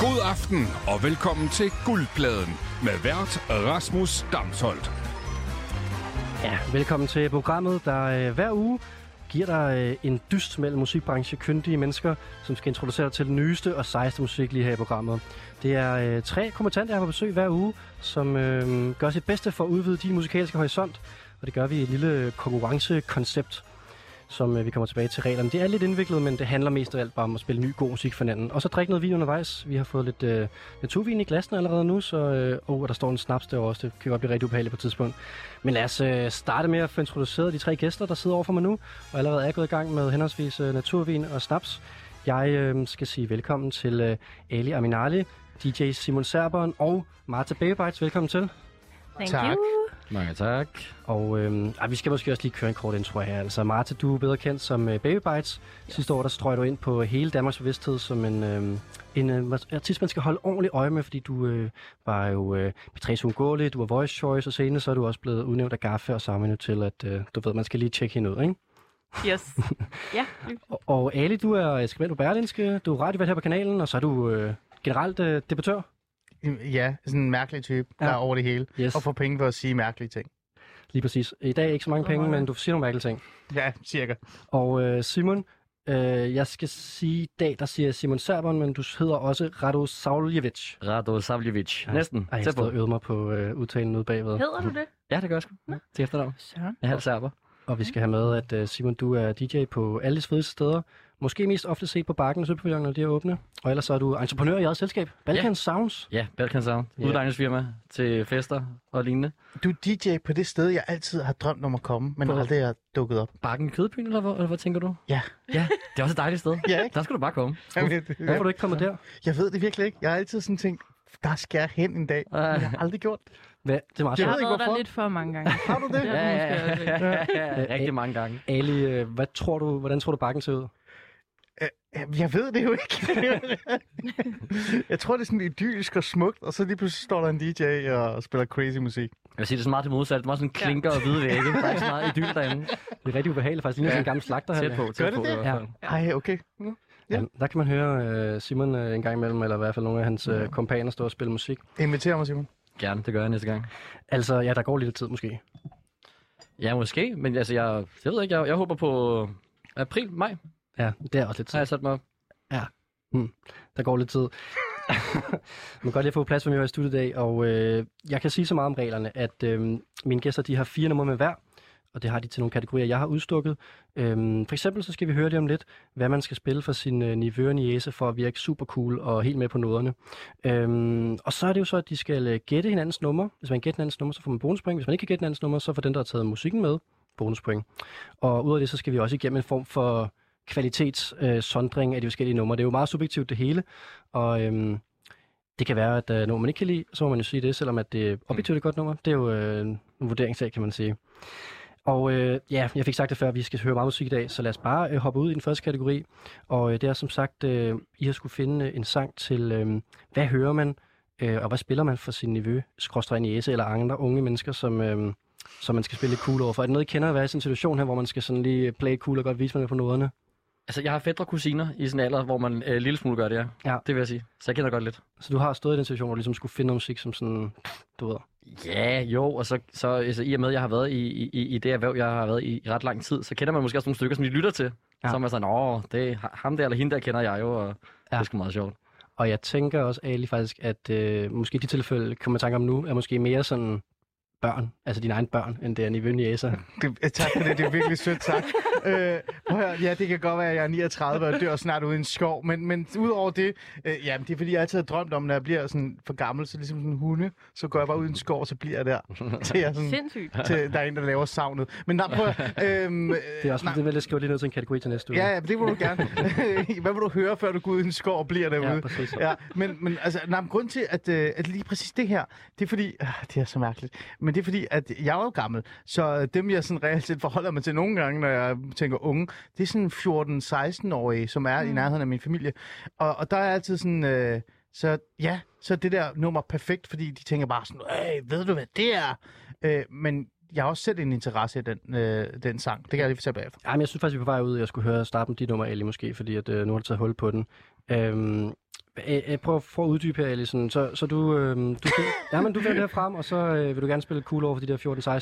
God aften og velkommen til Guldpladen med vært Rasmus Damsholdt. Ja, velkommen til programmet, der øh, hver uge giver dig øh, en dyst mellem musikbranche kyndige mennesker, som skal introducere dig til den nyeste og sejeste musik lige her i programmet. Det er øh, tre kommentanter, jeg har på besøg hver uge, som øh, gør sit bedste for at udvide din musikalske horisont, og det gør vi i et lille konkurrencekoncept, som øh, vi kommer tilbage til reglerne. Det er lidt indviklet, men det handler mest af alt bare om at spille ny god musik for hinanden. Og så drikke noget vin undervejs. Vi har fået lidt øh, naturvin i glassene allerede nu, så øh, oh, og der står en snaps derovre også. Det kan godt blive rigtig ubehageligt på et tidspunkt. Men lad os øh, starte med at få introduceret de tre gæster, der sidder overfor mig nu, og allerede er gået i gang med henholdsvis øh, naturvin og snaps. Jeg øh, skal sige velkommen til øh, Ali Aminali, DJ Simon Serberen og Marta Babybites. Velkommen til. Thank Tak. you. Mange tak. Og øh, ah, vi skal måske også lige køre en kort intro her. Altså, Marta, du er bedre kendt som øh, Baby Bites. Yes. Sidste år, der strøg du ind på hele Danmarks bevidsthed som en, øh, en øh, artist, man skal holde ordentligt øje med, fordi du øh, var jo øh, Patrice Ungåle, du var Voice Choice, og senere så er du også blevet udnævnt af Gaffe og sammen nu til, at øh, du ved, man skal lige tjekke hende ud, ikke? Yes. ja, Og, og Ali, du er skribent på Berlinske, du er radiovært her på kanalen, og så er du øh, generelt øh, debattør. Øhm, Ja, sådan en mærkelig type, Ja. der er over det hele. Yes, Og får penge for at sige mærkelige ting. lige præcis. I dag ikke så mange penge, Åh, ja. men du siger nogle mærkelige ting. Ja, cirka. Og øh, Simon, øh, jeg skal sige i dag, der siger jeg Simon Serbon, men du hedder også Rado Savljevic. Rado Savljevic. Ja. Næsten. Ej, jeg har Tæt på. stået og øvet mig på øh, udtalen ude bagved. hedder du det? Ja, det gør jeg sgu. Ja. Til efternavn. Søren. Jeg er halv serber. Og vi skal have med, at øh, Simon, du er DJ på alle fede steder. Måske mest ofte set på Bakken og Søpavillonen, når de er åbne. Og ellers så er du entreprenør i eget selskab, Balkan yeah. Sounds. Ja, Balkan Sound. Ja. Yeah. Udlejningsfirma til fester og lignende. Du er DJ på det sted, jeg altid har drømt om at komme, men Hvor? aldrig har dukket op. Bakken i Kødbyen, eller hvad, eller hvad tænker du? Ja. Ja, det er også et dejligt sted. Ja, ikke? Der skal du bare komme. Jamen, jeg, Hvorfor er jeg, du ikke kommet der? jeg ved det virkelig ikke. Jeg har altid sådan tænkt, der skal jeg hen en dag. Ej. Men jeg har aldrig gjort det. Hvad? Det er meget Jeg Jeg sjovt. har ved ikke, været der hvorfor. lidt for mange gange. Har du det? Ja. Ja, ja, måske også ja, ja, ja, ja. Rigtig mange gange. Ali, øh, hvad tror du, hvordan tror du Bakken ser ud? Jamen, Jeg ved det jo ikke. jeg tror, det er sådan idyllisk og smukt, og så lige pludselig står der en DJ og spiller crazy musik. Jeg vil sige, det er så meget det modsatte. Det er meget sådan klinker og hvide vægge. Der er ikke så meget idyl derinde. Det er rigtig ubehageligt, faktisk. Lige ja. en gammel slagter Tæt på, tæt Gør det på det? i hvert fald. Ja. Ej, okay. Mm. Ja. Ja. der kan man høre øh, Simon øh, en gang imellem, eller i hvert fald nogle af hans øh, kompaner stå og spille musik. Inviter mig, Simon. Gerne, det gør jeg næste gang. Altså, ja, der går lidt tid måske. Ja, måske. Men altså, jeg, jeg ved ikke. Jeg, jeg håber på øh, april, maj. Ja, det er også lidt Så har tid. jeg sat mig op. Der går lidt tid. Man kan godt lige få plads, for mig i studiet i dag, og øh, jeg kan sige så meget om reglerne, at øh, mine gæster de har fire numre med hver, og det har de til nogle kategorier, jeg har udstukket. Øhm, for eksempel så skal vi høre lige om lidt, hvad man skal spille for sin øh, nivø og niese for at virke super cool og helt med på noderne. Øhm, og så er det jo så, at de skal øh, gætte hinandens nummer. Hvis man gætter hinandens nummer, så får man bonuspoint. Hvis man ikke kan gætte hinandens nummer, så får den, der har taget musikken med, bonuspoint. Og ud af det, så skal vi også igennem en form for kvalitetssondring øh, sondring af de forskellige numre. Det er jo meget subjektivt det hele, og øhm, det kan være, at øh, når man ikke kan lide, så må man jo sige det, selvom at det er objektivt et godt nummer. Det er jo øh, en vurderingssag, kan man sige. Og øh, ja, jeg fik sagt det før, vi skal høre meget musik i dag, så lad os bare øh, hoppe ud i den første kategori. Og øh, det er som sagt, øh, I har skulle finde øh, en sang til, øh, hvad hører man, øh, og hvad spiller man for sin niveau, skråstrej næse eller andre unge mennesker, som, øh, som man skal spille lidt cool over for. Er det noget, I kender at være i sådan en situation her, hvor man skal sådan lige play cool og godt vise, man er på noderne? Altså, jeg har fædre og kusiner i sådan en alder, hvor man øh, en lille smule gør det, ja. Ja. Det vil jeg sige. Så jeg kender godt lidt. Så du har stået i den situation, hvor du ligesom skulle finde noget musik, som sådan, du ved, Ja, jo, og så, så altså, i og med, at jeg har været i, i, i- i det erhverv, jeg har været i, i ret lang tid, så kender man måske også nogle stykker, som de lytter til. Ja. Ja. Som er sådan, åh, det er ham der eller hende der kender jeg jo, og ja. Ja. det er sgu meget sjovt. Og jeg tænker også Ali faktisk, at øh, måske de tilfælde, kommer man tanke om nu, er måske mere sådan børn, altså dine egne børn, end det er niveau næser. Det, eh, tak for det, det er virkelig sødt sagt. Øh, prøv at høre, ja, det kan godt være, at jeg er 39 og dør snart uden skov, men, men udover det, øh, jamen, det er fordi, jeg altid har drømt om, når jeg bliver sådan for gammel, så ligesom sådan en hunde, så går jeg bare uden skov, og så bliver jeg der, til, jeg sådan, Sindssygt. til der er en, der laver savnet. Men nej, prøv at, øhm, øh, Det er også nej, det, vil jeg skrive lige ned til en kategori til næste uge. Ja, ja, det må du gerne. Hvad vil du høre, før du går ud i en skov og bliver derude? ja præcis. ja, men, men altså, nej, men grunden til, at, øh, at lige præcis det her, det er fordi, øh, det er så mærkeligt, men det er fordi, at jeg er jo gammel, så dem, jeg sådan reelt set forholder mig til nogle gange, når jeg tænker unge, det er sådan 14-16-årige, som er mm. i nærheden af min familie, og, og der er altid sådan, øh, så ja, så er det der nummer perfekt, fordi de tænker bare sådan, øh, ved du hvad det er? Øh, men jeg har også selv en interesse i den, øh, den sang, det kan jeg lige fortælle bagefter. Ej, men jeg synes faktisk, vi er på vej ud, jeg skulle høre starten de nummer Ali måske, fordi at, øh, nu har du taget hul på den. Øhm, Øh, øh, prøv at, prøv at uddybe her, Ellison. Så, så du, øh, du, ja, men du vil her frem, og så øh, vil du gerne spille cool over for de der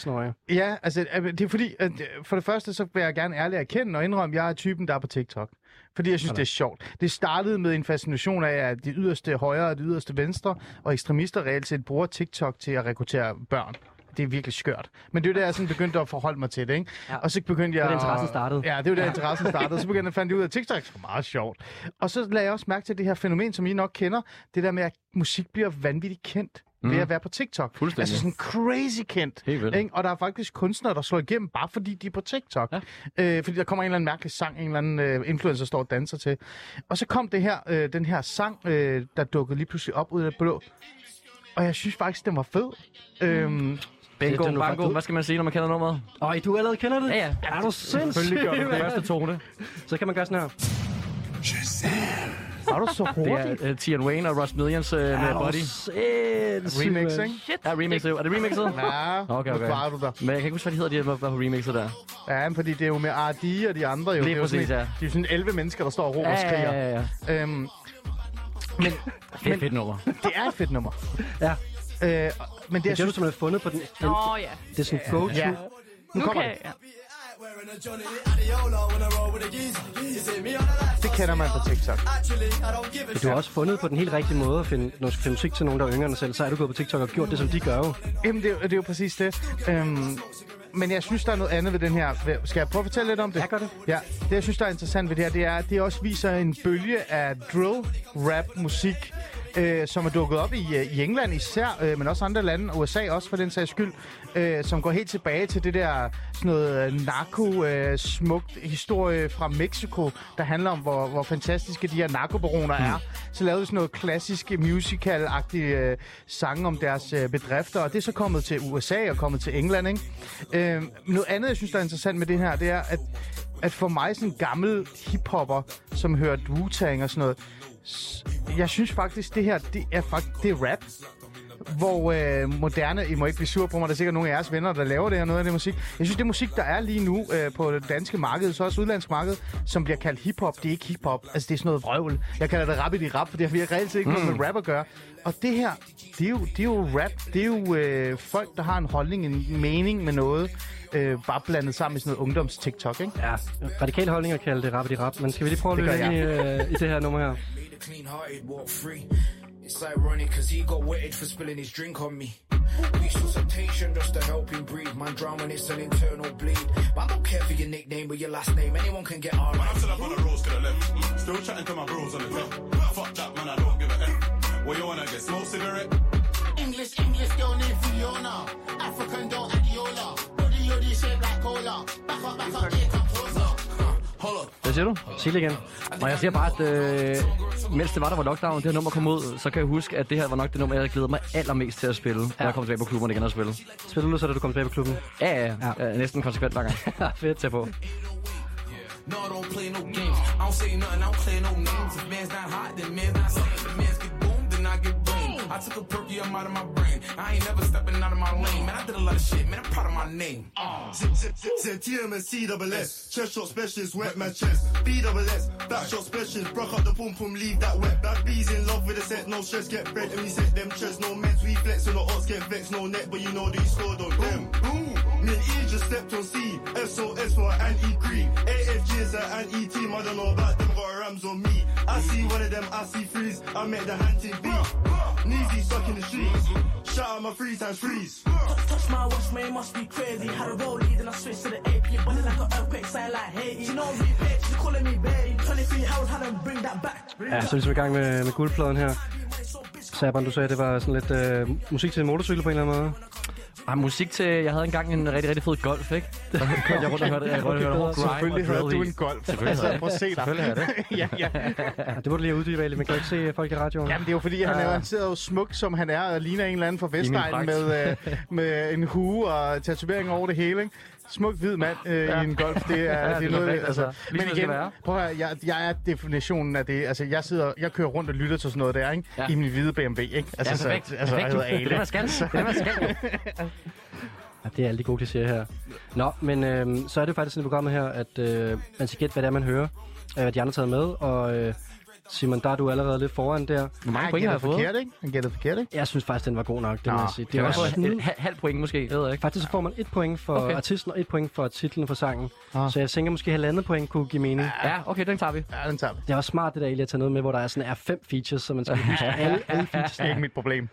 14-16-årige. Ja, altså øh, det er fordi, at øh, for det første så vil jeg gerne ærligt erkende og indrømme, at jeg er typen, der er på TikTok. Fordi jeg synes, det er sjovt. Det startede med en fascination af, at det yderste højre og det yderste venstre og ekstremister reelt set bruger TikTok til at rekruttere børn. Det er virkelig skørt. Men det er jo der, jeg sådan begyndte at forholde mig til det, ikke? Ja. Og så begyndte jeg... var der, interessen startede. Ja, det var der, interessen startede. Så begyndte jeg fandt jeg ud af, at TikTok er sgu meget sjovt. Og så lagde jeg også mærke til det her fænomen, som I nok kender. Det der med, at musik bliver vanvittigt kendt ved at være på TikTok. Mm. Fuldstændig. Altså sådan crazy kendt. Helt vildt. Ikke? Og der er faktisk kunstnere, der slår igennem, bare fordi de er på TikTok. Ja. Øh, fordi der kommer en eller anden mærkelig sang, en eller anden øh, influencer står og danser til. Og så kom det her, øh, den her sang, øh, der dukkede lige pludselig op ud af det blå. Og jeg synes faktisk, den var fed. Øhm, Bingo, Det er nu bango. faktisk- Hvad skal man sige, når man kender nummeret? Øj, du allerede kender det? Ja, ja. Er du sindssyg? Selvfølgelig gør man det. Første tone. Så kan man gøre sådan her. var du så Det hurtigt? er uh, Tian Wayne og Russ Millions uh, med Body. sindssyg, Remix, mand. ikke? Shit. Ja, remixet. Er det remixet? Ja, Okay, nu okay. klarer du dig. Men jeg kan ikke huske, hvad de hedder, de der var på remixet der. Ja, men fordi det er jo med R.D. og de andre. Jo. Lige det er præcis, jo sådan, ja. Det er jo sådan 11 mennesker, der står og råber og ja, skriger. ja, ja. Øhm, Det er et fedt nummer. det er et fedt nummer. Ja. Øh, men det, jeg Det har synes, du simpelthen fundet på den. den Nå ja. det er sådan go-to. ja, Nu, kommer kan det. jeg. Wearing a Johnny Adiolo when I roll with a geezer. You see me on a life. det kender man på TikTok. Actually, I don't give a Du har også fundet på den helt rigtige måde at finde, når du skal finde musik til nogen, der er yngre end dig selv. Så er du gået på TikTok og gjort det, som de gør jo. Jamen, det, er jo- det er jo præcis det. Øhm, men jeg synes, der er noget andet ved den her. Skal jeg prøve at fortælle lidt om det? Ja, gør det. Ja, det jeg synes, der er interessant ved det her, det er, at det også viser en bølge af drill, rap, musik, øh, som er dukket op i, øh, i England især, øh, men også andre lande, USA også for den sags skyld, øh, som går helt tilbage til det der sådan noget øh, narko, øh, smukt historie øh, fra Mexico, der handler om, hvor, hvor fantastiske de her narkobaroner er. Så lavede de sådan noget klassisk musical-agtige øh, sange om deres øh, bedrifter, og det er så kommet til USA og kommet til England, ikke? Øh, noget andet, jeg synes, der er interessant med det her, det er, at at for mig sådan en gammel hiphopper, som hører Wu-Tang og sådan noget, s- jeg synes faktisk, det her, det er, fakt, det er rap. Hvor øh, moderne, I må ikke blive sur på mig, der er sikkert nogle af jeres venner, der laver det her, noget af det musik. Jeg synes, det musik, der er lige nu øh, på det danske marked, så også udenlandsk marked, som bliver kaldt hiphop, det er ikke hiphop. Altså, det er sådan noget vrøvl. Jeg kalder det rap i rap, for det har vi reelt set ikke noget med rap at gøre. Og det her, det er jo, det er jo rap. Det er jo øh, folk, der har en holdning, en mening med noget, øh, bare blandet sammen i sådan noget ungdoms-TikTok, ikke? Ja. Radikal holdning at kalde det rap i rap. Men skal vi lige prøve at Det løbe gør ind i, øh, i det her nummer her? Made a clean hearted walk free. It's ironic because he got wetted for spilling his drink on me. Resuscitation just to help him breathe. My drama it's an internal bleed. But I don't care for your nickname or your last name. Anyone can get on. Man, I'm still up on the roads to the left. Mm, Still chatting to my bros on the left. Fuck that, man, I don't give a F. What you wanna get? Smoke cigarette? English, English girl named Fiona. African doll Adiola. Body, yoddy, shaped like cola. Back up, back up, here come closer. Hvad siger du? Sig det igen. Og jeg siger bare, at øh, mens det var, der var lockdown, det her nummer kom ud, så kan jeg huske, at det her var nok det nummer, jeg glæder mig allermest til at spille, ja. når jeg kom tilbage på klubben igen og spille. Spil ud, så da du kom tilbage på klubben. Ja, ja, ja. ja. næsten konsekvent hver gang. Fedt. Tag på. No, I don't play no games. I don't say nothing, I don't play no names. If man's not hot, then man's not saying. If man's get boom, then I get boom. I took a perky, I'm out of my brain. I ain't never stepping out of my lane. Man, I did a lot of shit, man. I'm proud of my name. Said TMSC double S. Chest shot specialist, wet my chest. B double S. Back shot specialist. Broke up the pum pum, leave that wet. Bad B's in love with the set. No stress, get bread. And we set them chests. No meds, we flex. So the odds get vexed. No net, but you know they scored on them. Boom. Me and E just stepped on C. SOS for anti green. AFG is an anti team. I don't know about them, got Rams on me. I see one of them, I see freeze. I make the hunting beat. Neasy stuck in the streets. Shout out my three times freeze. Touch, touch my watch, man, must be crazy. Had a rollie, then I switched to the AP. Bunny like an earthquake, sound like Haiti. She knows me, bitch, she calling me babe. 23 hours, had to bring that back. Ja, så er vi så i gang med, med guldpladen her. Saban, du sagde, at det var sådan lidt øh, musik til en motorcykel på en eller anden måde. Ej, musik til... Jeg havde engang en rigtig, rigtig fed golf, ikke? Der kørte jeg rundt og hørte, jeg rundt og hørte grime Selvfølgelig og hørte drill du i. en golf. Selvfølgelig altså, havde jeg prøv at se dig. Selvfølgelig havde jeg det. ja, ja. Ja, det må du lige uddybe, Ali. Man kan jo ikke se øh, folk i radioen. Jamen, det er jo fordi, han, er, han sidder jo smuk, som han er, og ligner en eller anden fra Vestegnen dragt. med, øh, med en hue og tatovering over det hele. Ikke? Smuk hvid mand øh, ja. i en golf, det er, ja, det er noget... perfekt, altså. altså. Ligesom Men det skal igen, være. prøv at høre, jeg, jeg er definitionen af det. Altså, jeg, sidder, jeg kører rundt og lytter til sådan noget der, ikke? Ja. I min hvide BMW, ikke? Altså, Ja, perfekt. Så, altså, Perfekt, jeg du. hedder Det er det, Ale. man skal. Det er det, man skal. Ja, det er alle de gode klichéer her. Nå, men øh, så er det jo faktisk sådan i programmet her, at øh, man skal gætte, hvad det er, man hører, øh, hvad de andre har taget med, og øh, Simon, der er du allerede lidt foran der. Hvor mange Han point gættede har jeg fået? forkert, ikke? Han gættede forkert, ikke? Jeg synes faktisk, den var god nok, det Nå, må jeg sige. kan Det var jeg Også sådan, et ha- halv point måske, jeg ved jeg ikke. Faktisk så får man et point for Okay. okay. artisten og et point for titlen for sangen. Ah. Ah. Så jeg tænker måske halvandet point kunne give mening. Ja, okay, den tager vi. Ja, den tager vi. Det var smart det der, Eli, at tage noget med, hvor der er sådan er fem features, så man skal huske alle, alle features. Det er ikke mit problem.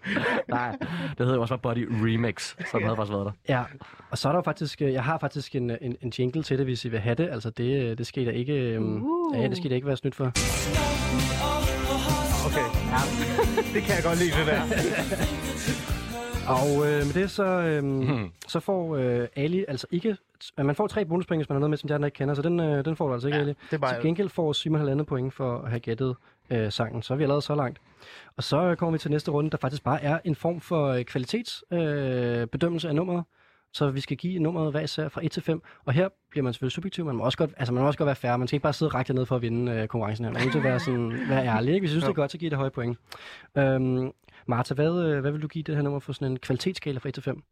Nej, det hedder jo også bare Body Remix, så den havde faktisk været der. Ja, og så er der jo faktisk, øh, jeg har faktisk en, øh, en, en jingle til det, hvis I vil have det. Altså det, øh, det skal I da ikke, uh. ja, det skal I da ikke være snydt for. Okay. Ja, det kan jeg godt lide, det der. Og øh, med det så, øh, hmm. så får øh, Ali altså ikke, t- man får tre bonuspoint, hvis man har noget med, som de andre ikke kender, så den, øh, den får du altså ikke, ja, Ali. det er bare- Til gengæld får Simon halvandet point for at have gættet øh, sangen, så er vi allerede så langt. Og så øh, kommer vi til næste runde, der faktisk bare er en form for øh, kvalitetsbedømmelse øh, bedømmelse af nummeret. Så vi skal give nummeret hver især fra 1 til 5. Og her bliver man selvfølgelig subjektiv. Man må også godt, altså man må også godt være færre. Man skal ikke bare sidde og række ned for at vinde øh, konkurrencen her. Man er nødt til at være, sådan, være ærlig. Ikke? Hvis I synes, det er godt, så giver det høje point. Øhm, Martha, hvad, øh, hvad vil du give det her nummer for sådan en kvalitetsskala fra 1 til 5?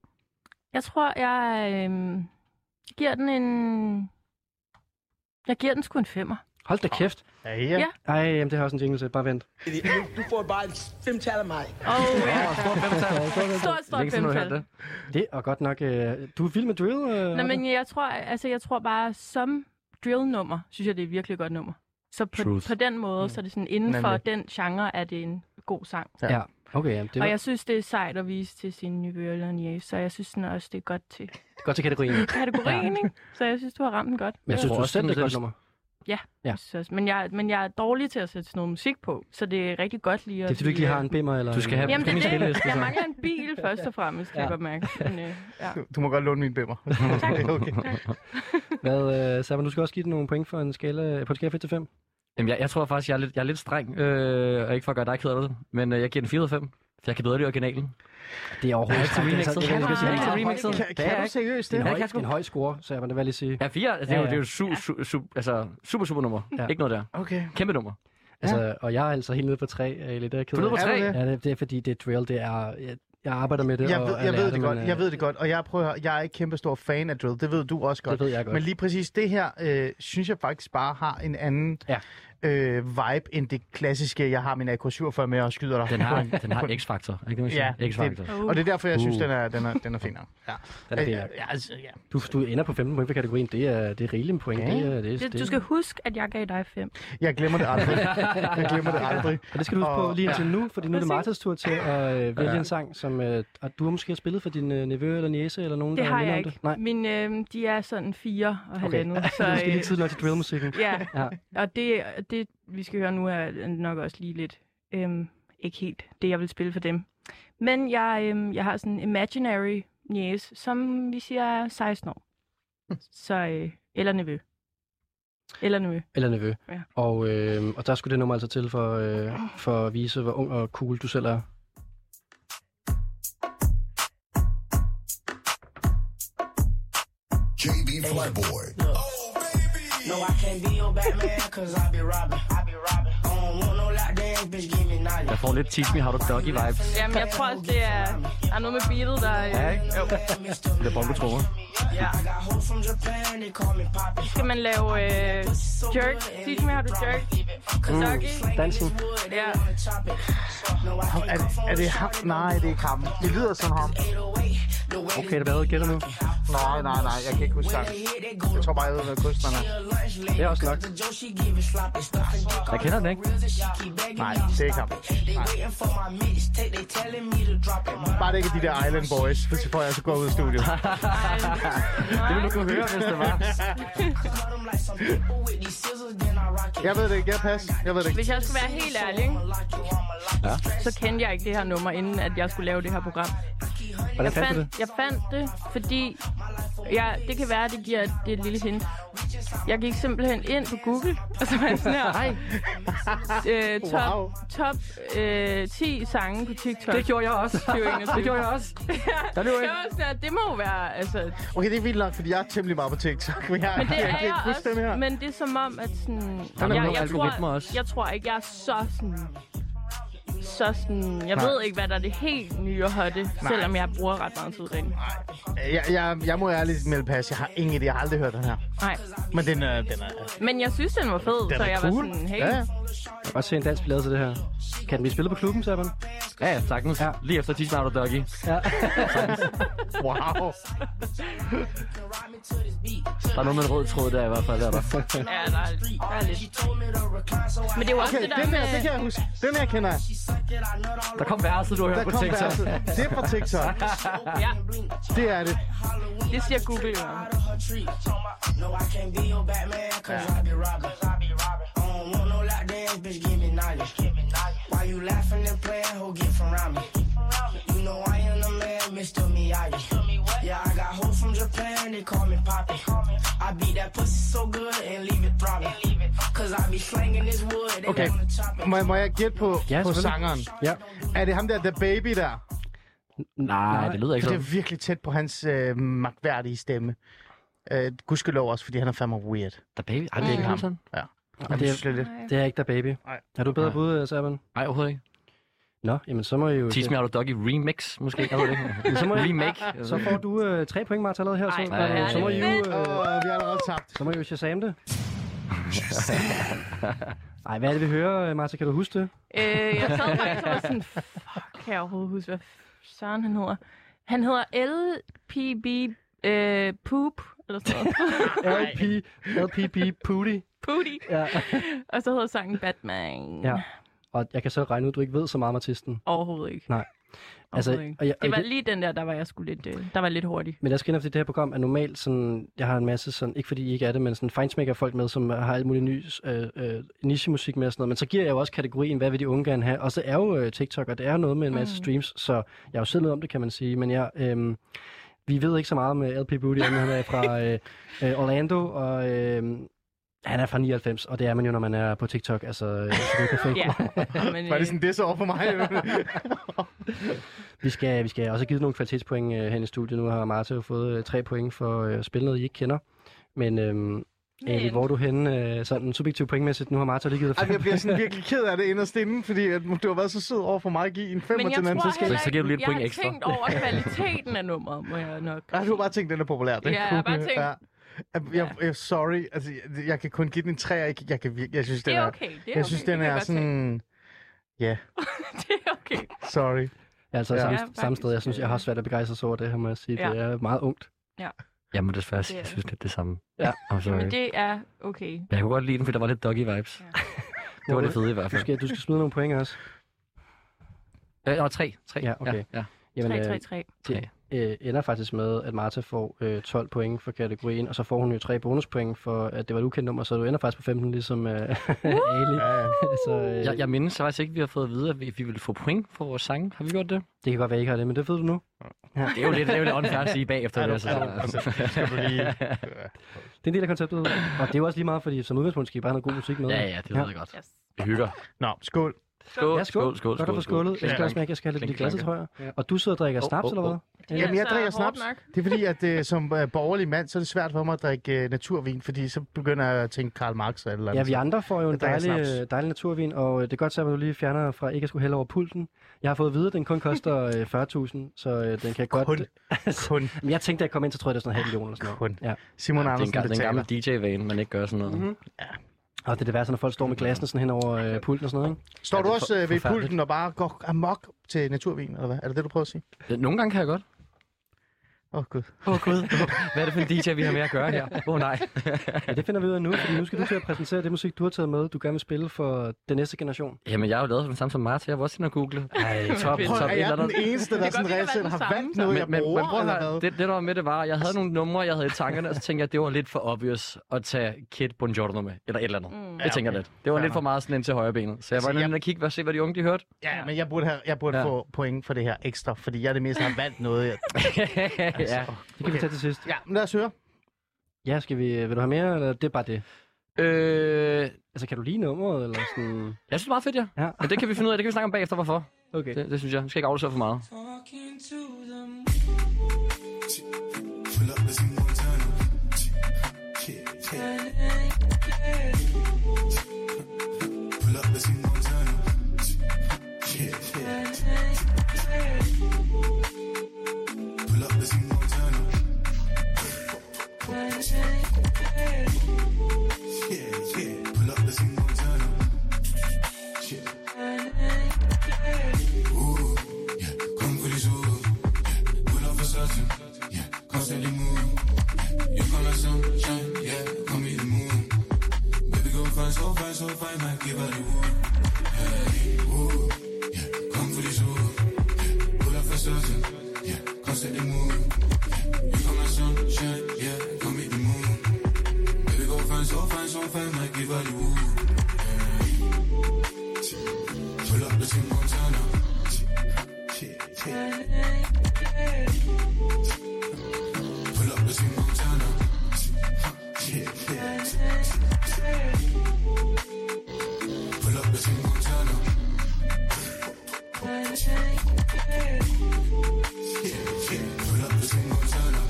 Jeg tror, jeg øh, giver den en... Jeg giver den sgu en femmer. Hold da kæft. Ja, ja. Ja. Ej, jamen, det har også en jingle til. Bare vent. Du får bare et femtal af mig. Oh, Åh, stor femtal. Stort, stort Længe siden du har hørt femtal. det. Det er godt nok... Øh, du er vild med drill. Øh, Nå, Otto. men jeg tror, altså, jeg tror bare, som drillnummer, synes jeg, det er et virkelig godt nummer. Så på, Truth. på den måde, så er det sådan, inden for Nemlig. den genre, er det en god sang. Ja. Ja, okay. Jamen, det Og var jeg synes, det er sejt at vise til sin nye Bjørn så jeg synes den er også, det er godt til godt til kategorien. kategorien, ikke? Så jeg synes, du har ramt den godt. Men jeg synes tror du også, selv, den det er et godt selv- nummer. Ja. Ja. Synes, men, jeg, men jeg er dårlig til at sætte sådan noget musik på, så det er rigtig godt lige at... Det er, fordi du ikke lige har en bimmer eller... Du skal have- Jamen, på det min er det. spilleliste, Jeg så. mangler en bil først og fremmest, kan Ja. jeg godt mærke. Men, øh, ja. Du må godt låne min bimmer. okay. Hvad, øh, Saban, du skal også give den nogle point for en skala, på en skala fra 1 til 5. Jamen, jeg, jeg tror faktisk, jeg er lidt, jeg er lidt streng, øh, og ikke for at gøre dig ked af det, men øh, jeg giver den 4 ud af 5, for jeg kan bedre lide originalen. Det er overhovedet ikke til det er remixet. sådan- det Kan er- man- det er- kan man det er- remixe? det er- Kan, kan du seriøst det det? er en høj- Ja, det kan jeg sgu. En høj score, så jeg vil da være lige sige. Ja, 4, altså, det, Ja, er jo, ja. det er jo su, su, su, altså, super, super nummer. Ja. Ikke noget der. Okay. Kæmpe nummer. Altså, og jeg er altså helt nede på 3, Ali. Det er jeg ked Du er nede på af. Er du 3. det? Ja, det, det er fordi, det er drill. Det er, jeg, jeg arbejder med det. Jeg og ved, er jeg ved lærer det men, godt, øh, jeg ved det godt, og jeg prøver, at høre, jeg er ikke kæmpe stor fan af drill, det ved du også godt. Det ved jeg godt. Men lige præcis det her, øh, synes jeg faktisk bare har en anden Ja. øh, vibe, end det klassiske, jeg har min AK-47 med og skyder dig. Den har, den har X-faktor. Er det ikke det, man Ja, siger? X-faktor. det, og det er derfor, jeg synes, den er, den er, den er fin nok. Ja. Uh. Den er fin nok. Øh, ja, altså, ja. Du, du ender på 15 point for kategorien. Det er, det er rigeligt med point. Ja. Det er, det, er, Det, du skal huske, at jeg gav dig fem. Jeg glemmer det aldrig. Jeg glemmer det aldrig. Og det skal du huske på Og- lige indtil nu, fordi nu er det Præcis. Martas tur til at øh, vælge en sang, som øh, og du har måske har spillet for din øh, nevø eller niece eller nogen, Det der har minder jeg om ikke. Det. Nej, Min, øh, de er sådan fire og halvandet. okay. Så, du skal lige øh, tid nok til drillmusikken. Ja, Ja. og det, det, vi skal høre nu, er nok også lige lidt øhm, ikke helt det, jeg vil spille for dem. Men jeg, øhm, jeg har sådan en imaginary næse, som vi siger er 16 år. Så, øh, eller nevø. Eller nevø. Eller nevø. Ja. Og, øh, og der skulle det nummer altså til for, øh, for at vise, hvor ung og cool du selv er. JB Flyboy. Oh, No, I can't be your Batman, cause I be robbing. I be robbing. I don't want no lockdown, bitch, give me knowledge. Jeg får lidt Teach Me How to Doggy vibes. Jamen, jeg tror også, det er, der er noget med beatet, der... Ja, Øh, ikke? Det er bongotrummer. Yeah. I got hoes from Japan, they call me Poppy. skal man lave øh, jerk? Teach me how to jerk. Mm. Kazaki. Dansen. Ja. Er, er det ham? Nej, det er ikke ham. Det lyder som ham. Okay, det er hvad? Gætter nu. Nej, nej, nej. Jeg kan ikke huske sangen. Jeg tror bare, jeg ved, hvad kunstneren er. Det er også nok. Jeg kender den ikke. Nej, det er ikke ham. Nej. Bare det ikke er de der Island Boys, for så får jeg så gå ud af studiet. Ej, Det ville nej. du kunne høre, hvis det var. Jeg ved det ikke. Jeg passer. Jeg ved det ikke. Hvis jeg skulle være helt ærlig, ikke? så kendte jeg ikke det her nummer, inden at jeg skulle lave det her program. Hvordan Jeg fandt du fandt, det? jeg fandt det, fordi jeg, det kan være, at det giver et, det er et lille hint. Jeg gik simpelthen ind på Google, og så var jeg sådan her, Ej. Øh, top, Wow. top øh, 10 sange på TikTok. Det gjorde jeg også. 2021. Det gjorde jeg også. Der løb jeg ikke. var sådan her, det må jo være, altså, Okay, det er vildt nok, fordi jeg er temmelig meget på TikTok. Men jeg, Men det jeg er kan ikke jeg huske den her. også, men det er som om, at sådan... er jeg, nogle jeg, algoritmer tror, også. jeg tror ikke, jeg er så sådan... Så sådan... Jeg Nej. ved ikke, hvad der er det helt nye og hotte, selvom jeg bruger ret meget tid derinde. Jeg, jeg, jeg må ærligt melde pas. Jeg har ingen idé. Jeg har aldrig hørt den her. Nej. Men den er... Den er Men jeg synes, den var fed, den så er jeg cool. var sådan... Hey, Ja, ja. kan godt se en dansk billede til det her. Kan den blive spillet på klubben, Saban? Ja, ja, sagtens. Ja. Ja. Lige efter Tisnavn og Doggy. Ja. Wow. Der er noget med en rød tråd der i hvert fald. Der, der. Ja, der er, der er lidt. Men det er jo også Okay, det der den her, med... det kan jeg huske. Den her kender jeg. der kom værelset, du har Der hørt på kom TikTok. verset. Det er fra TikTok. Ja, Det er det. det siger Google jo. No, I can't be your Batman, cause I be robbing. Cause I be robbing. I don't want no lockdowns, bitch, give me knowledge. Give me knowledge. Why you laughing and playing? Who get from around me? You know I am the man, Mr. Miyagi. Yeah, I got hoes from Japan, they call me Poppy. I beat that pussy so good and leave it throbbing. Cause I be slanging this wood, they Okay. wanna chop it. Må, må jeg gætte på, Ja, på selvfølgelig. sangeren? ja. Er det ham der, The Baby der? Nej, det lyder ikke For det sådan. er virkelig tæt på hans øh, magtværdige stemme. Øh, gudskelov også, fordi han er fandme weird. Der er baby. Ej, det Mm. er ikke ham sådan. Jamen, det er- det er lidt. Det er ikke der, baby. Nej. Har du et bedre Nej. bud, Saban? Nej, overhovedet ikke. Nå, jamen så må I jo... Teach me how to doggy remix, måske. Jeg ved det ikke. Så må jeg- Remake. Så får du øh, tre point, Martha, allerede her. Så, Ej, så, hvor er så, det må I jo, fedt. øh, Åh, vi har allerede tabt. så må I jo shazam det. Nej, hvad er det, vi hører, øh, Martha? Kan du huske det? Øh, jeg sad faktisk og var sådan, fuck, kan jeg overhovedet huske, hvad Søren han hedder? Han hedder LPB øh, Poop, eller sådan noget. LP, LPB Pooty. Pooty. Ja. Og så hedder sangen Batman. ja. Og jeg kan så regne ud, at du ikke ved så meget om artisten. Overhovedet ikke. Nej. Altså, Altså, ikke. og jeg, og Det var det- lige den der, der var jeg skulle lidt, øh, der var lidt hurtig. Men jeg skal ind efter det her program er normalt sådan, jeg har en masse sådan, ikke fordi I ikke er det, men sådan fejnsmækker folk med, som har alt muligt ny øh, øh, nichemusik med og sådan noget. Men så giver jeg jo også kategorien, hvad vil de unge gerne have? Og så er jo øh, TikTok, og det er jo noget med en masse mm. streams, så jeg er jo selv noget om det, kan man sige. Men jeg, øh, vi ved ikke så meget om øh, LP Booty, men han er fra øh, øh, Orlando, og øh, han er fra 99, og det er man jo, når man er på TikTok. Altså, øh, så det er perfekt. Ja. Men, Var det øh, sådan det så over for mig? Vi skal, vi skal også have givet nogle kvalitetspoint øh, hen i studiet. Nu har Marta jo fået øh, tre point for øh, at spille noget, I ikke kender. Men øhm, Ali, Men- hvor er du henne øh, sådan subjektivt pointmæssigt? Nu har Marta lige givet dig Ej, jeg fem. bliver sådan virkelig ked af det inderst inden, fordi at du har været så sød over for mig at give en femmer men til jeg den anden. tror Så skal... heller Så giver du lige et ikke- point jeg ekstra. har tænkt over kvaliteten af nummeret, må jeg nok. Ej, du har bare tænkt, den er populær. Det er Ja, jeg har bare tænkt- Ja. Jeg, jeg, jeg, sorry, altså, jeg, jeg kan kun give den en træer. Jeg, jeg, kan, virke- jeg synes, den det er er, okay. Det er jeg synes, okay. den det er kan jeg godt se. sådan... Ja, det er okay. sorry. Altså Ja. ja, Ja, samme, faktisk. samme sted. Jeg synes, jeg har svært at begejstre sig over det her, må jeg sige. Ja. Det er meget ungt. Jamen desværre, Det er jeg det. synes lidt det samme. Ja. I'm sorry. Men det er okay. Jeg kunne godt lide den, for der var lidt doggy vibes. Ja. Det var det fede i hvert Du fald. skal, du skal smide nogle point også. Øh, der var tre. tre. Ja, okay. Ja, ja. Jamen, 3, øh, 3, 3. Tre. øh, ender faktisk med, at Marta får øh, 12 point for kategorien, og så får hun jo tre bonuspoint for, at det var et ukendt nummer, så du ender faktisk på 15, ligesom øh, Ali. Ja, ja. Så, øh, Jeg, jeg mindes faktisk ikke, vi har fået at vide, at vi, vi ville få point for vores sang. Har vi gjort det? Det kan godt være, I ikke har det, men det ved du nu. Det er jo lidt, det er jo lidt unfair at sige bagefter. Ja, vil du, jeg så sige. altså, skal du lige... Det er en del af konceptet, og det er jo også lige meget, fordi som udgangspunkt skal I bare have noget god musik med. Ja, ja, det ved jeg godt. Yes. Vi hygger. Nå, skål. Skål, Ja, skål. skål, skål. Godt at få skålet. Jeg skal også mærke, at jeg skal have lidt i Klink, glasset, klanke. tror jeg. Og du sidder og drikker Oh, snaps, oh, eller hvad? Det er Jamen, jeg altså drikker hårdt snaps. nok. Det er fordi, at øh, som øh, borgerlig mand, så er det svært for mig at drikke øh, naturvin, fordi så begynder jeg at tænke Karl Marx eller et eller Ja, andet. vi andre får jo en Jeg drikker dejlig, snaps. øh, dejlig naturvin, og øh, det er godt, så at du lige fjerner fra ikke at skulle hælde over pulten. Jeg har fået at vide, at den kun koster øh, 40.000, så øh, den kan godt... Kun. Kun, Men jeg tænkte, da jeg kom ind, så tror jeg, det var sådan en halv million eller sådan noget. kun. Ja. Simon Det er en, Andersen ga- den betaler. gamle DJ-vane, man ikke gør sådan noget. Mm-hmm. Og det er det værste, når folk står med glassene sådan hen over øh, pulten og sådan noget, ikke? Står Ja, du det er også øh, for- ved forfærdeligt. pulten og bare går amok til naturvin, eller hvad? Er det det, du prøver at sige? Nogle gange kan jeg godt. Åh, oh, gud. Åh oh, gud, hvad er det for en DJ, vi har med at gøre her? Åh oh, nej. Ja, det finder vi ud af nu, fordi nu skal du til at præsentere det musik, du har taget med, du gerne vil spille for den næste generation. Jamen, jeg har jo lavet den samme som Martha. Jeg var også inde og google. Ej, top, fedt. Prøv, top, er et eller jeg den andet. eneste, der Det kan sådan godt reelt være, set den har samme, valgt så. noget, jeg Men, men, men bruger, prøv at eller høre, hvad? det, det der var med det var, jeg havde nogle numre, jeg havde i tankerne, og så tænkte jeg, at det var lidt for obvious at tage Kid Buongiorno med, eller et eller andet. Mm. Det tænker jeg lidt. Det var Fair lidt for nok. meget sådan ind til højre benet. Så jeg Altså, var jeg- inde og kigge og se, hvad de unge de hørte. Ja, men jeg burde, have, jeg burde Ja. få point for det her ekstra, fordi jeg det meste har valgt noget. Jeg... ja. Det kan okay. vi tage til sidst. Ja, men lad os høre. Ja, skal vi, øh, vil du have mere, eller det er bare det? øh, Altså, kan du lide nummeret, eller sådan... jeg synes, det er meget fedt, ja. Ja. Men det kan vi finde ud af, det kan vi snakke om bagefter, hvorfor. Okay. Det, det synes jeg. Vi skal ikke afsløre for meget. Pull up this Montana. Yeah, yeah. Pull up this Montana. Yeah, yeah. Pull up this Montana. Yeah, yeah. Pull up this Montana. op, hij maakt je wel woe. Hey, woe. Ja, kom voor die zoen. Ja, Voel af en zoeten. Ja, kom zet de moe. You come my sunshine, yeah, come meet the moon. Baby, go find so fine, so fine, maak je wel woe. Hey. Pull up the Tim Montana. Pull up the Tim Montana. Yeah, yeah. Pull up the Tim Montana. Yeah, yeah. Pull up the Tim Montana.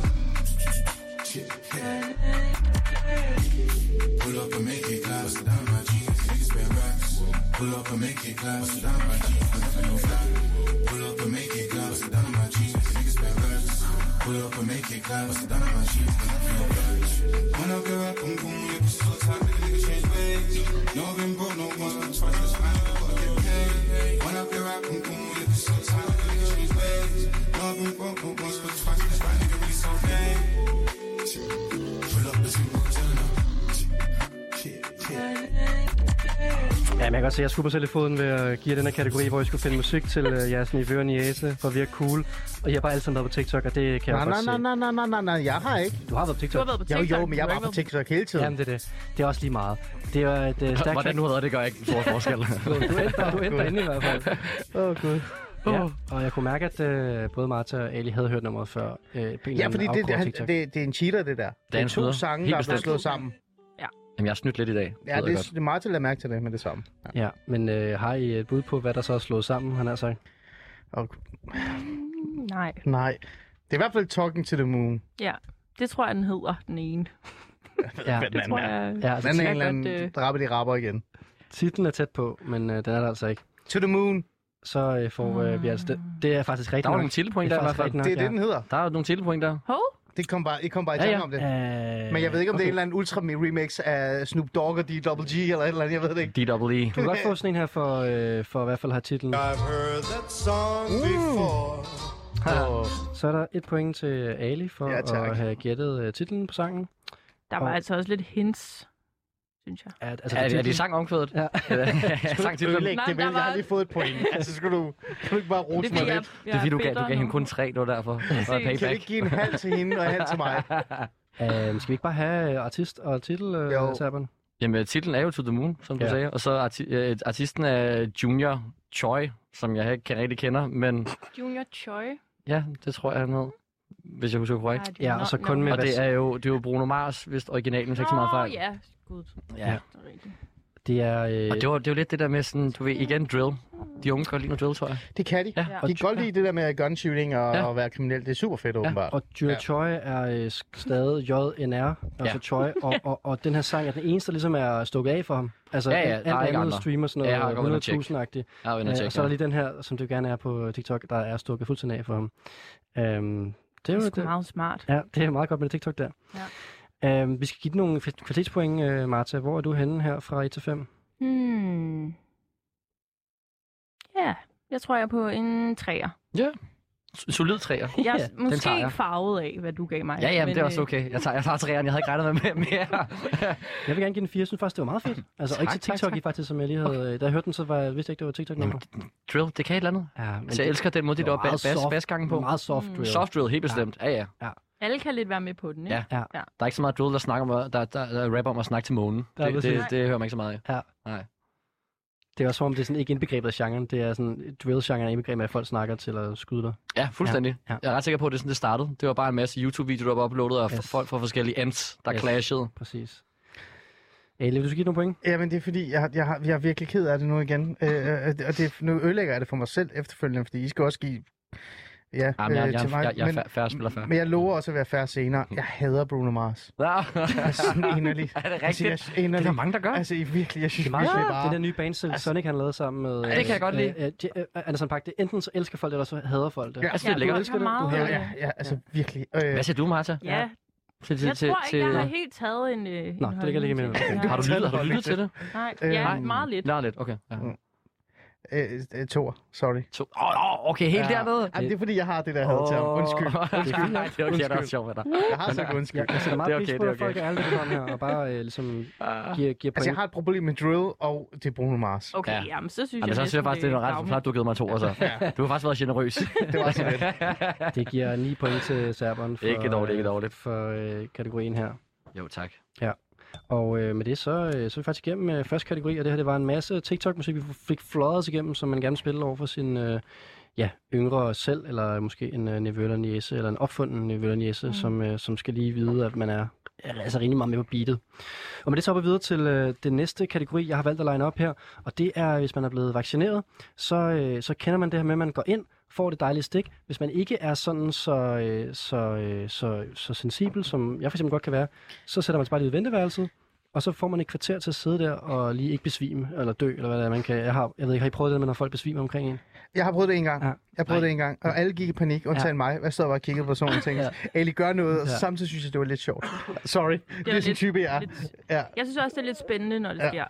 Yeah, yeah. Pull up and make it clap. Bust it down my jeans, these spare racks. Pull up and make it clap. Bust it down my jeans, nothing no flat. Pull up and make it clap. Bust it down my jeans, these spare racks. Pull up and make it clap. Bust it down my jeans, nothing no flat. When I get up, boom boom, you be so tight, make a nigga change ways. No, I've been broke no once, but twice, that's fine. I gotta get paid. When I get up, boom boom, you be so tight, make a nigga change ways. No, I've been broke no once, but twice, that's fine. Nigga really so vain. Pull up the Tim Montana. Yeah, yeah. Ja, men jeg kan godt se, at jeg skulle på selv i foden ved at give jer den her kategori, hvor I skulle finde musik til øh, jeres nivøer og jæse, for at virke cool. Og I har bare alle sammen været på TikTok, og det kan jeg Nej, jo godt nej, nej, nej, nej, nej, nej, nej, jeg har ikke. se. Du har været på Du TikTok. har været på Jo, TikTok. jo, men jeg du har var ikke på været TikTok hele tiden. Jamen, det er det. Det er også lige meget. Det er jo et øh, stærkt... Hvordan nu hedder det, gør jeg ikke en stor forskel. Du endte der, du endte derinde i hvert fald. Åh, oh, gud. Ja, og jeg kunne mærke, at øh, både Martha og Ali havde hørt nummeret før. Øh, Ja, fordi det, han, TikTok. det, det er en cheater, det der. Det er en to snyder. sange, Helt der er blevet bestemt. slået sammen. Jamen, jeg har snydt lidt i dag. Ja, det, det er meget til at lade mærke til det med det samme. Ja. Ja, men øh, har I et bud på, hvad der så er slået sammen, han har sagt? Og, på... Nej, nej, det er i hvert fald Talking to the Moon. ja. Det tror jeg, den hedder, den ene. Ja, Hvad Det den tror er. jeg... ja altså, Den er jeg en eller godt, anden, øh, der rapper de rapper igen. titlen er tæt på, men øh, den er der altså ikke. To the Moon, Så øh, får øh, vi altså... Det, det er faktisk Der rigtigt var nok. nogle telepoint Det der er i hvert faktisk fald. rigtigt nok, det er det, ja. den hedder. Der er nogle telepoint der. Hov, Det kom bare, I kom bare i Ja, tanke ja. om det. Øh, Men jeg ved ikke, om okay. det er en okay. eller anden ultra remix af Snoop Dogg og D-Double G eller et eller andet, jeg ved det ikke. DWE. Du kan godt få sådan en her for, øh, for i hvert fald har titlen. I've heard that song Uh! before. Så er der et point til Ali for Ja, tak. at have gættet øh, titlen på sangen. der var altså også lidt hints, synes jeg. At, altså, Er, er det titlen- sang omkvædet? Ja. sang til Ødelæg det, Nej, vel? der Jeg har var- lige fået et point. Altså, skulle du, kan du ikke bare rose mig lidt? Det er fordi, du gav, du gav hende kun tre, det var derfor. Det var Præcis. Kan du ikke payback. give en halv til hende og en halv til mig? Øh, skal vi ikke bare have øh, artist og titel, Jo. øh, Saban? Jamen, titlen er jo To The Moon, som du Ja. sagde. Og så er arti- øh, artisten er Junior Choi, som jeg ikke kan- rigtig kender. Men Junior Choi. ja, det tror jeg, han hed. Hvis jeg husker korrekt. Nej, det er Ja, nok- og så nok- kun med... Og hvad- det er jo, det er jo Bruno Mars, hvis originalen tager ikke så meget Nå, fejl. ja. Gud. Ja. Det er rigtigt. Det er... Øh, Og det var, det var lidt det der med sådan, du ved, igen drill. De unge kan godt lide noget drill, tror jeg. Det kan de. Ja. De kan godt lide det der med gunshooting og, Ja. og være kriminel. Det er super fedt, åbenbart. Og Jura Ja. ja. Choi er øh, sk- stadig JNR, altså Ja. ja. Choi, og, og, og den her sang er den eneste, der ligesom er stukket af for ham. Altså Ja, ja, alt der er ikke andet andre. streamer sådan Ja, jeg har godt været inde noget og tjekke. 100.000-agtigt. Jeg er jo Øh, inde og og så tjekke. er der ja. lige den her, som det gerne er på TikTok, der er stukket fuldstændig af for ham. Øhm, det er Det jo er sgu det. meget smart. Ja, det er meget godt med det TikTok der. Ja. Øhm, vi skal give den nogle f- kvalitetspoint, øh, Martha. Hvor er du henne her fra 1 til 5? Hmm. Ja, jeg tror, jeg er på en træer. Solid træer. Jeg er Ja, ja, den måske tager jeg. farvet af, hvad du gav mig. Ja, ja, men det er øh, også okay. Jeg tager, jeg tager træerne, jeg havde ikke regnet med mere. Jeg vil gerne give den 4. Jeg synes faktisk, det var meget fedt. Altså, tak, Tak, ikke til tak, TikTok, tak. i faktisk, som jeg lige havde... Okay. Da jeg hørte den, så var, jeg vidste jeg ikke, det var TikTok-nummer. drill, det kan et eller andet. Ja, Så jeg elsker den måde, de var der bas, meget bas, soft. basgangen på. Mm. Meget soft drill. Soft drill, helt bestemt. Ja, ja. Alle kan lidt være med på den, ikke? Ja. Ja. Der er ikke så meget drill, der, snakker om, at- der, der, der rapper om at snakke til månen. Ja, Det, det, det, præcis. hører man ikke så meget af. Det er også som om, det er sådan ikke indbegrebet af genren. Det er sådan, drill-genren er indbegrebet af, at folk snakker til at skyde dig. Ja, fuldstændig. Ja, ja. Ja, ja. Jeg er ret sikker på, at det er sådan, det startede. Det var bare en masse YouTube-videoer, der var uploadet af Yes. yes. folk fra forskellige ends, der Yes. yes. clashede. Præcis. Ali, vil du give nogle point? Jamen, det er fordi, jeg, har- jeg, har, jeg er virkelig ked af det nu igen. Øh, øh, og det, nu ødelægger jeg det for mig selv efterfølgende, fordi I skal også give ja, Jamen, jeg, øh, jeg, til mig. jeg, jeg, men, jeg er færre spiller færre. men jeg lover også at være færre senere. Jeg hader Bruno Mars. Ja. Altså, sådan inderligt. er det Altså, rigtigt? jeg, inderligt. der mange, der gør. Altså, I virkelig, jeg synes Det er meget virkelig ja. bare... Den der nye band, som Sonic han lavede sammen med... Altså- det kan jeg godt lide. Øh, øh, J- øh, Andersen Park. Det er enten så elsker folk det, eller så hader folk det. Ja. Altså, Ja, det er du lækkert. elsker det. Du Ja, hader ja, ja, altså virkelig. Øh, Hvad siger du, Martha? Ja, Til, jeg tror ikke, jeg har helt taget en... Øh, en Nå, det ligger holdning lige i til mellem. den. Okay. Har du lyttet, har du lyttet til det? Nej, Øh, ja, nej. meget lidt. Nej, lidt. Okay. Ja. Øh, øh, toer, sorry. To. Åh, oh, okay, helt Ja. dernede. Jamen, det er fordi, jeg har det der had til ham. Undskyld. Undskyld. Nej, det er okay, det er også sjovt med dig. Jeg har sagt undskyld. Altså, Jeg, jeg sætter meget Det det er okay, pris okay, på, det er at folk okay. Ah. er ærlige på den her, og bare øh, ligesom giver, giver point. Altså, jeg har et problem med drill, og det er Bruno Mars. Okay, Ja. ja. jamen, så synes Jamen, jeg så synes jeg næsten, faktisk, det er ret Dagmar. flot, du har givet mig to, altså. Du har faktisk været generøs. Det var sådan lidt. Det giver 9 point til serberen for, Ikke dårligt, ikke dårligt. for øh, kategorien her. Jo, tak. Og øh, med det, så, øh, så er vi faktisk igennem øh, første kategori, og det her det var en masse TikTok-musik, vi fik fløjet os igennem, som man gerne vil spille over for sin øh, ja, yngre selv, eller måske en øh, nevø eller niece, eller en opfunden nevø eller niece, mm. som, øh, som skal lige vide, at man er er altså rimelig meget med på beatet. Og med det så hopper vi videre til øh, den næste kategori, jeg har valgt at line op her, og det er, hvis man er blevet vaccineret, så, øh, så kender man det her med, at man går ind, får det dejlige stik. Hvis man ikke er sådan så, øh, så, øh, så, så sensibel, som jeg for eksempel godt kan være, så sætter man sig bare lige ud i venteværelset, og så får man et kvarter til at sidde der og lige ikke besvime, eller dø, eller hvad det er, man kan. Jeg, har, jeg ved ikke, har I prøvet det, med, når folk besvimer omkring en? Jeg har prøvet det en gang. Ja. Jeg prøvede det en gang, og alle gik i panik, undtagen mig. Jeg stod og bare kiggede på personen og tænkte, Ali, gør noget, og Ja. samtidig synes jeg, det var lidt sjovt. Sorry, det, er lidt- sådan en type, jeg er. Lidt, Ja, jeg synes også, det er lidt spændende, når det Ja, sker.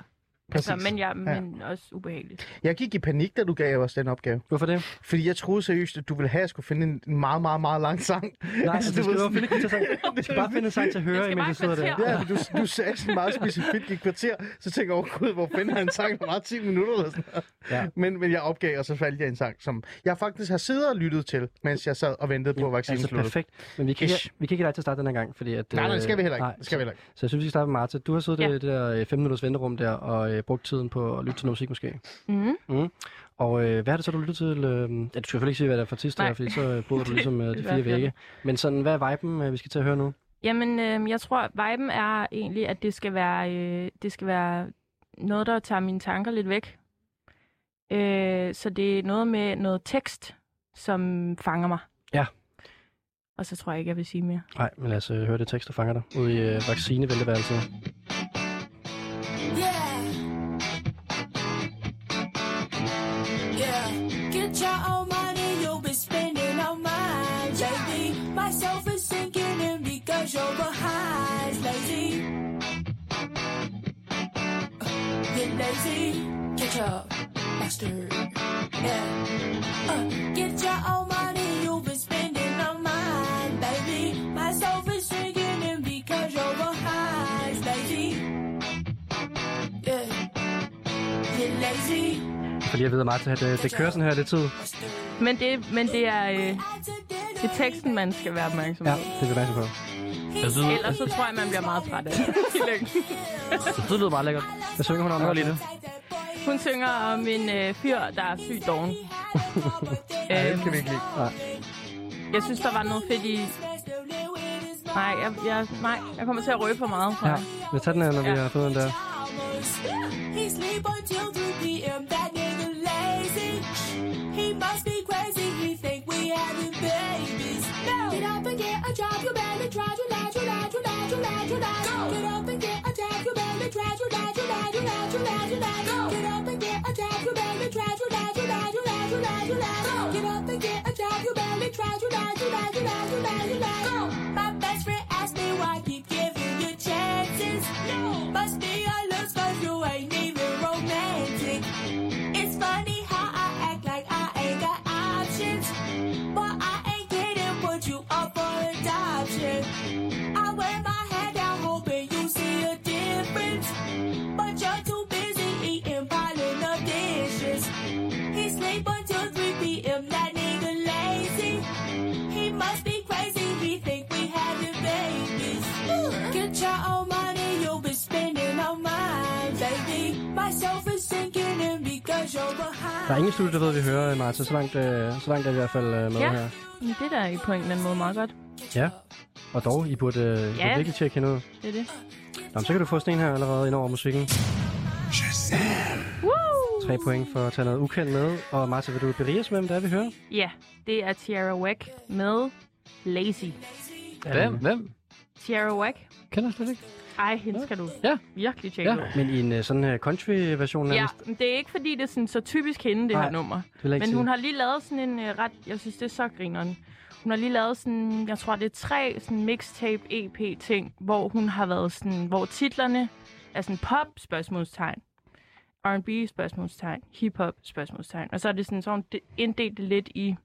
præcis. Altså, men, ja, men også ubehageligt. Jeg gik i panik, da du gav os den opgave. Hvorfor det? Fordi jeg troede seriøst, at du ville have, at jeg skulle finde en- en meget, meget, meget lang sang. Nej, Altså, altså, du du skal ved jo finde et kvarter sang. Du skal bare finde en sang til at høre, skal imens bare jeg sidder et der. kvarter. Ja, men du, du sagde sådan meget specifikt i et kvarter, så tænker jeg, oh, gud, hvor finder han en sang, der var 10 minutter eller sådan noget. Ja. Men, men jeg opgav, og så faldt jeg i en sang, som jeg faktisk har siddet og lyttet til, mens jeg sad og ventede på, at vaccinen Altså, sluttede. perfekt. Men vi kan, Ish. ikke, vi kan ikke lade til at starte den her gang, fordi at... Nej, nej, det skal vi heller ikke. øh, Det skal vi heller ikke. Så jeg synes, vi skal starte med Martha. Du har siddet ja. Ja. i det der øh, fem minutters venterum der og øh, brugt tiden på at lytte til noget musik måske. Mm. Mm. Og øh, hvad er det så, du lytter til? Øh, ja, du skal selvfølgelig ikke sige, hvad det er for artist, Nej. der, fordi så øh, bryder du ligesom øh, de det fire er vægge. Men sådan, hvad er viben, øh, vi skal til at høre nu? Jamen, øh, jeg tror, viben er egentlig, at det skal være, øh, det skal være noget, der tager mine tanker lidt væk. Øh, så det er noget med noget tekst, som fanger mig. Ja. Og så tror jeg ikke, jeg vil sige mere. Nej, men lad os øh, høre det tekst, der fanger dig ude i øh, vaccineventeværelset. Yeah, get your own money, you'll be spending all mine. Lately, myself is sinking in because you're behind. Lazy, Uh, get lazy, catch up, master. Yeah, uh, get your own money, you'll be spending all mine. Lately, myself is sinking in because you're behind. Lazy, yeah, get lazy. Fordi jeg ved, at Martha, at øh, det kører sådan her lidt tid. Men det, men det er, øh, det Det er teksten, man skal være opmærksom på. Ja, det er vi opmærksom på. Ellers Altså, så tror jeg, man bliver meget træt af det. i længden. Det lyder meget lækkert. Hvad synger hun om? Hør lige det. Hun synger om en øh, fyr, der er syg doven. Den øhm, kan vi ikke lide. jeg synes, der var noget fedt i... Nej, jeg, jeg, nej, jeg kommer til at røbe for meget. Ja, Ja. vi tager den her, når vi Ja. har fået den der. He sleep until 3 p.m. That nigga lazy. He must be crazy. He think we having babies. No. Get up and get a job. You better try. You lie. You lie. You lie. You lie. You lie. Get up and get a job. You better try. You lie. You lie. You lie. You lie. You lie. Get up and get a job. You better try. You lie. You lie. You lie. You lie. You lie. Get up and get a job. You better try. You lie. You lie. You lie. You lie. You lie. My best friend asked me why I keep giving you chances. No. Must be your looks 'cause you ain't even romantic. It's funny how I act like I ain't got options. But I ain't kidding, put you up for adoption. I wear my head down, hoping you see a difference. But you're too busy eating, piling up dishes. He sleep until 3 p.m., that nigga lazy. He must be crazy. He think we having babies. Get your own money, you'll be spending all mine, baby. Myself is sinking in because you're behind. Der er ingen studie, der ved, at vi hører, øh, Martha. Så langt, øh, så langt er vi i hvert fald øh, med Ja. her. Men det der er i på en eller anden måde meget godt. Ja. Og dog, I burde, øh, I burde Ja. virkelig tjekke hende ud. Det er det. Nå, men så kan du få sådan en her allerede ind over musikken. Woo! Tre point for at tage noget ukendt med. Og Martha, vil du berige os med, hvem det er, vi hører? Ja, det er Tierra Wack med Lazy. Hvem? Hvem? Tierra Wack. Kender jeg slet ikke. Ej, hende skal du Ja. virkelig tjekke Ja. ja. ud. Men i en øh, sådan her country-version Ja, nærmest. men det er ikke fordi, det er sådan så typisk hende, det Nej, her nummer. Det vil jeg ikke Men sige. hun har lige lavet sådan en øh, ret... Jeg synes, det er så grineren. Hun har lige lavet sådan, jeg tror, det er tre sådan mixtape E EP-ting, hvor hun har været sådan, hvor titlerne er sådan pop-spørgsmålstegn. R&B spørgsmålstegn, hip-hop spørgsmålstegn. Og så er det sådan, sådan det- inddelt det lidt i,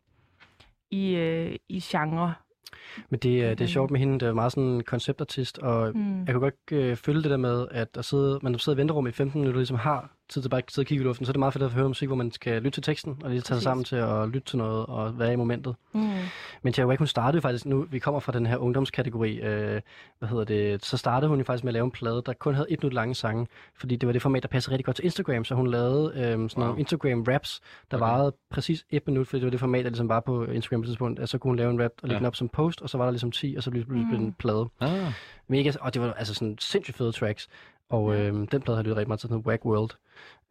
i, øh, i genre. Men det, er- det er sjovt med hende, det er meget sådan en konceptartist, og Mm. mm. jeg kunne godt øh, følge det der med, at der sidder, man sidder i venterum i 15 minutter, ligesom har tid til bare at sidde og kigge i luften, så er det meget fedt at høre musik, hvor man skal lytte til teksten, og lige tage sig Præcis. sammen til at lytte til noget og være i momentet. Mm. Men Tja Wack, hun startede jo faktisk nu, vi kommer fra den her ungdomskategori, øh, hvad hedder det, så startede hun jo faktisk med at lave en plade, der kun havde et minut lange sange, fordi det var det format, der passede rigtig godt til Instagram, så hun lavede øh, sådan nogle Instagram-raps, der okay. varede præcis et minut, fordi det var det format, der ligesom var på Instagram på et tidspunkt, at så kunne hun lave en rap og lægge Ja. ja. den op som post, og så var der ligesom 10, og så blev det pludselig Mm. en plade. Ah. Mega, og det var altså sådan sindssygt fede tracks, og øh, den plade har lyttet rigtig meget til, den hedder Wack World.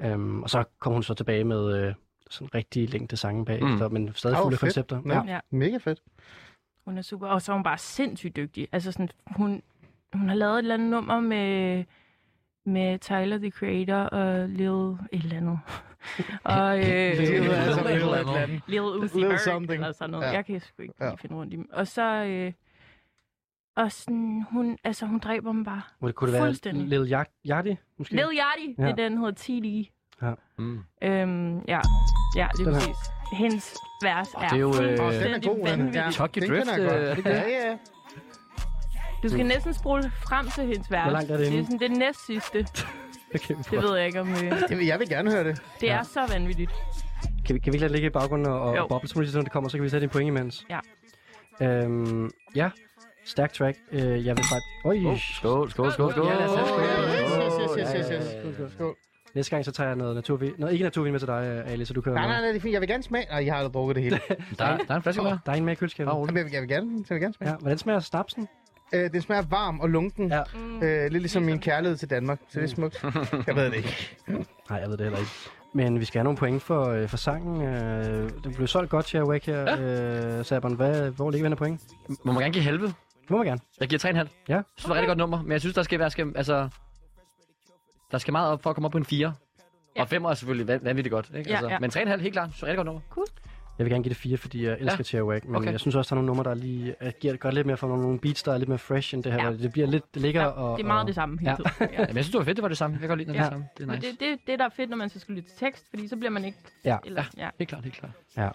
Øhm, og så kom hun så tilbage med øh, sådan rigtig længde sange bagefter, mm. men stadig Åh, fuld af fedt. koncepter. Ja. Ja. ja. Mega fedt. Hun er super, og så er hun bare sindssygt dygtig. Altså sådan, hun, hun har lavet et eller andet nummer med, med Tyler, the Creator, og Lil et eller andet. og øh, Lil- Lil- altså, Lil- Lil- et eller andet. Lil Uzi Lil Vert, something. eller sådan noget. Ja. Jeg kan sgu ikke Ja. lige finde rundt i dem. Og så... Øh, og sådan, hun, altså, hun dræber dem bare. Må det, kunne det være Fuldstændig. Lil Yachty, Yachty måske? Lil Yachty, ja. Ja. det er den, hedder TD. Ja. Mm. Øhm, ja. ja, det er Den her. præcis. Hendes vers er, det er jo, øh, fuldstændig Åh, den er god, den. vanvittig. Ja. Tokyo Den Drift, kender jeg øh, godt. er det ikke det? Ja, ja. Du skal næsten spole frem til hendes vers. Hvor langt er det det er henne? sådan det næst sidste. Okay, Det ved jeg ikke om... Øh, Det vil, jeg vil gerne høre det. det er så vanvittigt. Kan vi, kan vi ikke lade det ligge i baggrunden og, Jo. og boble, som lige sådan, det kommer, så kan vi sætte en point imens? Ja. Øhm, ja, stærk track. Øh, jeg vil bare... Oj, oh. Skål, skål, skål, skål. Ja, lad os have skål. Yes, yes, yes, yes, yes. ja, ja. Skål, skål, skål. Næste gang, så tager jeg noget naturvin. Nå, ikke naturvin med til dig, øh, Ali, så du kan... Nej, nej, nej, det er fint. Jeg vil gerne smage. Nej, jeg har aldrig drukket det hele. Der, er- der er en flaske mere. Der er en med i køleskabet. Jamen, jeg vil, jeg vil gerne, jeg vil gerne smage. Ja, hvordan smager snapsen? Øh, den smager varm og lunken. Ja. Øh, lidt ligesom min kærlighed til Danmark. Så det er smukt. Jeg ved det ikke. Nej, jeg ved det heller ikke. Men vi skal have nogle point for, øh, for sangen. Øh, den blev solgt godt, Share Wack her. Ja. Øh, Saban, hvad, hvor ligger vi henne af point? Må man gerne give halve? Det må man gerne. Jeg giver 3,5. Jeg synes, Ja. det var et rigtig godt nummer, men jeg synes, der skal være... Skal, altså, der skal meget op for at komme op på en 4. Og 5 er selvfølgelig van- vanvittigt godt. Ikke? Ja, Altså, ja. Men 3,5 helt klart. Så rigtig godt nummer. Jeg vil gerne give det 4, fordi jeg elsker Ja. ja. Chirwag, men Okay. okay. jeg synes også, der er nogle numre, der lige øh, giver godt lidt mere for nogle, nogle beats, der er lidt mere fresh end det her. Ja. Ja. Det bliver lidt det ligger Ja, og... det er meget og, det samme hele Ja. tiden. Ja. Jamen, jeg synes, det var fedt, det var det samme. Jeg kan godt lide, når det er Ja. det samme. Det er Men nice. det, det, det, der er fedt, når man så skal lytte til tekst, fordi så bliver man ikke... Ja. Eller, ja. Helt klart, helt klart. Ja.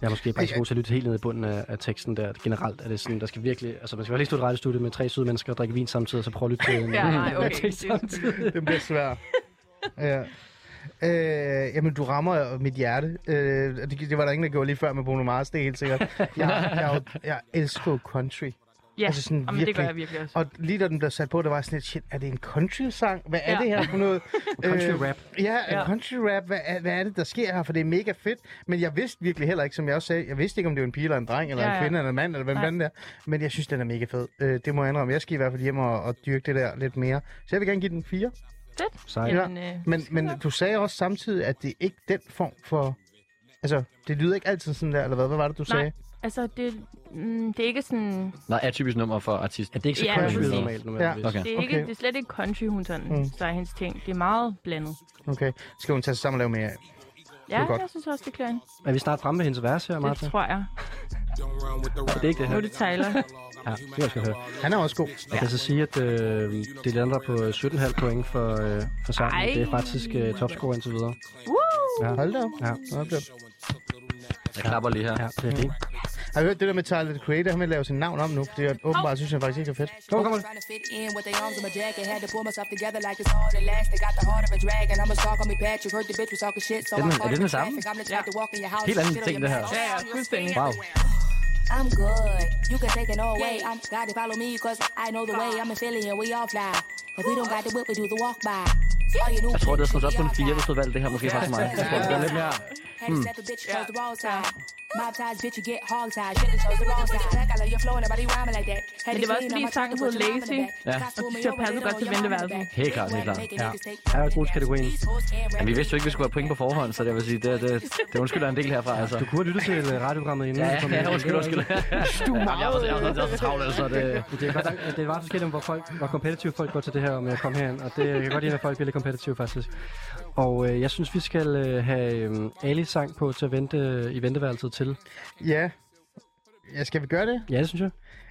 Jeg er måske bare ikke så Ej, god til at lytte helt ned i bunden af, af teksten der. Generelt er det sådan, der skal virkelig... Altså, man skal virkelig stå i et radiostudie med tre søde mennesker og drikke vin samtidig, og så prøve at lytte til en Ja, nej, okay. Det er tekst samtidig. Det bliver svært. Ja. Øh, jamen, du rammer jo mit hjerte. Øh, og det, det, var der ingen, der gjorde lige før med Bruno Mars, det er helt sikkert. Jeg, jeg, er jo- jeg elsker jo country. ja. Altså sådan Jamen, det gør virkelig. jeg virkelig også. Og lige da den blev sat på, der var jeg sådan lidt, shit, er det en country-sang? Hvad er Ja. ja. det her for noget? Øh. Country rap. Ja, Ja. ja. country rap. Hvad er, hvad er det, der sker her? For det er mega fedt. Men jeg vidste virkelig heller ikke, som jeg også sagde, jeg vidste ikke, om det var en pige eller en dreng, eller Ja, ja, ja. ja. en kvinde eller en mand, eller hvem Nej. fanden det er. Men jeg synes, den er mega fed. Øh, det må jeg indrømme. Jeg skal i hvert fald hjem og, og dyrke det der lidt mere. Så jeg vil gerne give den fire. Fedt. Sejt. Jamen, øh, Men, men du sagde også samtidig, at det er ikke den form for... Altså, det lyder ikke altid sådan der, eller hvad, hvad var det, du nej, sagde? altså, det, mm, det er ikke sådan... Nå, er typisk nummer for artist. Ja, det er ikke så Ja, ja, country præcis. normalt, normalt. Okay. Det er, ikke, Okay. det er slet ikke country, hun sådan, mm. så er hendes ting. Det er meget blandet. Okay, skal hun tage sig sammen og lave mere af? Ja, godt. jeg synes også, det klæder hende. Er vi snart fremme ved hendes vers her, Det Martha? tror jeg. Det er ikke det Nu her. er det Tyler. Ja, det jeg skal høre. Han er også god. Jeg kan så sige, at øh, det lander på øh, 17,5 point for, øh, for sangen. Ej. Det er faktisk øh, topscore indtil videre. Woo! Ja. Hold da op. Ja. Okay. Jeg klapper lige her. Ja, det er fint. Har I hørt det der med Tyler, the Creator? Han vil lave sin navn om nu, fordi jeg åbenbart synes, han faktisk ikke er fedt. Kom, kom, Trying to fit in with their arms in my jacket. Had to pull myself together like it's hard at last. They got the heart of a dragon. I'm a star, call me Patrick. Heard the bitch was talking shit, so Er den- I'm er caught det in den samme? traffic. I'm the type to walk in your house. Helt anden shit on ting, your det her. back. Ja, ja, fuldstændig. Wow. I'm good. You can take it all away. I'm gotta follow me, cause I know the way. I'm a Philly and we all fly. If we don't got the whip, we do the walk by. All you new Jeg tror, det er sådan bitches, op we på en 4, all fly. hvis du havde valgt det her måske faktisk mig. Jeg tror, det er lidt mere... Had to step a bitch, chose the wrong side. Mob ties, bitch, you get hog tied. Should've chose the wrong side. Back, I love your flow, nobody rhyming like that. Had Men to det var også clean up fordi my sangen teeth, put hed your mom in the Lazy, back. Ja. Gospel og me over, they don't know your det passede godt til mom in the venteværelset. back. Helt klart, helt klart. Making niggas take- Her er god kategorien. Men vi vidste jo ikke, vi skulle have point på forhånd, så det vil sige, det, det, det undskylder en del herfra, altså. Du kunne have lyttet til øh, radioprogrammet inden. Ja, du kom ja, ind. undskyld, undskyld. Du er Jeg var, jeg var, jeg var så travlt, altså. Det, Det, er godt, at det er meget forskelligt, om hvor, folk, hvor kompetitive folk går til det her, om jeg kom herind. Og det jeg kan godt lide, at folk bliver lidt kompetitive, faktisk. Og øh, jeg synes, vi skal øh, have øh, Alis sang på til at vente øh, i venteværelset til. Ja. Ja, skal vi gøre det? Ja, det synes jeg.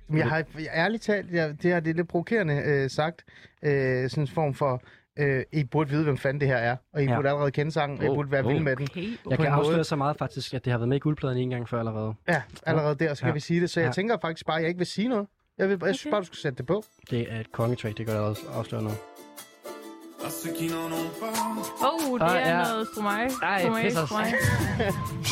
Men jeg har jeg, ærligt talt, jeg, det har det er lidt provokerende øh, sagt, øh, sådan en form for øh, I burde vide, hvem fanden det her er. Og I Ja. burde allerede kende sangen, og I Oh, burde være oh. vilde med den. Okay. Jeg På kan en måde- afsløre så meget faktisk, at det har været med i guldpladen en gang før allerede. Ja, allerede der, så kan Ja. vi sige det. Så jeg Ja. tænker faktisk bare, at jeg ikke vil sige noget. Jeg, vil, jeg synes Okay. bare, du skulle sætte det på. Det er et kongetrack, det gør jeg også afsløre nu. À ceux qui n'en ont pas. Åh, oh, det Ah, er ja. noget stromage. Ej, Stromage, pis os. stromage.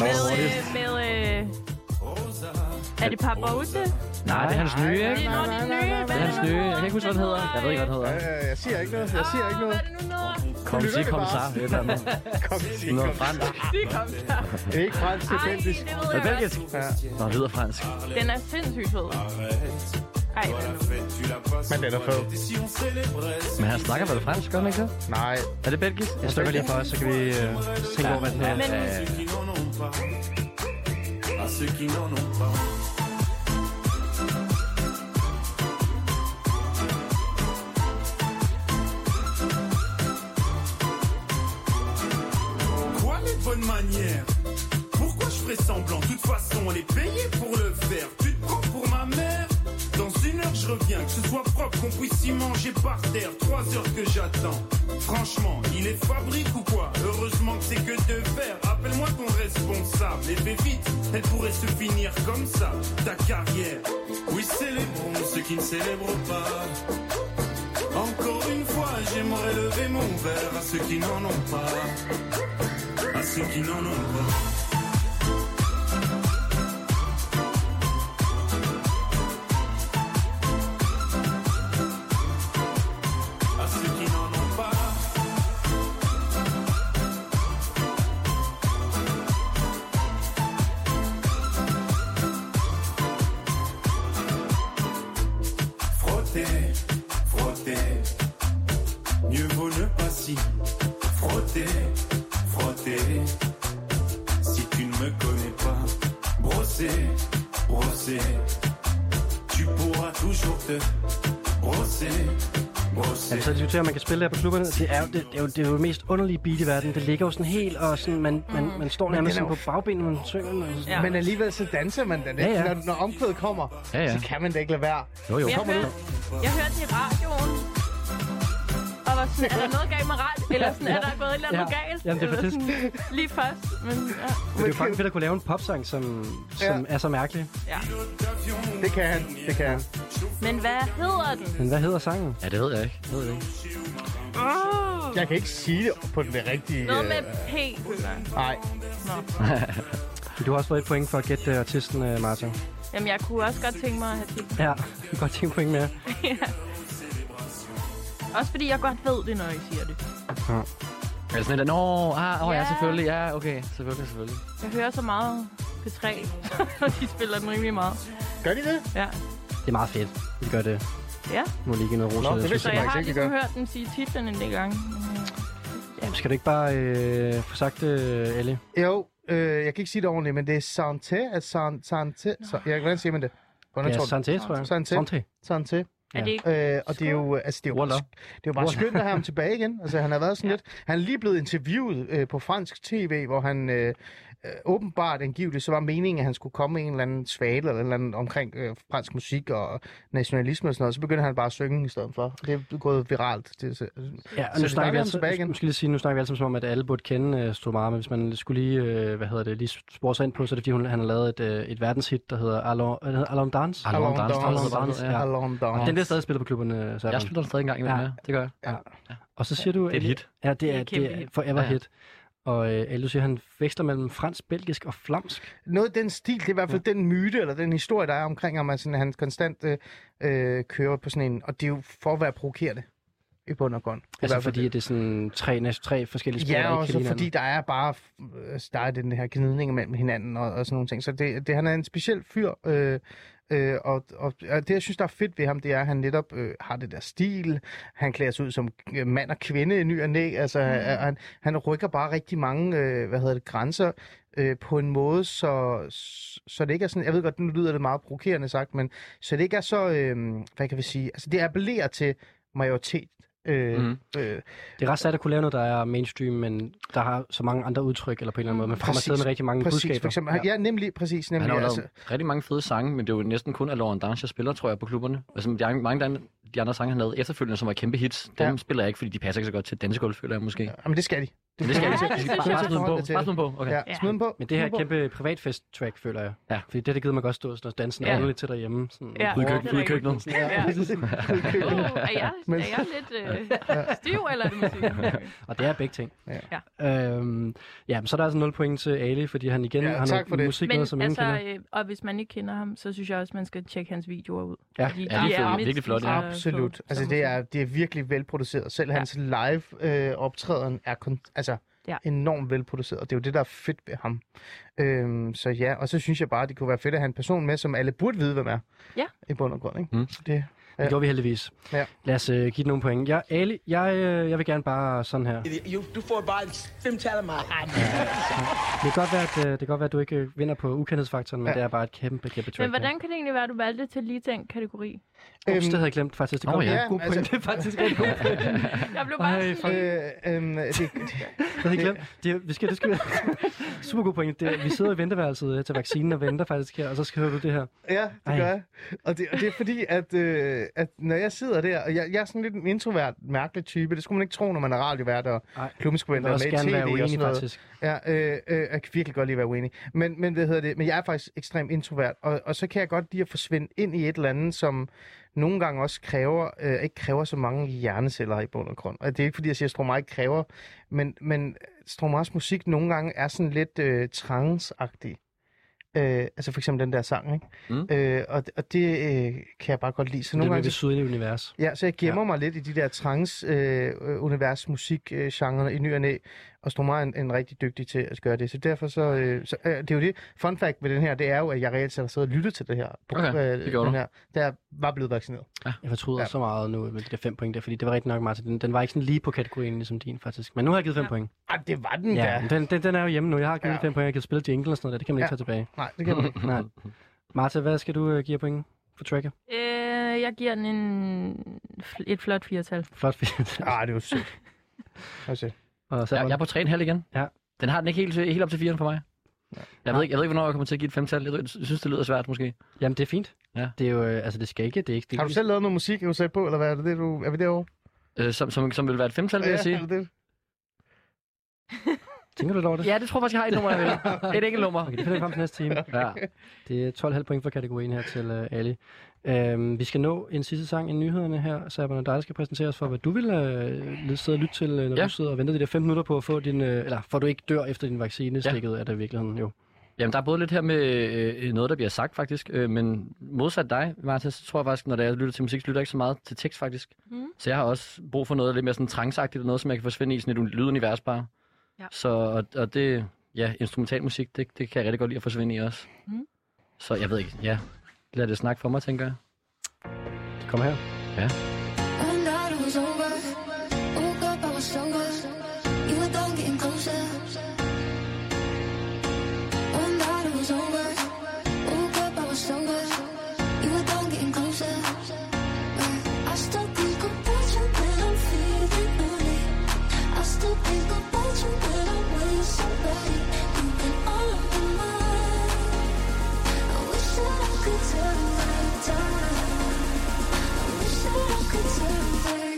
med, øh, med, øh, er det Parbote? Nej, det er hans nye, Det ikke? er noget af det nye. Det Hvad er er hans det nye. nu? Jeg kan ikke huske, hvad den hedder. Jeg ved ikke, hvad den hedder. Øh, jeg siger ikke noget. Jeg siger ikke noget. Hvad er det nu noget? Kom, lytter sig, vi kom, bare. sig. Et eller andet. Kom, sig, Noget kom. fransk. Det kom der. Det er ikke fransk, det er Ej, belgisk. det Er det ved jeg belgisk? godt. Ja. Nå, det lyder fransk. Den er sindssygt fed. Ej, den er fed. Men den er fed. Men han snakker vel fransk, gør han ikke det? Nej, Er det belgisk? Jeg stykker lige for os, så kan vi øh, tænke over, hvad den her Men øh, Quoi les bonnes manières Pourquoi je ferais semblant De toute façon, on est payé pour le faire. Tu te prends pour ma mère Dans une heure, je reviens. Que ce soit propre, qu'on puisse y manger par terre. Trois heures que j'attends. Franchement, il est fabrique ou quoi Heureusement que c'est que de verre. Appelle-moi ton responsable. Et fais vite, elle pourrait se finir comme ça. Ta carrière. Oui, célébrons ceux qui ne célèbrent pas. Encore une fois, j'aimerais lever mon verre à ceux qui n'en ont pas à ceux qui n'en ont pas. À ceux qui n'en ont pas. Frotter, frotter, mieux vaut ne pas si frotter, frotter. Si tu ne me connais pas, brosser, brosser. Tu pourras toujours te brosser, brosser. Altså, jeg diskuterer, om man kan spille det her på klubberne. Det er, jo, det, det, er jo, det er jo det mest underlige beat i verden. Det ligger jo sådan helt, og sådan, man, man, man står nærmest den er sådan på bagbenene, man synger. Man, ja. Ja. men alligevel så danser man den. Ja, Ja, ja. ja. Når, når omkvædet kommer, Ja, ja. så kan man da ikke lade være. Jo, jo. Men jeg, hørte, jeg hørte det i radioen. Og var sådan, er der noget galt med radio? Eller sådan, er der gået et eller andet Ja. galt? Jamen, det er Eller faktisk- sådan, Lige først. Men ja. Det er jo fucking fedt at kunne lave en popsang, som, som er så mærkelig. ja. Det kan han, det kan han. Men hvad hedder den? Men hvad hedder sangen? Ja, det ved jeg ikke. Det ved jeg ikke. Oh, Jeg kan ikke sige det på den rigtige... noget øh, med P. føler jeg. Nej, Du har også fået et point for at gætte øh, artisten, øh, Martin. Jamen, jeg kunne også godt tænke mig at have det. Ja, jeg kan godt tænke et point mere. Også fordi jeg godt ved det, når I siger det. Er det sådan et, Nå, ah, åh, ja, Ja. selvfølgelig. Ja, okay. Selvfølgelig, selvfølgelig. Jeg hører så meget P3, og de spiller den rimelig meget. gør de det? Ja. Det er meget fedt. Vi gør det. Ja, Må lige give noget Nå, det rosa. vidste så jeg faktisk har ikke, de ligesom gør. hørt den sige titlen en del gange. Jamen, skal du ikke bare øh, få sagt det, øh, Ellie? Jo, øh, jeg kan ikke sige det ordentligt, men det er Santé. at San, Santé. Så, jeg, hvordan siger man det? Hvordan Ja, tror du? Santé, tror jeg. Santé. Santé. Er det ikke? Øh, og det er jo, altså, det er jo, bare, Voilà. det er jo bare skønt at have ham tilbage igen. Altså, han har været sådan ja. lidt... Han er lige blevet interviewet øh, på fransk tv, hvor han øh, øh, åbenbart angiveligt, så var meningen, at han skulle komme med en eller anden svale eller, en eller anden omkring øh, fransk musik og nationalisme og sådan noget. Så begyndte han bare at synge i stedet for. Og det er gået viralt. Det, er, Ja, og Så nu det snakker dejligt, at vi han er tilbage altså, igen. måske lige sige, nu snakker vi altså som om, at alle burde kende uh, Stromare, hvis man skulle lige, uh, hvad hedder det, lige spore sig ind på, så er det fordi, hun, han har lavet et, uh, et verdenshit, der hedder Allons, hvad hedder, det? Allons Dans. Allons Dans, Dans, Allons Allons Dans, Dans, ja. Allons Og Dans. den bliver stadig spillet på klubberne, øh, så Jeg spiller den stadig en gang imellem, Ja. ja. Det gør jeg. Og så siger du... Det er et Ali- hit. Ja, det er er, et kæmpe det er hit. forever Ja. hit. Og øh, Ali, du siger, han veksler mellem fransk, belgisk og flamsk. noget af den stil, det er i hvert fald ja. den myte, eller den historie, der er omkring ham, at sådan, han konstant øh, øh, kører på sådan en, og det er jo for at være provokerende i bund og grund. Det er i Altså hvert fald fordi, at det er sådan tre, næste, tre forskellige det. spil, Ja, der og ikke så kan fordi fordi... der er bare øh, der er den her gnidning mellem hinanden og, og sådan nogle ting. Så det, det, han er en speciel fyr, øh, øh, og, og, og det, jeg synes, der er fedt ved ham, det er, at han netop øh, har det der stil. Han klæder sig ud som øh, mand og kvinde i ny og næ. Altså, mm. han, han rykker bare rigtig mange øh, hvad hedder det, grænser øh, på en måde, så, så det ikke er sådan, jeg ved godt, nu lyder det meget provokerende sagt, men så det ikke er så, øh, hvad kan vi sige, altså det appellerer til majoritet. Øh, mm. Mhm. øh, Det er ret sejt at kunne lave noget, der er mainstream, men der har så mange andre udtryk, eller på en eller anden måde. Man får Præcis. afsted med rigtig mange præcis, budskaber. for eksempel. Ja. ja, nemlig, præcis, Han nemlig. har jo altså, lavet rigtig mange fede sange, men det er jo næsten kun af Lauren Dance, jeg spiller, tror jeg, på klubberne. Altså, der er mange, der de andre sange, han lavede efterfølgende, som var kæmpe hits, dem Ja. spiller jeg ikke, fordi de passer ikke så godt til dansegulv, føler jeg måske. Jamen, det skal de. Men det skal Ja, de. det De skal synes bare- jeg. bare smide dem på. Det til. Bare smid dem på. Okay. Ja, smid dem på. Men det her er Smid et dem på. kæmpe privatfest-track, føler jeg. Ja. Fordi det, det gider man godt stå sådan og danse Ja. ja. ordentligt til derhjemme. Sådan, Ja. Ude i hårdt. køkken- ude i køkkenet. Ja. Uh, er, jeg, Men- er jeg lidt øh, stiv, eller er det musik? Og det er begge ting. Ja. Øhm, ja, men så er der altså 0 point til Ali, fordi han igen Ja, har tak noget for det. musik Men med, som ingen altså, kender. øh, og hvis man ikke kender ham, så synes jeg også, man skal tjekke hans videoer ud. Ja, Fordi ja, de er mindst virkelig flotte. lige så Absolut. flotte Altså, som det musik. er, det er virkelig velproduceret. Selv Ja. hans live-optræden er kon- altså, Ja. ja. enormt velproduceret, og det er jo det, der er fedt ved ham. Øhm, så ja, og så synes jeg bare, det kunne være fedt at have en person med, som alle burde vide, hvem er. Ja. I bund og grund, ikke? Mm. Så det, Det gjorde vi heldigvis. Ja. Lad os øh, give den nogle point. Jeg, Ali, jeg, øh, jeg vil gerne bare sådan her. Jo, du får bare fem tal af mig. Ej, Det kan godt være, at, øh, det kan godt være, at du ikke øh, vinder på ukendhedsfaktoren, men ja. Ja. det er bare et kæmpe, kæmpe track. Men hvordan kan det egentlig være, at du valgte til lige den kategori? Øhm, det havde jeg glemt faktisk. Det Nå, kom ja. en god point. Altså- det er faktisk en god point. Jeg blev bare Ej, Ej, fuck. sådan, øh, øhm, det, det, Jeg havde glemt. Det, er- vi skal, det skal, super god point. Det, er- vi sidder i venteværelset øh, til vaccinen og venter faktisk her, og så skriver du det her. Ja, det Ej. gør jeg. Og det, og det er fordi, at, øh, at når jeg sidder der, og jeg, jeg er sådan lidt en introvert, mærkelig type. Det skulle man ikke tro, når man er radiovært og Ej. Jeg klummeskribent vil og også med i gerne være tv og sådan uenig noget. faktisk. Ja, øh, øh, jeg kan virkelig godt lide at være uenig. Men, men, hvad hedder det? men jeg er faktisk ekstremt introvert, og, og så kan jeg godt lide at forsvinde ind i et eller andet, som nogle gange også kræver, øh, ikke kræver så mange hjerneceller i bund og grund. Og det er ikke fordi, jeg siger, at Stromae ikke kræver, men, men Stromaes musik nogle gange er sådan lidt øh, transagtig. Øh, altså for eksempel den der sang, ikke? Mm. Øh, og, og det øh, kan jeg bare godt lide. Så Det nogle er gange, det sydlige univers. Ja, så jeg gemmer ja. mig lidt i de der trans-univers, øh, musik øh, genrerne i ny og næ, og Stromae er en, en rigtig dygtig til at gøre det. Så derfor så, øh, så øh, det er jo det. Fun fact ved den her, det er jo, at jeg reelt set har siddet og lyttet til det her. øh, Okay, det gjorde den du. her, der var blevet vaccineret. Jeg fortryder ja. Ja. så meget nu med de der fem point der, fordi det var rigtig nok, Martin. Den, den var ikke sådan lige på kategorien ligesom din, faktisk. Men nu har jeg givet fem ja. point. Ej, det var den Ja, der. men den, den, den er jo hjemme nu. Jeg har givet Ja. ja. fem point. Jeg kan spille jingle og sådan noget der. Det kan man ikke Ja. tage tilbage. Nej, det kan man ikke. Nej. Martha, hvad skal du øh, give af point for tracker? øh, jeg giver den en, et flot firtal. Flot fint. Ej, Ah, det er jo sødt. Det var sødt. Og så Jeg, jeg er på 3,5 igen. Ja. Den har den ikke helt, til- helt op til 4 for mig. Jeg ved, ikke, jeg ved ikke, hvornår jeg kommer til at give et femtal. Jeg ved- jeg synes, det lyder svært måske. Jamen, det er fint. Ja. Det er jo, øh, altså det skal ikke, det er ikke det. Har du selv lavet noget musik, du sagde på, eller hvad er det, det du... Er vi derovre? Øh, som, som, som vil være et femtal, vil jeg sige. er det? Tænker du lidt over det? Ja, det tror jeg faktisk, jeg har et nummer, jeg vil. Et enkelt nummer. Okay, det finder vi frem til næste time. Ja. Det er 12,5 point for kategorien her til uh, Ali. Øhm, vi skal nå en sidste sang i nyhederne her, så jeg dig, der skal præsentere os for, hvad du vil uh, sidde og lytte til, øh, når Ja. du sidder og venter de der 5 minutter på at få din, uh, eller for at du ikke dør efter din vaccine stikket, ja. er det i virkeligheden jo. Jamen, der er både lidt her med øh, noget, der bliver sagt faktisk, øh, men modsat dig, Martin, så tror jeg faktisk, når det er, jeg lytter til musik, så lytter jeg ikke så meget til tekst faktisk. Mm. Så jeg har også brug for noget lidt mere sådan trangsagtigt, og noget, som jeg kan forsvinde i sådan et un- lydunivers bare. Ja. Så, og, og det, ja, instrumental musik, det, det kan jeg rigtig godt lide at forsvinde i også. Mm. Så jeg ved ikke, ja, lad det snakke for mig, tænker jeg. Det kommer her. One night it was over. Woke up, I was sober. You were done getting closer. One night it was over. Woke up, I was sober. You were done getting closer. Yeah. I still think about you when I'm feeling lonely. I still think about you when I'm with somebody. You've been all up in my I wish that I could turn back time. I wish that I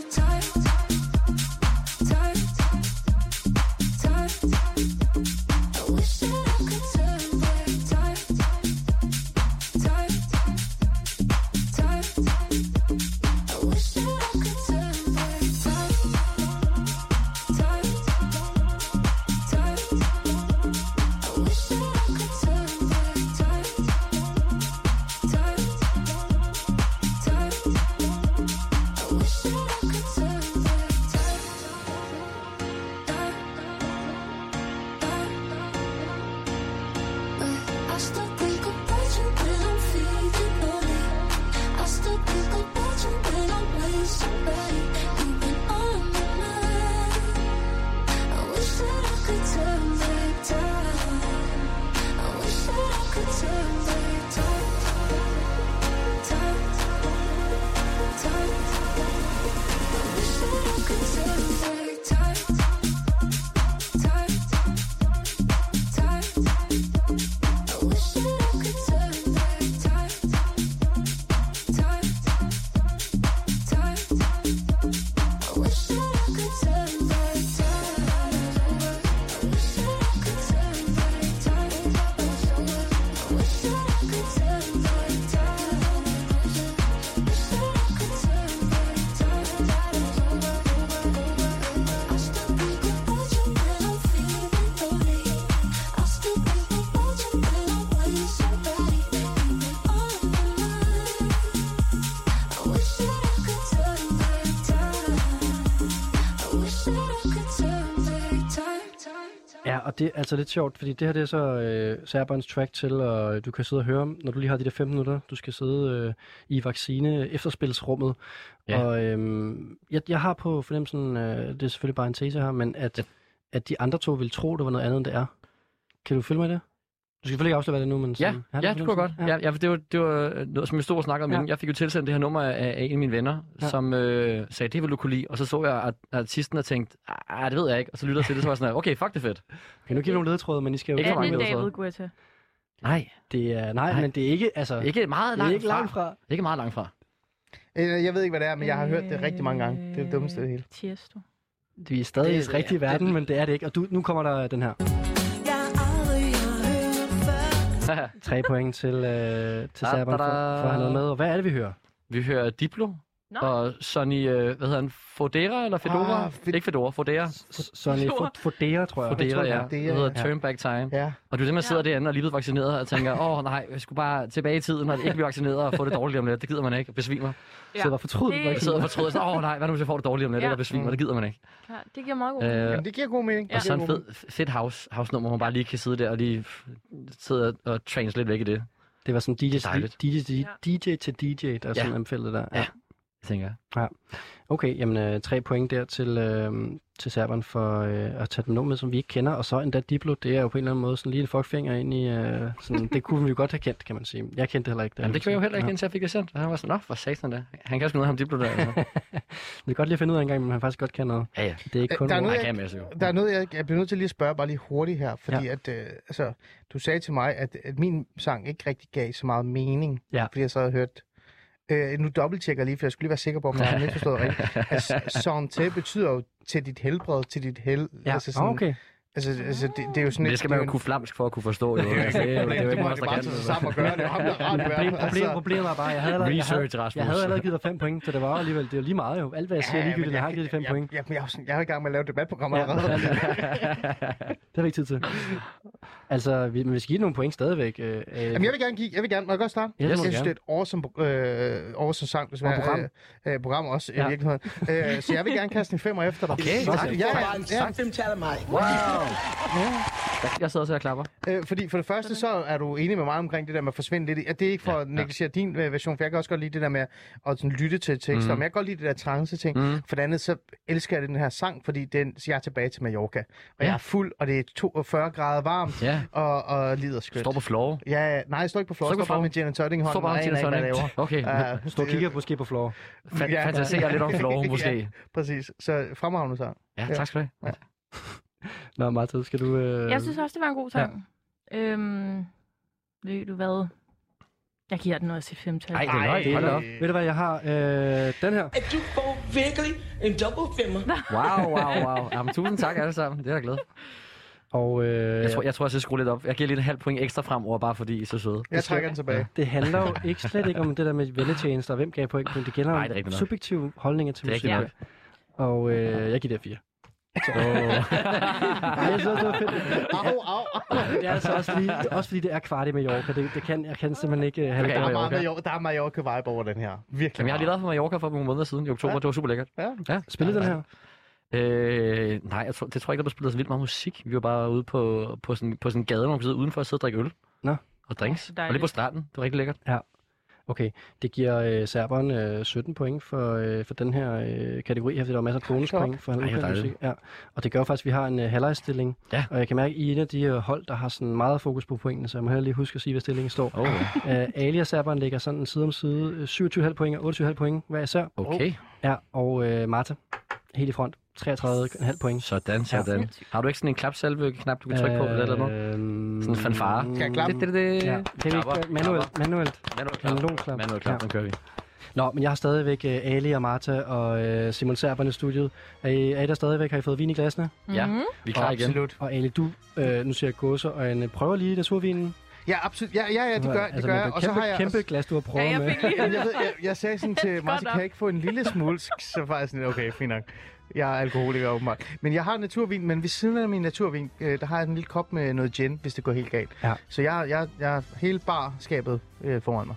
Ja, og det er altså lidt sjovt, fordi det her det er så øh, Serbons track til, og du kan sidde og høre, om, når du lige har de der 15 minutter, du skal sidde øh, i vaccine efterspilsrummet. Ja. Ja. Og øh, jeg, jeg har på fornemmelsen, øh, det er selvfølgelig bare en tese her, men at, ja. at de andre to vil tro, det var noget andet, end det er. Kan du følge mig i det? Du skal selvfølgelig ikke afsløre, hvad det er nu, men... Ja, sådan- ja, har du det kunne jeg godt. fornemmelsen? Ja. Ja, for det, var, det var øh, noget, som jeg stod og snakkede om. Ja. Ja. Jeg fik jo tilsendt det her nummer af, af en af mine venner, ja. Ja. som øh, sagde, det vil du kunne lide. Og så så jeg at artisten og tænkte, ah, det ved jeg ikke. Og så lyttede jeg til det, så var jeg sådan, her, okay, fuck det er fedt. Okay, nu giver vi nogle ledetråde, men I skal jo Ikke Er så mange det ledetråde. David Guetta? Nej, Det er, nej, Nej. nej, men det er ikke, altså... ikke meget det er langt ikke fra. langt fra. Ikke meget langt fra. Øh, Jeg ved ikke, hvad det er, men jeg har hørt det rigtig mange gange. Det er det dummeste af det hele. Tiesto. Vi er stadig Det i er- den rigtige ja, det- verden, men det er det ikke. Og du, nu kommer der den her. Tre point til, øh, til Da, da, Serbon for, da. for at have noget med. Og hvad er det, vi hører? Vi hører Diplo Nå. og Sonny, øh, hvad hedder han, Fodera eller Fedora? Ah, Ah, Fe- ikke Fedora, Fodera. S- Sonny Stor. Fo- Fodera, tror jeg. Fodera, ja. Fodera, Det ja. hedder Turn Back Time. Ja. Og du er dem, der sidder derinde og lige blevet vaccineret og tænker, åh oh, nej, jeg skulle bare tilbage i tiden og ikke blive vaccineret og få det dårligt om lidt. Det gider man ikke. Besvimer. Ja. Så der fortryd, Det- det... Jeg sidder og fortryder sådan, åh oh, nej, hvad nu hvis jeg får det dårligt om lidt Ja. eller besvimer? Det gider man ikke. Ja, det giver meget god Øh, Men det giver god mening. og Det så giver en god fed, fedt house, house nummer, hvor man bare lige kan sidde der og lige f- sidde og, og trains lidt væk i det, det var sådan DJ, Det er dejligt. DJ, DJ, DJ til DJ, der er Ja. sådan anfældet der. Ja. jeg tænker jeg. Okay, jamen øh, tre point der til, øh, til Serbon for øh, at tage dem nummer med, som vi ikke kender. Og så endda Diplo, det er jo på en eller anden måde sådan lige en fuckfinger ind i... Øh, sådan, det kunne vi jo godt have kendt, kan man sige. Jeg kendte det heller ikke. da Jamen, det hørte gjorde jeg jo heller ikke, Ja. indtil jeg fik det sendt. Og han var sådan, nå, hvor satan da. Han kan sgu noget ham diplo der. Altså. Vi kan godt lige at finde ud af en gang, men han faktisk godt kan noget. Ja, ja. Det er ikke Øh, kun... der er ord. noget, Han jeg- kan en masse jo. Der er noget, jeg, jeg bliver nødt til lige at spørge bare lige hurtigt her, fordi ja. at, øh, altså, du sagde til mig, at, at min sang ikke rigtig gav så meget mening, Ja. fordi jeg så havde hørt. Øh, nu dobbelttjekker jeg lige, for jeg skulle lige være sikker på, om jeg har misforstået rigtigt. Altså, santé betyder jo til dit helbred, til dit hel... Ja, altså, sådan, okay. altså, altså det, det, er jo sådan Men et- det skal man det jo er kunne flamsk for at kunne forstå. Jo. Altså, det, er jo, det er jo det ikke må meget, det der bare kan. tage sig sammen og gøre. Det er jo ham, der er rart altså. i Problem, verden. problem, problemet er bare, jeg havde, allerede- Altså, Research, jeg havde, Rasmus. jeg havde allerede givet dig 5 point, så det var jo alligevel, det er jo lige meget jo. Alt hvad jeg siger, ja, ligegyldigt, jeg har givet dig 5 jeg, point. Jeg, jeg, jeg, er jo sådan- jeg er i gang med at lave et debatprogram Ja. allerede. Det har vi ikke tid til. Altså, vi, men vi skal give nogle point stadigvæk. Øh, øh, Jamen, jeg vil gerne give, jeg vil gerne, må jeg godt starte? Ja, det må jeg du synes, det gerne. er et awesome, øh, awesome sang, desværre. Og program. Øh, øh, program også, ja. Ja. i virkeligheden. Øh, så jeg vil gerne kaste en femmer efter dig. Okay, ja, tak. ja, ja. Wow. Jeg sidder så og klapper. Øh, fordi for det første, så er du enig med mig omkring det der med at forsvinde lidt. i- At det er ikke for ja, at negligere ja. din øh, version, for jeg kan også godt lide det der med at at sådan, lytte til tekster, mm. men jeg kan godt lide det der trance-ting. Mm. For det andet, så elsker jeg den her sang, fordi den, så jeg er tilbage til Mallorca. Og ja. jeg er fuld, og det er 42 grader varmt, Ja. og, og lider skønt. Står på floor. Ja, ja. nej, jeg står ikke på floor, Står jeg ikke står på bare floor. med gin and tonic i Står hånden, og bare om aner ikke, hvad jeg til laver. Okay. Uh, Stå og kigger måske på floor. Fan- Ja. Fantaserer lidt om floor, måske. Præcis. Så fremragende sang. Ja, tak skal du have. Nå, Martha, skal du... Øh... Jeg synes også, det var en god ja. sang. Ja. Øhm, ved du hvad? Jeg giver den også et femtal. Ej, det er løgn. Hold da op. Ved du hvad, jeg har øh, den her. At du får virkelig en double femmer. Wow, wow, wow. Jamen, tusind tak alle sammen. Det er jeg glad. for. Og øh, Jeg tror, jeg tror, jeg skal skrue lidt op. Jeg giver lige en halv point ekstra fremover, bare fordi I er så søde. Jeg trækker den tilbage. det handler jo ikke slet ikke om det der med vennetjenester, og hvem gav point, men det gælder Nej, det om er rigtigt nok. subjektive holdninger til Det er musik. rigtigt nok. Og øh, jeg giver det fire. Oh. jeg synes også, det var fedt. Au, au, au. Det er altså også, lige, også fordi det er kvart i Mallorca. Det, det kan, jeg kan simpelthen ikke øh, have Okay. Der det dårligt. er, meget Mallorca. Mallorca, der er Mallorca-vibe over den her. Virkelig. Jamen, jeg har lige været på Mallorca for nogle måneder siden i oktober. Ja. Det var super lækkert. Ja. Ja. Spille den her. Øh, nej, jeg tror, det tror jeg ikke, der blev spillet så vildt meget musik. Vi var bare ude på, på, sådan, på sådan en gade, hvor man kunne sidde udenfor og sidde og drikke øl. Nå. Og drinks. så Oh, og dejligt. lidt på stranden. Det var rigtig lækkert. Okay, det giver øh, serberen øh, 17 point for, øh, for den her øh, kategori her, fordi der var masser af bonuspoint for han Ej, hvor udkendte musik. dejligt. Ja. Og det gør jo faktisk, at vi har en øh, halvlejsstilling, Ja. og jeg kan mærke, at I er en af de øh, hold, der har sådan meget fokus på pointene, så jeg må heller lige huske at sige, hvad stillingen står. Oh, Øh, Ali og serberen ligger sådan side om side, øh, 27,5 point og 28,5 point hver især. okay. Ja, og øh, Marta, helt i front, 33,5 point. Sådan, sådan. Har du ikke sådan en klapsalve-knap, du kan trykke på eller et eller noget? Øh, noget? Sådan en fanfare. mm, Skal jeg klappe? Det, det, det. øh, Ja, det kan vi ikke gøre. manuelt, manuelt. Manuel klap. Kanonklap. Manuel klap, Ja. den kører vi. Nå, men jeg har stadigvæk øh, Ali og Marta og øh, Simon Serberne i studiet. Er I, er I der stadigvæk? Har I fået vin i glasene? Ja, vi er klar igen. Absolut. Og Ali, du, øh, nu siger jeg gåse, og en, øh, prøver lige naturvinen. Ja, absolut. Ja, ja, ja det Du har- gør, det altså, gør med jeg. det Og så kæmpe, har jeg... kæmpe glas, du har prøvet Ja, jeg med. fik lige Jamen, jeg, ved, jeg, jeg sagde sådan til Martin, Godt kan nok. jeg ikke få en lille smule? Så var jeg sådan, okay, fint nok. Jeg er alkoholiker åbenbart. Men jeg har naturvin, men ved siden af min naturvin, øh, der har jeg en lille kop med noget gin, hvis det går helt galt. Ja. Så jeg, jeg, jeg har hele barskabet øh, foran mig.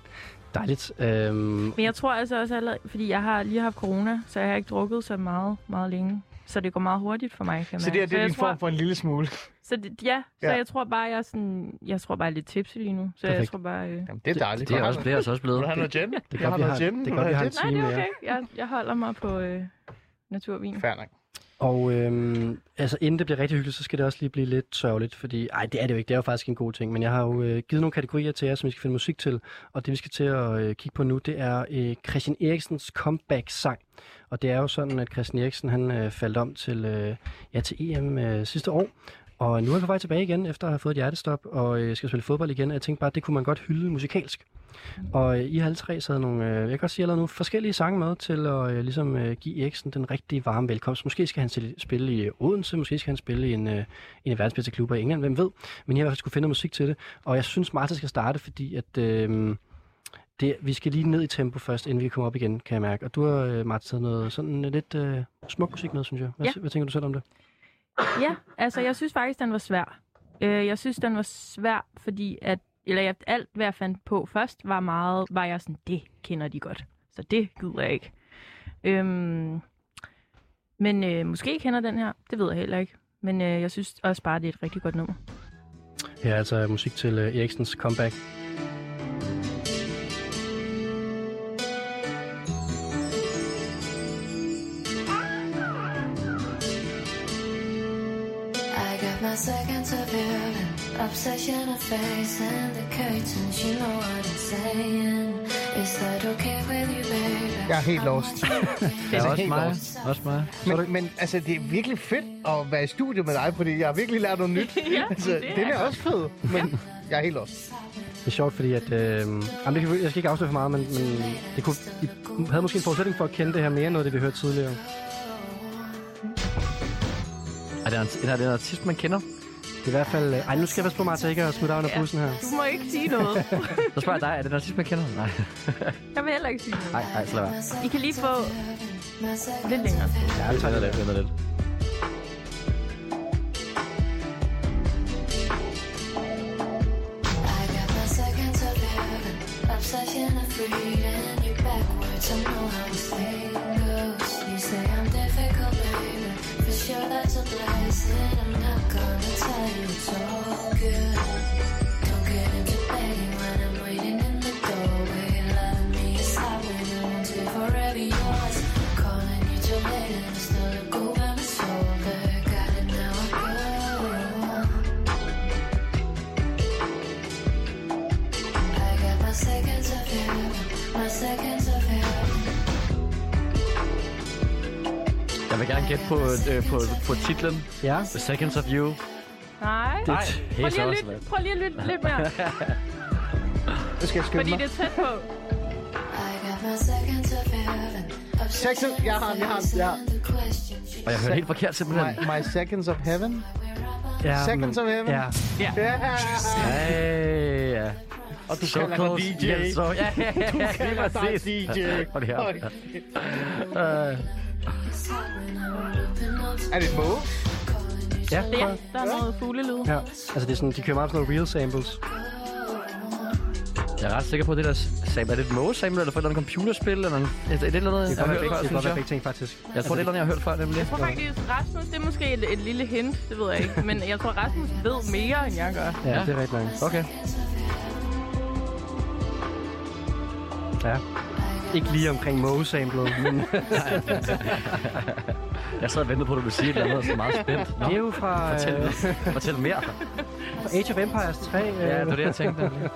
Dejligt. Øhm, Men jeg tror altså også allerede, fordi jeg har lige haft corona, så jeg har ikke drukket så meget, meget længe. Så det går meget hurtigt for mig, kan Så man. det er det, jeg din tror, form for en lille smule. så det, ja, så Ja. jeg tror bare, jeg er sådan, jeg tror bare, jeg er lidt tipsy lige nu. Så jeg Perfekt. tror bare... Øh, Jamen, det er dejligt. Det er Har også du- blevet, altså også Vil blevet. du have noget gin? Det er Jeg godt, har vi noget har, gin. det Vil du er godt, vi have har en gin? nej, det time mere. er okay. Jeg, jeg holder mig på øh, naturvin. Fair nok. Og øhm, altså, inden det bliver rigtig hyggeligt, så skal det også lige blive lidt sørgeligt, fordi... Ej, det er det jo ikke. Det er jo faktisk en god ting. Men jeg har jo øh, givet nogle kategorier til jer, som vi skal finde musik til. Og det, vi skal til at øh, kigge på nu, det er øh, Christian Eriksens comeback-sang. Og det er jo sådan, at Christian Eriksen, han øh, faldt om til, øh, ja, til EM øh, sidste år. Og nu er han på vej tilbage igen, efter at have fået et hjertestop, og øh, skal spille fodbold igen. Og jeg tænkte bare, at det kunne man godt hylde musikalsk. Og øh, I har alle tre sad nogle, øh, jeg kan godt sige, jeg lavede nogle forskellige sange med til at øh, ligesom, øh, give Eriksen den rigtige varme velkomst. Måske skal han til- spille i øh, Odense, måske skal han spille i en, øh, en af verdens bedste klubber i England, hvem ved. Men jeg har i hvert fald skulle finde noget musik til det. Og jeg synes, Martha skal starte, fordi at, øh, det, vi skal lige ned i tempo først, inden vi kommer op igen, kan jeg mærke. Og du har, øh, Martha, taget noget sådan øh, lidt øh, smuk musik med, synes jeg. Hvad, Ja. hvad tænker du selv om det? Ja, altså jeg synes faktisk, den var svær. Øh, jeg synes, den var svær, fordi at, eller jeg, alt, hvad jeg fandt på først, var meget, var jeg sådan, det kender de godt. Så det gider jeg ikke. Øhm, men øh, måske kender den her, det ved jeg heller ikke. Men øh, jeg synes også bare, det er et rigtig godt nummer. Her er altså musik til øh, Eriksens comeback. I got my second to villain, obsession of face and the curtains. You know what I'm saying? Is that okay with you, baby? Jeg er helt lost. Ja, Altså, også helt mig. lost. Også mig. Men, men altså, det er virkelig fedt at være i studiet med dig, fordi jeg har virkelig lært noget nyt. Ja, altså, det er den er også fed, men jeg er helt lost. Det er sjovt, fordi at... Øh, jamen, det kan, jeg skal ikke afsløre for meget, men, men det kunne, I havde måske en forudsætning for at kende det her mere end noget, af det vi hørte tidligere. Er det en, er det en artist, man kender? Det er i hvert fald... Øh, ej, nu skal jeg passe på, Martha, ikke at smide dig under Ja. bussen her. Du må ikke sige noget. Så spørger jeg dig, er det en artist, man kender? Nej. Jeg vil heller ikke sige noget. Nej, nej, så lad være. I kan lige få lidt længere. Ja, vi tager lidt, venter lidt. I got my second to villain, obsession of freedom. You backwards, I know how this thing goes. You say I'm difficult, baby. For sure that's a blessing. I'm not gonna tell you it's all good. Don't get into pain when I'm waiting in the doorway. Love me is how we want to forever yours. Calling you too late and it's not a go when it's over. Got it now, I go. I got my seconds of you, my seconds of you. Jeg vil gerne gætte på, øh, på, på titlen. Ja. The Seconds of You. Nej. Nej, Prøv helt lige at også, lytte, prøv lige at lytte lidt mere, Nu skal jeg skynde fordi det mig. er tæt på. I got my seconds of you. Seconds, jeg har den, jeg har den, jeg har den. Og jeg hørte helt forkert simpelthen. My, my seconds of heaven. Ja, Seconds of heaven. Ja, Ja. Hey, ja. Og du so kalder mig DJ. Yes, so, ja, ja, ja, Du kalder dig lige præcis. DJ. Hold her. Hold. Øh, Er det Moe? ja. Ja, der er noget fuglelyd. ja. Altså, det er sådan, de kører meget sådan nogle real samples. jeg er ret sikker på, at det der sample. Er det et Moe-sample, eller fra et eller andet computerspil, eller en- er det et eller andet? Det jeg kan har godt hørt være, før, det kan godt synes være jeg. begge ting, faktisk. Jeg tror, det er et eller andet, jeg har hørt før, nemlig. Jeg tror faktisk, Rasmus, det er måske et, et lille hint, det ved jeg ikke. Men jeg tror, Rasmus ved mere, end jeg gør. Ja, Ja. det er rigtig langt. Okay. Ja. Ikke lige omkring Moe-samplet, men Jeg sad og ventede på, at du ville sige et eller andet, og så meget spændt. Nå, det er jo fra, fortæl, øh, fortæl mere. fra Age of Empires 3. Øh, Ja, det var det, jeg tænkte. nemlig.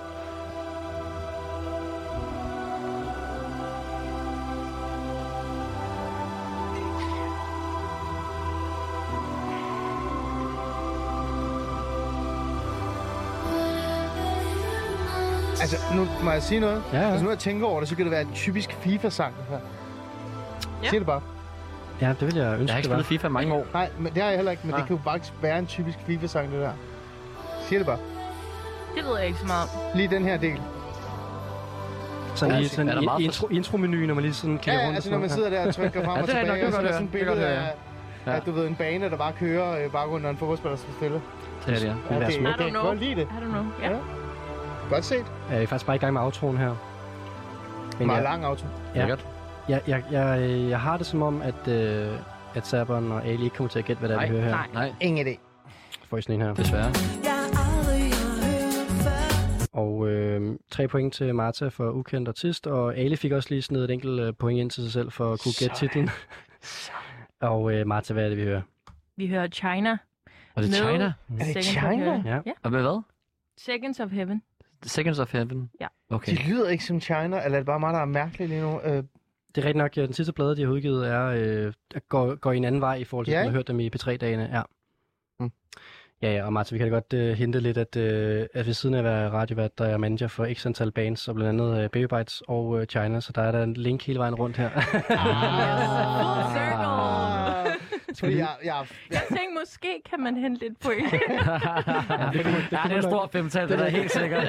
Altså, nu må jeg sige noget. Ja, ja. Altså, nu jeg tænker over det, så kan det være en typisk FIFA-sang. det Her. Ja. Sig det bare. Ja, det ville jeg Jeg ønske, har ikke det var. spillet FIFA i mange år. Nej, men det har jeg heller ikke, men det kan jo bare være en typisk FIFA-sang, det der. Sig det bare. Det ved jeg ikke så meget om. Lige den her del. Sådan lige Ja, sådan er der i meget for- intro, intromenu, når man lige sådan klikker Ja, rundt. ja, altså når man sidder der og trykker frem Ja, og det er tilbage, rigtigt, og så er det der kan sådan jeg et godt billede høre. Det af, Ja. at du ved, en bane, der bare kører øh, bare rundt, og en fodboldspiller står stille. Det er det, ja. Det er det smukt. I don't know. Godt lide det. I don't know. Ja. Ja. Godt set. Ja, vi er faktisk bare i gang med aftroen her. Men Meget ja, lang auto. Lækkert. jeg, jeg, jeg, jeg har det som om, at øh, at Saban og Ali ikke kommer til at gætte, hvad det er, vi hører her. nej. Nej. Ingen idé. Får I sådan en her. Desværre. Og øh, tre point til Marta for ukendt artist, og Ali fik også lige sådan et enkelt øh, point ind til sig selv for at kunne gætte Sådan. titlen. og øh, Marta, hvad er det, vi hører? Vi hører China. Og det er med China. Er det Seconds of China? Heaven. Ja. ja. Og med hvad? Seconds of Heaven. Seconds of Heaven? Ja. Okay. De lyder ikke som China, eller er det bare mig, der er mærkelig lige nu? Øh, Det er rigtigt nok, at den sidste plade, de har udgivet, er, øh, går, går i en anden vej i forhold til, Ja, at man har ikke? hørt dem i P3-dagene. Ja. Mm. Ja, ja, og Martin, vi kan da godt øh, hente lidt, at, øh, at ved siden af at være radiovært, der er jeg manager for x antal bands, og blandt andet øh, Baby Bites og øh, China, så der er der en link hele vejen rundt her. Ah. Full circle. fordi jeg, jeg, jeg, Jeg tænkte, måske kan man hente lidt point. ja, det er et stort femtal, det er helt sikkert.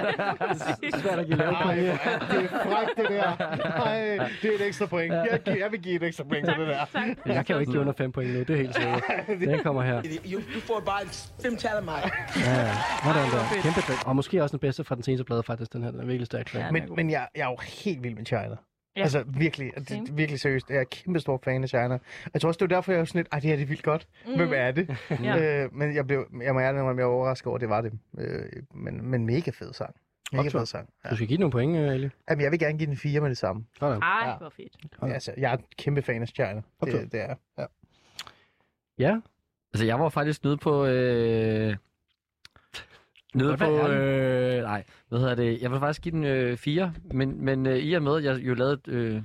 Svært at give lave Ej, hvor er det frækt, det der. Ej, det er et ekstra point. Jeg, gi- jeg vil give et ekstra point til det der. Jeg kan jo ikke give under 5 point nu, det er helt sikkert. Den kommer her. Jo, du får bare fem tal af mig. Ja, ja. Hvordan der? Kæmpe fedt. Og måske også den bedste fra den seneste plade, faktisk, den her. Den er virkelig stærk. Ja. er Men, god. men jeg, jeg er jo helt vild med China. Ja. Ja. Altså virkelig, og Same. det, virkelig seriøst. Jeg er kæmpe stor fan af China. Jeg tror også, det var derfor, jeg var sådan lidt, ej, det her det er vildt godt. Mm. Hvem er det? Ja. Øh, men jeg, blev, jeg må ærligt indrømme, jeg var overrasket over, at det var det. Øh, men, men mega fed sang. Mega Optur. fed sang. Ja. Du skal give den nogle point, øh, Ali. Jamen, jeg vil gerne give den fire med det samme. Sådan. Ej, hvor fedt. Hold da. Altså, jeg er kæmpe fan af China. Optur. Det, det er jeg. ja. Ja, Altså, jeg var faktisk nede på... Øh... Nede Godt være på... Øh... Nej, hvad hedder det? Jeg vil faktisk give den øh, 4, men, men øh, i og med, at jeg jo lavede øh,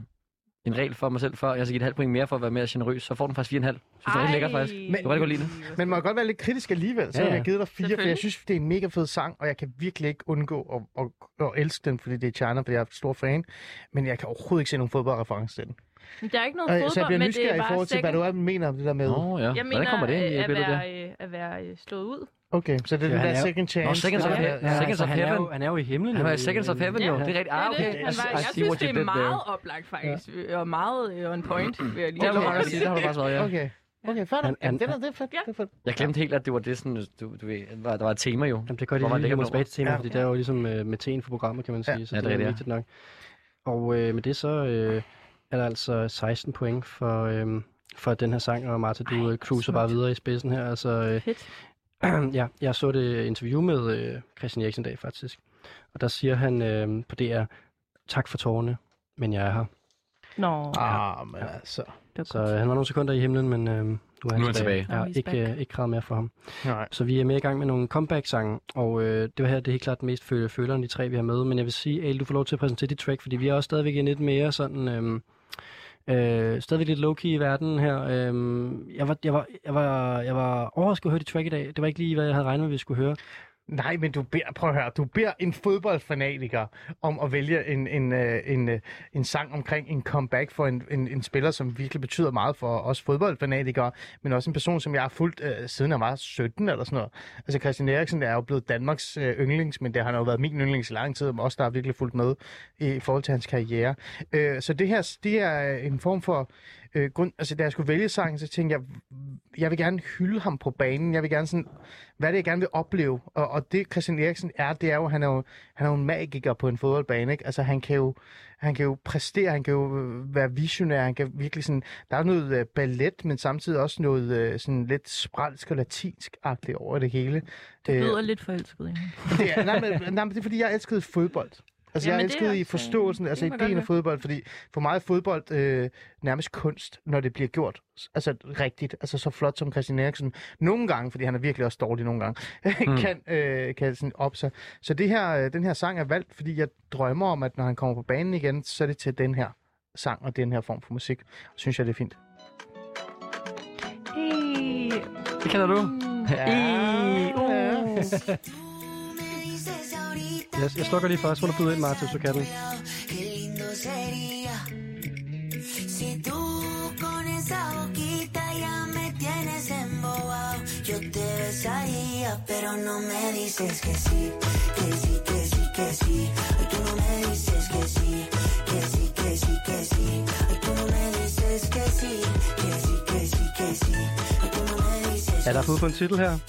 en regel for mig selv før, jeg skal give et halvt point mere for at være mere generøs, så får den faktisk 4,5. Synes det er helt lækkert, faktisk. Men, kan godt godt lide det. Men må jeg godt være lidt kritisk alligevel, så ja, Ja, ja. ja. jeg har givet dig fire, for jeg Selvfølgelig. synes, det er en mega fed sang, og jeg kan virkelig ikke undgå at, at, at elske den, fordi det er China, fordi jeg er stor fan, men jeg kan overhovedet ikke se nogen fodboldreference til den. Men der er ikke noget Fodbold, fodbold, så jeg bliver men det nysgerrig er i bare forhold til, hvad second- du er, mener om det der med. Nå, ja. Jeg Hvordan mener, kommer det ind i øh, at, billedet der? være, øh, at være øh, slået ud. Okay, så det er Ja, det han der er jo- second chance. Nå, second der- of heaven. Ja, Seconds altså, of han, er heaven. jo, han er jo i himlen. Han var i jo. Seconds of Heaven, jo. Ja. Det er rigtigt. Det er Ah, det. okay. Han var, jeg synes, det er meget oplagt, faktisk. øh, Og meget øh, on point, vil jeg lige Der må man sige. godt sige, der har du faktisk været, ja. Okay. Okay, fair Han- nok. Jamen, han- Det er det er fedt. Ja. Det er fedt. Jeg glemte helt, at det var det, sådan, du, du ved, at der var et tema jo. Jamen, det er godt, Hvor at man I lige lægger kommer nummer. tilbage til temaet, Ja. fordi det er jo ligesom øh, med tæen for programmet, kan man sige, så Ja, det, det er er det, ja. vigtigt nok. Og øh, med det så øh, er der altså 16 point for, øh, for den her sang, og Martha, du Ej, cruiser bare videre i spidsen her. Altså, øh, Fedt. ja, jeg så det interview med øh, Christian Eriksen i dag, faktisk. Og der siger han øh, på DR, tak for tårerne, men jeg er her. Nå, Ah, men altså. det var Så godt. øh, han var nogle sekunder i himlen, men øh, nu er han Nu er han tilbage. tilbage. Oh, he's Ja, ikke, back. øh, ikke kravet mere for ham. Nej. Så vi er med i gang med nogle comeback-sange, og øh, det var her, det er helt klart den mest føl- føleren, de tre, vi har med. Men jeg vil sige, Ale, du får lov til at præsentere dit track, fordi vi er også stadigvæk en lidt mere sådan... Øh, Øh, stadigvæk lidt low-key i verden her. Øh, jeg, var, jeg, var, jeg, var, jeg var overrasket over at høre dit track i dag. Det var ikke lige, hvad jeg havde regnet med, vi skulle høre. Nej, men du beder, prøv at høre, du beder en fodboldfanatiker om at vælge en, en, øh, en, øh, en sang omkring en comeback for en, en, en spiller, som virkelig betyder meget for os fodboldfanatikere, men også en person, som jeg har fulgt øh, siden jeg var 17 eller sådan noget. Altså Christian Eriksen er jo blevet Danmarks øh, yndlings, men det har jo været min yndlings i lang tid, og også der har virkelig fulgt med i forhold til hans karriere. Øh, så det her, det er en form for... Øh, grund, altså, da jeg skulle vælge sangen, så tænkte jeg, jeg vil gerne hylde ham på banen. Jeg vil gerne sådan, hvad er det, jeg gerne vil opleve? Og, og det Christian Eriksen er, det er jo, han er jo, han er jo en magiker på en fodboldbane, ikke? Altså, han kan jo, han kan jo præstere, han kan jo øh, være visionær, han kan virkelig sådan, der er noget øh, ballet, men samtidig også noget øh, sådan lidt spralsk og latinsk-agtigt over det hele. Du Øh, lyder lidt forelsket i hende. det er, nej, men, nej, men det er, fordi jeg elskede fodbold. Altså, Jamen, jeg det er elskede i også, øh, forståelsen, det altså kan man godt ideen af høre. fodbold, fordi for mig er fodbold øh, nærmest kunst, når det bliver gjort. Altså rigtigt, altså så flot som Christian Eriksen. Nogle gange, fordi han er virkelig også dårlig nogle gange, Hmm. kan, øh, kan sådan op sig. Så det her, øh, den her sang er valgt, fordi jeg drømmer om, at når han kommer på banen igen, så er det til den her sang og den her form for musik. Synes jeg, det er fint. Hey. Det kender du. Uh. Jeg, jeg slukker lige først, hvor du byder ind, Martin, så kan den. Qué lindo sería si tú con esa boquita ya me tienes embobado. Yo te besaría, pero no me dices que sí, que sí, que sí, que sí. Ay, tú no me dices que sí, que sí, que sí, que sí. Ay, tú no me dices que sí, que sí, que sí, que sí. Ay, tú no me dices Er der fået på en titel her?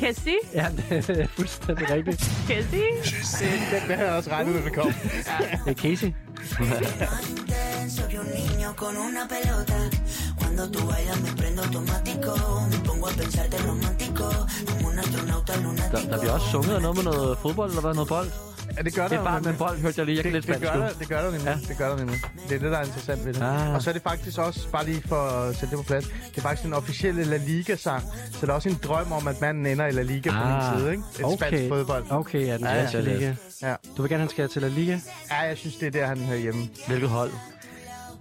Cassie? Ja, det er fuldstændig rigtigt. Cassie? Den, den har jeg også regnet med, at det kom. Det er Casey. intenso que un niño con una pelota. Cuando Cuando tú bailas me prendo automático, me pongo a pensarte romántico, como un astronauta lunático. Der, der bliver også sunget noget med noget fodbold, eller hvad, noget bold? Ja, det gør der Det er jo bare med nemlig. bold, hørte jeg lige. Jeg kan lidt det, det, spansk gør nu. der, det gør der nemlig. Ja. Det gør der nemlig. Det er det, der er interessant ved det. Ah. Og så er det faktisk også, bare lige for at sætte det på plads, det er faktisk en officielle La Liga-sang. Så der er også en drøm om, at manden ender i La Liga ah. på min side, ikke? Et spansk fodbold. Oh. Okay, ja, den Ja, ja. spanske liga. Ja. Du vil gerne, han skal til La Liga? Ja, jeg synes, det er der, han hører hjemme. Hvilket hold?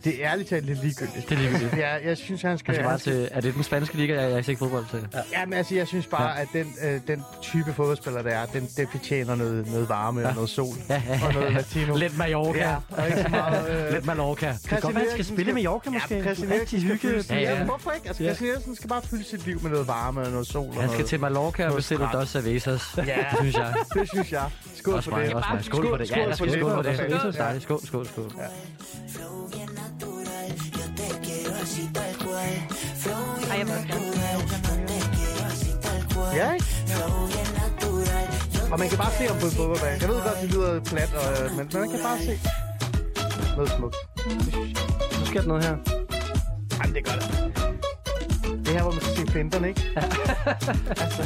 Det er ærligt talt lidt ligegyldigt. Det er ligegyldigt. ja, jeg synes, han skal... Han skal bare til, er det den spanske liga? Jeg, jeg er ikke fodbold til. Ja. Ja, men altså, jeg synes bare, ja. at den, øh, den type fodboldspiller, der er, den, den fortjener noget, noget varme ja. og noget sol. Ja, ja, ja. Og noget latino. Lidt Mallorca. Ja, og ikke så meget... øh, Lidt Mallorca. Det kan godt være, han skal spille med Mallorca, måske. Ja, Christian Rigtig Eriksen skal hygge- fylde sit- Ja, ja. Ja, Hvorfor ikke? Altså, Ja. Christian Eriksen skal bare fylde sit liv med noget varme og noget sol. og Han skal noget- til Mallorca og noget bestille strand. dos cervezas. Ja, Det synes jeg. Det synes jeg. Skål Også for mig, det. også mig. Skål for det. Ja, lad os skål for det. Skål for det. Dejligt. Skål, skål, skål. Ej, jeg Ja, ikke? Og man kan bare se om på en fodboldbane. Jeg ved godt, det lyder plat, og, øh, men men man kan bare se noget smukt. Nu sker der noget her. Jamen, det gør det. Det er her, hvor man skal se finterne, ikke? altså,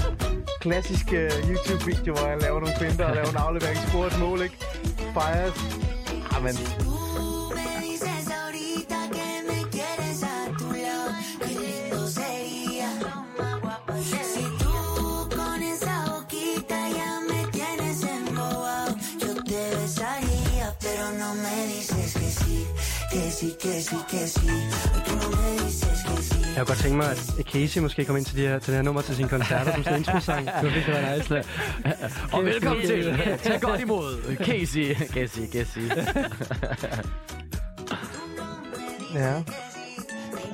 klassisk øh, YouTube-video, hvor jeg laver nogle finter og laver en aflevering, scorer et mål, ikke? Ah, Fires. Jamen, Me dices ahorita que me quieres a tu lado, qué lindo sería. Si tú con esa boquita ya me tienes embobado, yo te besaría, pero no me dices que sí, que sí, que sí, que sí. Ay, tú no me dices que sí. Jeg kunne godt tænke mig, at Casey måske kom ind til, de her, til det her nummer til sine koncerter som sådan en introsang. Det var virkelig være nice. Og velkommen til. Tag godt imod. øh, Casey. Casey, Casey. ja.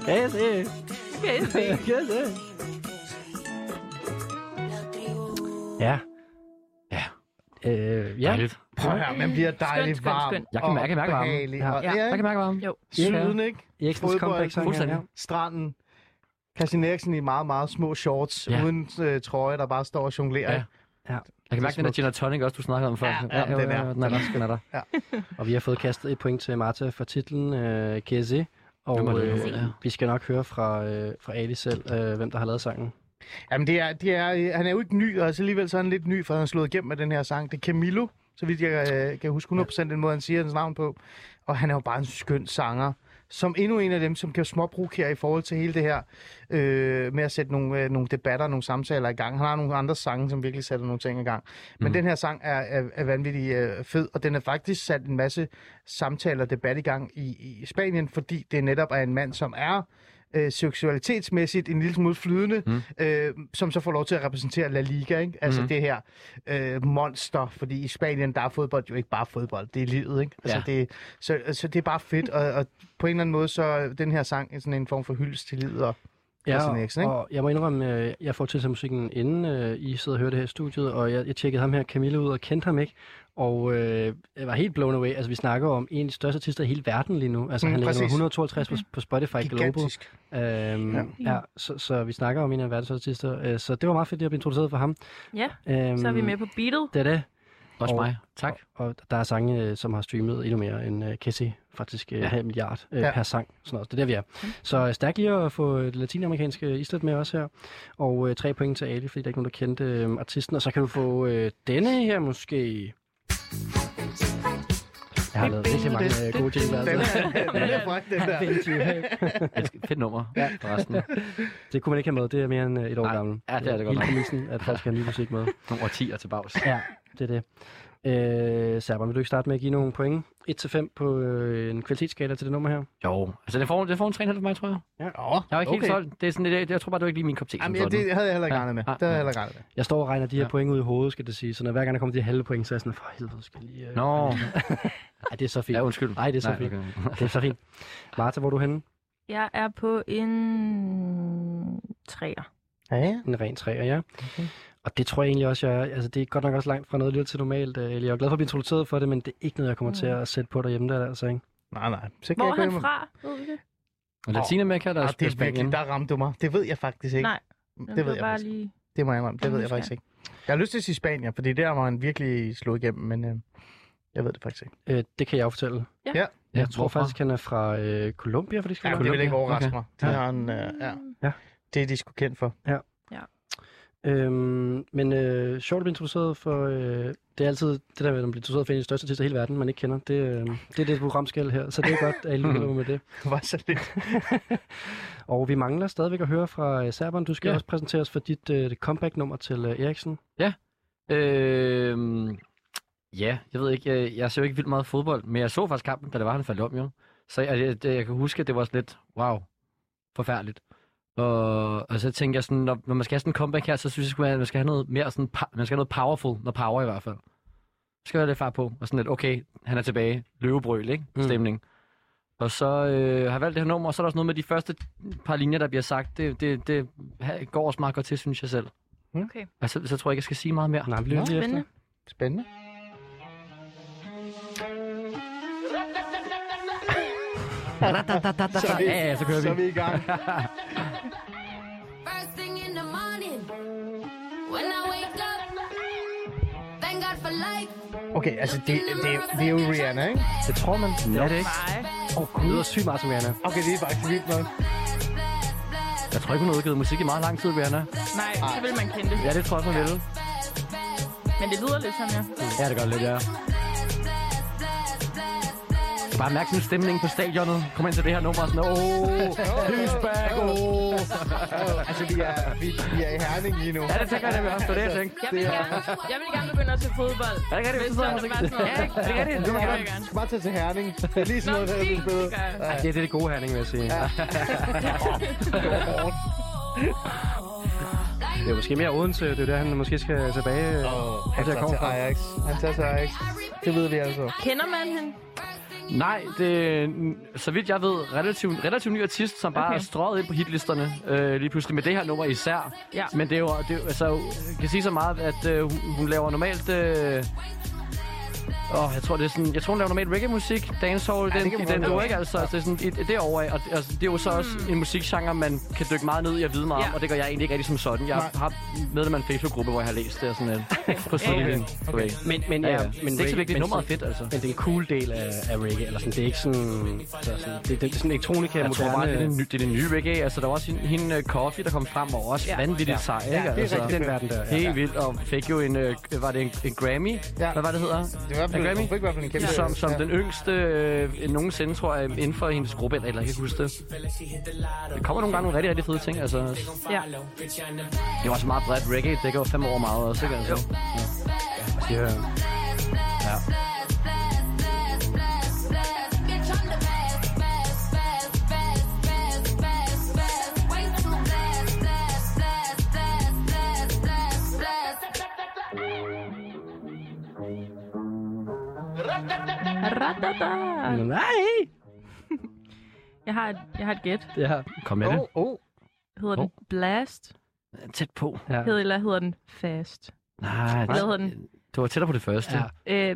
Casey. Okay. Casey. Ja. Ja. Øh, ja. Dejligt. Prøv at høre, man bliver dejligt skønt, varm. skønt. Jeg kan og mærke- jeg mærker varmen. behagelig, Ja. og- Ja. Ja, Jeg kan mærke varmen. Jo. Syden, ikke? Eriksens Fodbold. comeback-sang. her, Fuldstændig. Stranden. Christian Eriksen i meget, meget små shorts, Ja. ja. uden øh, trøje, der bare står og jonglerer. Ja. Ja. Ja. Jeg kan mærke den der gin og tonic også, du snakkede om før. Ja, ja, den er- Den er der, den er der. Og vi har fået kastet et point til Marta for titlen øh, Casey. Nu må Og det øh, være, ja. vi skal nok høre fra, øh, fra Ali selv, øh, hvem der har lavet sangen. Jamen, det er, det er, øh, han er jo ikke ny, og altså alligevel så er han lidt ny, for han har slået igennem med den her sang. Det er Camilo, så vidt jeg øh, kan huske 100% den måde, han siger hans navn på. Og han er jo bare en skøn sanger, som endnu en af dem, som kan småbrugere i forhold til hele det her øh, med at sætte nogle, øh, nogle debatter, nogle samtaler i gang. Han har nogle andre sange, som virkelig sætter nogle ting i gang. Men den her sang er, er, er vanvittig øh, fed, og den har faktisk sat en masse samtaler og debat i gang i, i Spanien, fordi det netop er en mand, som er øh, seksualitetsmæssigt en lille smule flydende, mm. øh, som så får lov til at repræsentere La Liga, ikke? altså mm. det her øh, monster, fordi i Spanien, der er fodbold jo ikke bare fodbold, det er livet, ikke? Altså, Ja. det, så, så det er bare fedt, og, og på en eller anden måde, så er den her sang er sådan en form for hyldest til livet og Christian Eriksen, ikke? og, og jeg må indrømme, øh, jeg får til sig musikken inden øh, I sidder og hører det her i studiet, og jeg, jeg tjekkede ham her, Camille, ud og kendte ham ikke, og øh, jeg var helt blown away. Altså, vi snakker om en af de største artister i hele verden lige nu. Altså, Mm, han ligger nummer præcis. Mhm. 152 på, på Spotify Global. Gigantisk. Øhm, ja. Ja. ja så, så vi snakker om en af verdens største artister, øh, så det var meget fedt lige at blive introduceret for ham. Ja, Øhm, så er vi med på beatet. Det er det. Også Og- mig. Tak. Og, og der er sange, øh, som har streamet endnu mere end uh, Casey, faktisk uh, ja. halv milliard uh, ja. Ja. per sang. Sådan noget. Det er der, vi er. Mm. Så øh, stærkt lige at få øh, det latinamerikanske islet med også her. Og uh, tre point til Ali, fordi der er ikke nogen, der kendte øh, artisten. Og så kan du få øh, denne her måske. Jeg har lavet rigtig mange øh, gode jingler. Den Altså. er, den er fræk, den der. Et fedt nummer. Ja. Resten. Det kunne man ikke have med. Det er mere end øh, et år Nej. gammel. Ja, det er det godt Hele nok. præmissen, at folk skal have ny musik med. Nogle årtier til bags. Ja, det er det. Øh, Serban, vil du ikke starte med at give nogle point? 1-5 på øh, en kvalitetsskala til det nummer her. Jo. Altså, det får, det får en 3,5 for mig, tror jeg. Åh, Jeg var ikke okay. helt okay. solgt. Det er sådan, det, jeg tror bare, det var ikke lige min kop te. som Jamen, ja, sådan. det havde jeg heller ikke Ja. regnet med. Ja. Det havde jeg heller ikke regnet med. Jeg står og regner de her ja. Ja. point ud i hovedet, skal det sige. Så når hver gang der kommer de her halve point, så er jeg sådan, for helvede, skal jeg lige... Øh... Nå. Ej, det er så fint. Ja, undskyld. Ej, det er så Nej, fint. okay. Det er så fint. Martha, hvor er du henne? Jeg er på en træer. Ja, ja. En ren træer, ja. Okay. Og det tror jeg egentlig også, jeg er. Altså, det er godt nok også langt fra noget lidt til normalt. øh, Eli. Jeg er glad for at blive introduceret for det, men det er ikke noget, jeg kommer Mm. til at sætte på derhjemme. Der, altså, ikke? Nej, nej. Så kan Hvor jeg er ikke han være med. fra? Ved vi det? Og Latinamerika, Ah, der er det spillet er virkelig, Spanien. der ramte du mig. Det ved jeg faktisk ikke. Nej. Nå, det ved var jeg bare faktisk. lige... Det må jeg indrømme. Det ved jeg Nysgerrig. faktisk ikke. Jeg har lyst til at sige Spanien, for det er der, hvor han virkelig slog igennem, men øh, Jeg ved det faktisk ikke. Øh, det kan jeg jo fortælle. Ja. Ja. Jeg tror faktisk, han er fra øh, Colombia, for det skal Ja, det vil ikke overraske okay. mig. Det har en, øh, ja. Ja. Det er de sgu kendt for. Ja. Øhm, men øh, sjovt at blive introduceret for... Øh, det er altid det der med, at man bliver introduceret for en af de største artister i hele verden, man ikke kender. Det, øh, det er det programskæld her, så det er godt, at I lytter med det. Var så lidt. og vi mangler stadigvæk at høre fra øh, Serberen. Du skal ja. også præsentere os for dit øh, comeback-nummer til øh, Eriksen. Ja. Øh, ja, jeg ved ikke, øh, jeg, jeg ser jo ikke vildt meget fodbold, men jeg så faktisk kampen, da det var, han faldt om jo. Så jeg, jeg, jeg kan huske, at det var sådan lidt, wow, forfærdeligt. Og, og så tænkte jeg sådan, når, når man skal have sådan en comeback her, så synes jeg, sgu, at man skal have noget mere sådan, pa- man skal have noget powerful, noget power i hvert fald. Så skal jeg have lidt fart på, og sådan lidt, okay, han er tilbage, løvebrøl, ikke? Mm. Stemning. Og så øh, har jeg valgt det her nummer, og så er der også noget med de første par linjer, der bliver sagt. Det, det, det ha- går også meget godt til, synes jeg selv. Hm? Okay. Og Altså, så, så tror jeg ikke, jeg skal sige meget mere. Nej, vi lytter lige efter. Spændende. Så er vi- Ja, ja, så kører vi. Så er vi i gang. First thing in the morning, when I wake up, thank God for life. Okay, altså det, det, det er jo Rihanna, ikke? Det tror man. Det er det ikke. Åh, oh, gud, det lyder sygt meget som Rihanna. Okay, det er faktisk vildt nok. Jeg tror ikke, hun har udgivet musik i meget lang tid, Rihanna. Nej, så vil man kende det. Ja, det tror jeg, hun ville. Men det lyder lidt sådan, ja. Ja, det gør det lidt, ja. Jeg kan bare mærke sådan stemningen på stadionet. Kom ind til det her nummer, og sådan, åh, hys back, åh. Altså, vi er, vi, vi er i Herning lige nu. Ja, det tænker jeg nemlig også, det var det, jeg tænkte. Jeg vil, gerne, jeg vil gerne begynde at se fodbold. Ja, det kan det, Hvis så sidder der man er så- bare sådan noget- Ja, det kan det. Du Det kan vil jeg bare- gerne. skal bare tage til Herning. Det er lige sådan noget, der er blevet bedre. Ej, det er det gode herning, vil jeg sige. Ja. det er måske mere Odense, det er der, han måske skal tilbage. Oh, Han tager til Ajax. Han tager til Ajax. Det ved vi altså. Kender man hende? Nej, det er, så vidt jeg ved, relativt, relativt ny artist, som bare Okay. okay. er strøget ind på hitlisterne øh, lige pludselig med det her nummer især. Ja. Men det er jo, det er, jo- altså, jeg kan sige så meget, at øh, hun, hun laver normalt... Øh, Åh, jeg tror, det er sådan, jeg tror, hun laver normalt reggae-musik, dancehall, det ja, den, kan i man den godt du lide. ikke, altså, altså det er sådan, i, derovre, af, og det- altså, det er jo så også en musikgenre, man kan dykke meget ned i og vide meget ja. om, og det gør jeg egentlig ikke rigtig som sådan. Jeg Nej. har medlem af en Facebook-gruppe, hvor jeg har læst det og sådan lidt på streaming. Okay. Men, men, ja, ja, ja. men men det er ikke så reggae- vigtigt, men nummeret er sådan- fedt, altså. Men det er en cool del af, af reggae, eller sådan, det er ikke sådan, så sådan det, det, er sådan elektronika, Jeg tror øh, moderne... øh, bare, det er det, nye, det er det nye reggae. Altså, der var også hende, hende øh, Coffee, der kom frem, og også Ja. ja. vanvittigt Ja. ja. sej, ikke? Ja, det er altså, rigtig den verden der, ja. Helt vildt, og fik jo en, øh, var det en, en Grammy? Ja. Hvad var det hedder? Det i hvert fald- hun fik i hvert fald en kæmpe- Som, som ja. ja. den yngste øh, nogensinde, tror jeg, inden for hendes gruppe, eller, eller jeg kan ikke huske det. Der kommer nogle gange nogle rigtig, rigtig fede ting, altså. Det Ja. er jo også meget bredt reggae, det dækker jo fem år meget også, ikke? Altså. Ja. ja. ja. Radada. Nej! Jeg har et, jeg har et gæt. Ja. Kom med det. Oh, oh. Hedder den Blast? Tæt på. Ja. Hedder, eller hedder den Fast? Nej, Hvad hedder den? det var tættere på det første. Ja. Øh,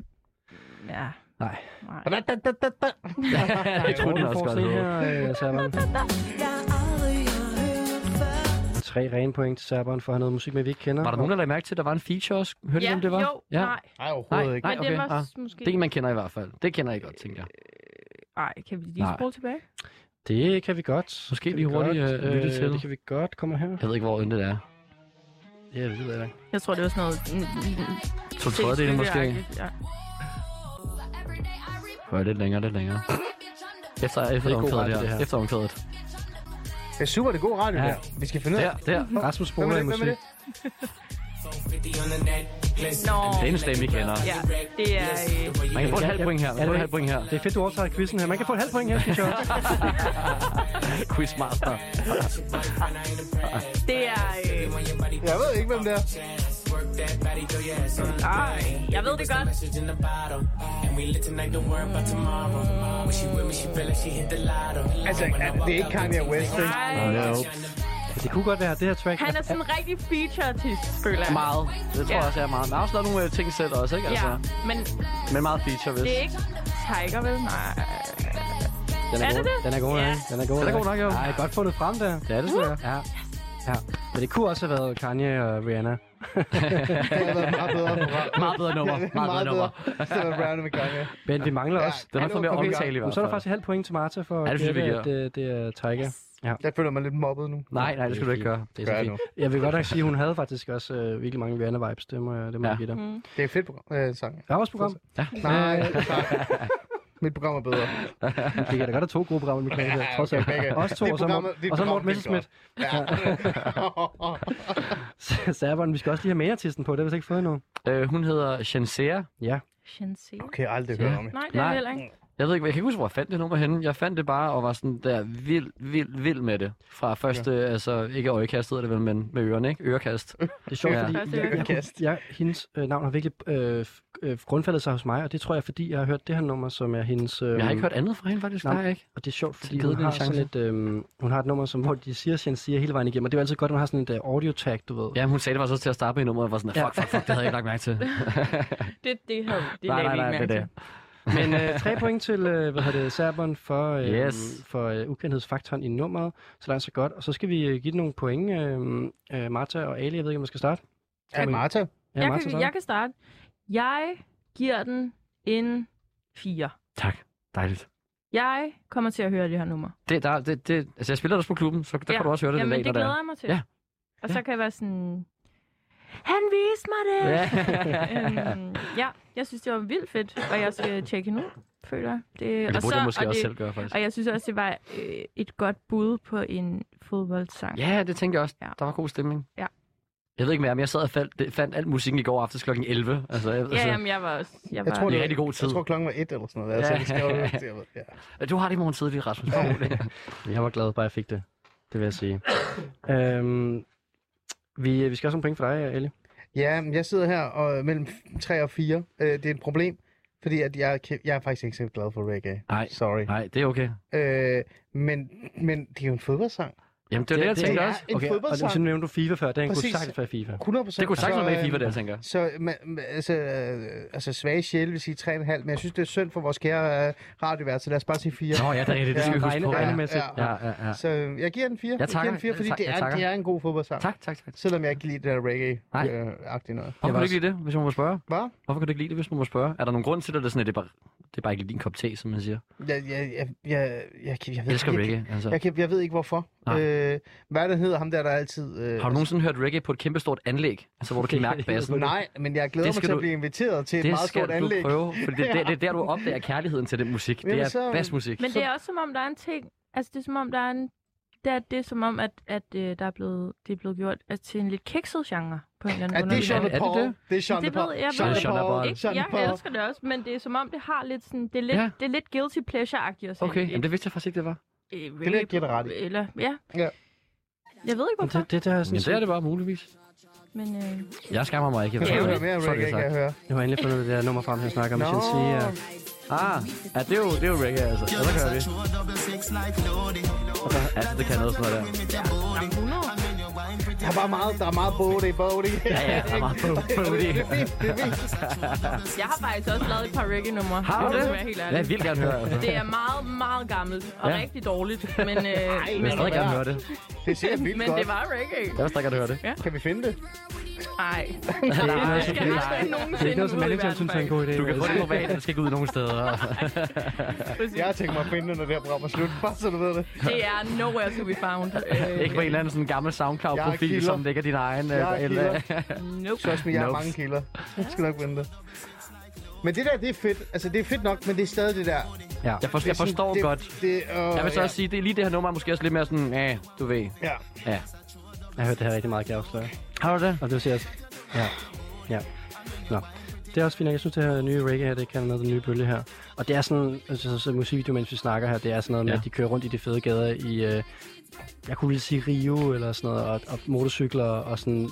ja. Nej. Nej. Jeg tror, den også godt hedder. hedder. Serberen. Tre rene point til Serberen for at have noget musik med, vi ikke kender. Var der nogen, der lagde mærke til, at der var en feature også? Hørte I, Ja, hvem det var? jo, nej. Nej, Nej, overhovedet ikke. nej, Men det okay. var Ah. måske... Det en, man kender i hvert fald. Det kender I godt, tænker jeg. Nej, kan vi lige Nej. spole tilbage? Det kan vi godt. Måske Kan lige vi hurtigt, godt, øh, lytte til. Det kan vi godt. Kommer her. Jeg ved ikke, hvor end det er. Ja, det ved jeg ikke. Jeg tror, det var sådan noget... To tredjedele måske. Ja. Høj, lidt længere, lidt længere. Efter, efter Det er god omkvædet radio, her. det her. Efter omkvædet. Det er super, det er god radio Ja. der. Vi skal finde ud Der, af. der. Rasmus Hvem er spoler i det? Hvem er musik. det? Nå, Det er en stemme, vi kender. ja, det er... Øh, Man kan få et halvt point her. Man Ja, kan få det- et halvt point her. Det er fedt, du overtager quizzen her. Man kan få et halvt point her, synes jeg også. Quizmaster. det er... Øh, Jeg ved ikke, hvem det er. ej, jeg ved det godt. Altså, er- det er ikke Kanye West, ikke? Nej, Det kunne godt være, at det her track han er sådan en rigtig feature-artist, føler jeg. Meget. Det tror Ja. jeg også, jeg er meget. Men jeg har også lavet nogle øh, ting selv også, ikke? Altså, Ja, men men meget feature, hvis. det er ikke Tiger, vel? Nej. Den Er er, det god. det? Den er god, Ja. ja. Den er god, Den er god nok, jo. Ej, godt fundet frem der. Det er det, sgu da. Ja. ja. Men det kunne også have været Kanye og Rihanna. Det har været meget bedre program. Meget bedre nummer, meget bedre nummer. Det har været Brown McConaughey. Men vi mangler også. den har fået mere omtale i hvert Men Så er der fald. faktisk et halvt point til Martha for Ja, det at synes jeg, gætte, vi at det, det er Tiger. Ja. Jeg føler mig lidt mobbet nu. Nej, nej, det skal du ikke gøre. Det Gør er jeg så fint. Jeg vil godt nok sige, at hun havde faktisk også øh, virkelig mange Rihanna-vibes. Det må, jeg- det må Ja. jeg give dig. Mm. Det er et fedt program, øh, sang. Der er også program. Ja. Nej, tak. Mit program er bedre. Vi kan da godt have to gode programmer, vi kan ja, trods alt. okay, okay. Også to, Dit og så, program er- Morten, dit og så program Morten er vildt Messerschmidt. Serberen, vi skal også lige have magertisten på, det har vi slet ikke fået endnu. Øh, hun hedder Shansera. Ja, Shensi. okay, jeg har aldrig hørt om hende. Nej, det er Nej. det heller ikke. Jeg ved ikke, jeg kan ikke huske, hvor jeg fandt det nummer henne. Jeg fandt det bare og var sådan der vild, vild, vild med det. Fra første, ja. altså ikke øjekast hedder det vel, men med ørerne, ikke? Ørekast. Øhm. det er sjovt, Ja. fordi Første jeg, jeg, jeg, ørekast. jeg, hendes øh, navn har virkelig øh, f- øh, grundfaldet sig hos mig, og det tror jeg, fordi jeg har hørt det her nummer, som er hendes... Øh, Jeg har ikke hørt andet fra hende faktisk. Nej. Nej, ikke? Og det er sjovt, fordi Givet hun den en har, sådan et, chance. øh, hun har et nummer, som, hvor de siger, Sjens siger hele vejen igennem, og det er jo altid godt, at hun har sådan et uh, audio tag, du ved. Ja, hun sagde det faktisk også til at starte med i nummeret, og jeg var sådan, fuck, fuck, fuck, det havde jeg ikke lagt mærke til. Det, det, havde, det nej, lagde nej, vi nej, ikke det er mærke det. til. Men øh, tre point til, øh, hvad hedder det, Serberen for, øh, Yes. for øh, ukendthedsfaktoren i nummeret. Så langt så godt. Og så skal vi øh, give den nogle point. Øh, øh, Martha og Ali, jeg ved ikke, om man skal starte. Er det Martha? Jeg, Martha kan, starter. jeg kan starte. Jeg giver den en 4. Tak. Dejligt. Jeg kommer til at høre det her nummer. Det, der, det, det, altså, jeg spiller det også på klubben, så der ja. kan du også høre det Jamen, den dag, det når glæder jeg mig til. Ja. Og så kan jeg være sådan... Han viste mig det! Ja. øhm, ja, jeg synes, det var vildt fedt, og jeg skal tjekke hende ud, føler jeg. Men det og burde så, jeg måske og også det, selv gøre, faktisk. Og jeg synes også, det var øh, et godt bud på en fodboldsang. Ja, det tænkte jeg også. Ja. Der var god stemning. Ja. Jeg ved ikke mere, men jeg sad og fandt, det- fandt alt musikken i går aftes kl. 11. Altså, jeg, ja altså, jamen, jeg var også... Jeg var, Jeg tror, I det var- rigtig god tid. Jeg tror, klokken var et eller sådan noget. Ja. Så Ja. det skal jo, det, var- ja. Du har det i morgen tidligt, Rasmus. Jeg var glad, bare jeg fik det. Det vil jeg sige. øhm, vi, vi skal også have nogle point for dig, Ali. Ja, men jeg sidder her og øh, mellem 3 og 4. Øh, det er et problem, fordi at jeg, kan- jeg er faktisk ikke så glad for reggae. Nej. Sorry. Nej, det er okay. Øh, men, men det er jo en fodboldsang. Jamen, det er det, jeg tænkte er også. en og fodboldsang. så nævnte du FIFA før. Den kunne Præcis. sagtens være FIFA. 100 procent. Det kunne sagtens være med i FIFA, der, tænker jeg. Så man, man- altså, øh, altså svage sjæle vil sige 3,5, men jeg synes, det er synd for vores kære øh, radiovært, så lad os bare sige 4. Nå ja, det er rigtigt. Det skal vi huske på. regne- Ja, regnemæssigt. ja. ja, ja. ja. Så øh, jeg giver den 4. Jeg takker. den 4, fordi Jeg det er, takker. det er en god fodboldsang. Tak, tak, tak. Selvom jeg ikke kan lide det der Nej. reggae-agtige noget. Hvorfor kan var du ikke lide det, hvis man må spørge? Hvad? Hvorfor kan du ikke lide det, hvis man må spørge? Er der nogen grund til det, eller sådan, at det er bare, det er bare ikke din kop te, som man siger? Jeg, jeg, jeg, jeg, jeg, jeg, jeg Jeg ved elsker ikke. reggae, altså. Jeg, kan, jeg ved ikke hvorfor. Nej. Øh, hvad det hedder ham der, der altid... Øh, Har du nogensinde hørt reggae på et kæmpestort anlæg? Altså, hvor du kan mærke bassen? Nej, men jeg glæder Det mig skal til at du- blive inviteret til et Det meget skal stort du anlæg. prøve, for det, det, det, er der, du opdager kærligheden til den musik. Det Jamen, er så- bassmusik. Men det er også som om, der er en ting... Altså, det er som om, der er en... Det er, det er som om, at, at øh, der er blevet, det er blevet gjort altså, til en lidt kikset genre på en eller anden Er det underlig Sean Er det- er det Paul? det? Det er Sean Det Paul. ved jeg, Sean men- Sean Paul. Paul. Ikke, Sean jeg Paul. elsker det også, men det er som om, det har lidt sådan, det er lidt, Ja. ja. det er lidt guilty pleasure-agtigt at se. Okay, jamen, det vidste jeg faktisk ikke, det var. det vil jeg give dig ret i. Eller, ja. Ja. Jeg ved ikke, Men hvorfor, det, det der er sådan Men det er det bare muligvis. men øh, Jeg skammer mig ikke. Jeg Jeg forstår skal høre det. mere Så er det reggae, kan jeg høre. Nu har jeg endelig fundet det der nummer frem, jeg snakker om. No. Jeg sige, uh, sagt. Ah, ja, det er jo, det er jo reggae, altså. Ja, der kører vi. Altså, det kan noget sådan noget der. Der er bare meget, der er meget body, body. Ja, ja, der er meget på, på det. jeg har faktisk også lavet et par reggae-numre. Har du hvis det? jeg skal være Helt Ja, ærlig. jeg vil gerne høre, altså. Det er meget, meget gammelt og Ja. ja. rigtig dårligt, men, øh, Jeg men, vil stadig gerne høre det. Det ser vildt men godt. det var reggae. Jeg vil stadig gerne høre det. Kan vi finde det? Nej, Nej, det skal aldrig det er ikke nogensinde noget, som ud i manageren verden, synes er en faktisk. god idé. Du kan få det på banen, det skal ikke ud nogen steder. Jeg har tænkt mig at finde det, når det her program er slut. Bare så du ved det. Det er nowhere to be found. Øh, Ikke på en eller anden sådan gammel Jeg SoundCloud-profil, kilder. som dækker din egen... øh, Jeg er eller- kilder. Nope. Trust me, jeg har Nope. mange kilder. Jeg skal nok vente. Men det der, det er fedt. Altså, det er fedt nok, men det er stadig det der. Det Jeg forstår, er sådan- jeg forstår det, godt. Det, øh, Jeg vil så ja. også sige, det er lige det her nummer er måske også lidt mere sådan, ja, du Ja. ved. Ja. Jeg har hørt det her rigtig meget, kan jeg afsløre. Har du det? Og det vil sige, at... Ja. Ja. Nå. Det er også fint, nok. jeg synes, det her nye reggae her, det kan noget, den nye bølge her. Og det er sådan, altså så, så musikvideo, mens vi snakker her, det er sådan noget med, Ja. at de kører rundt i de fede gader i, øh, jeg kunne lige sige Rio eller sådan noget, og, og motorcykler og sådan,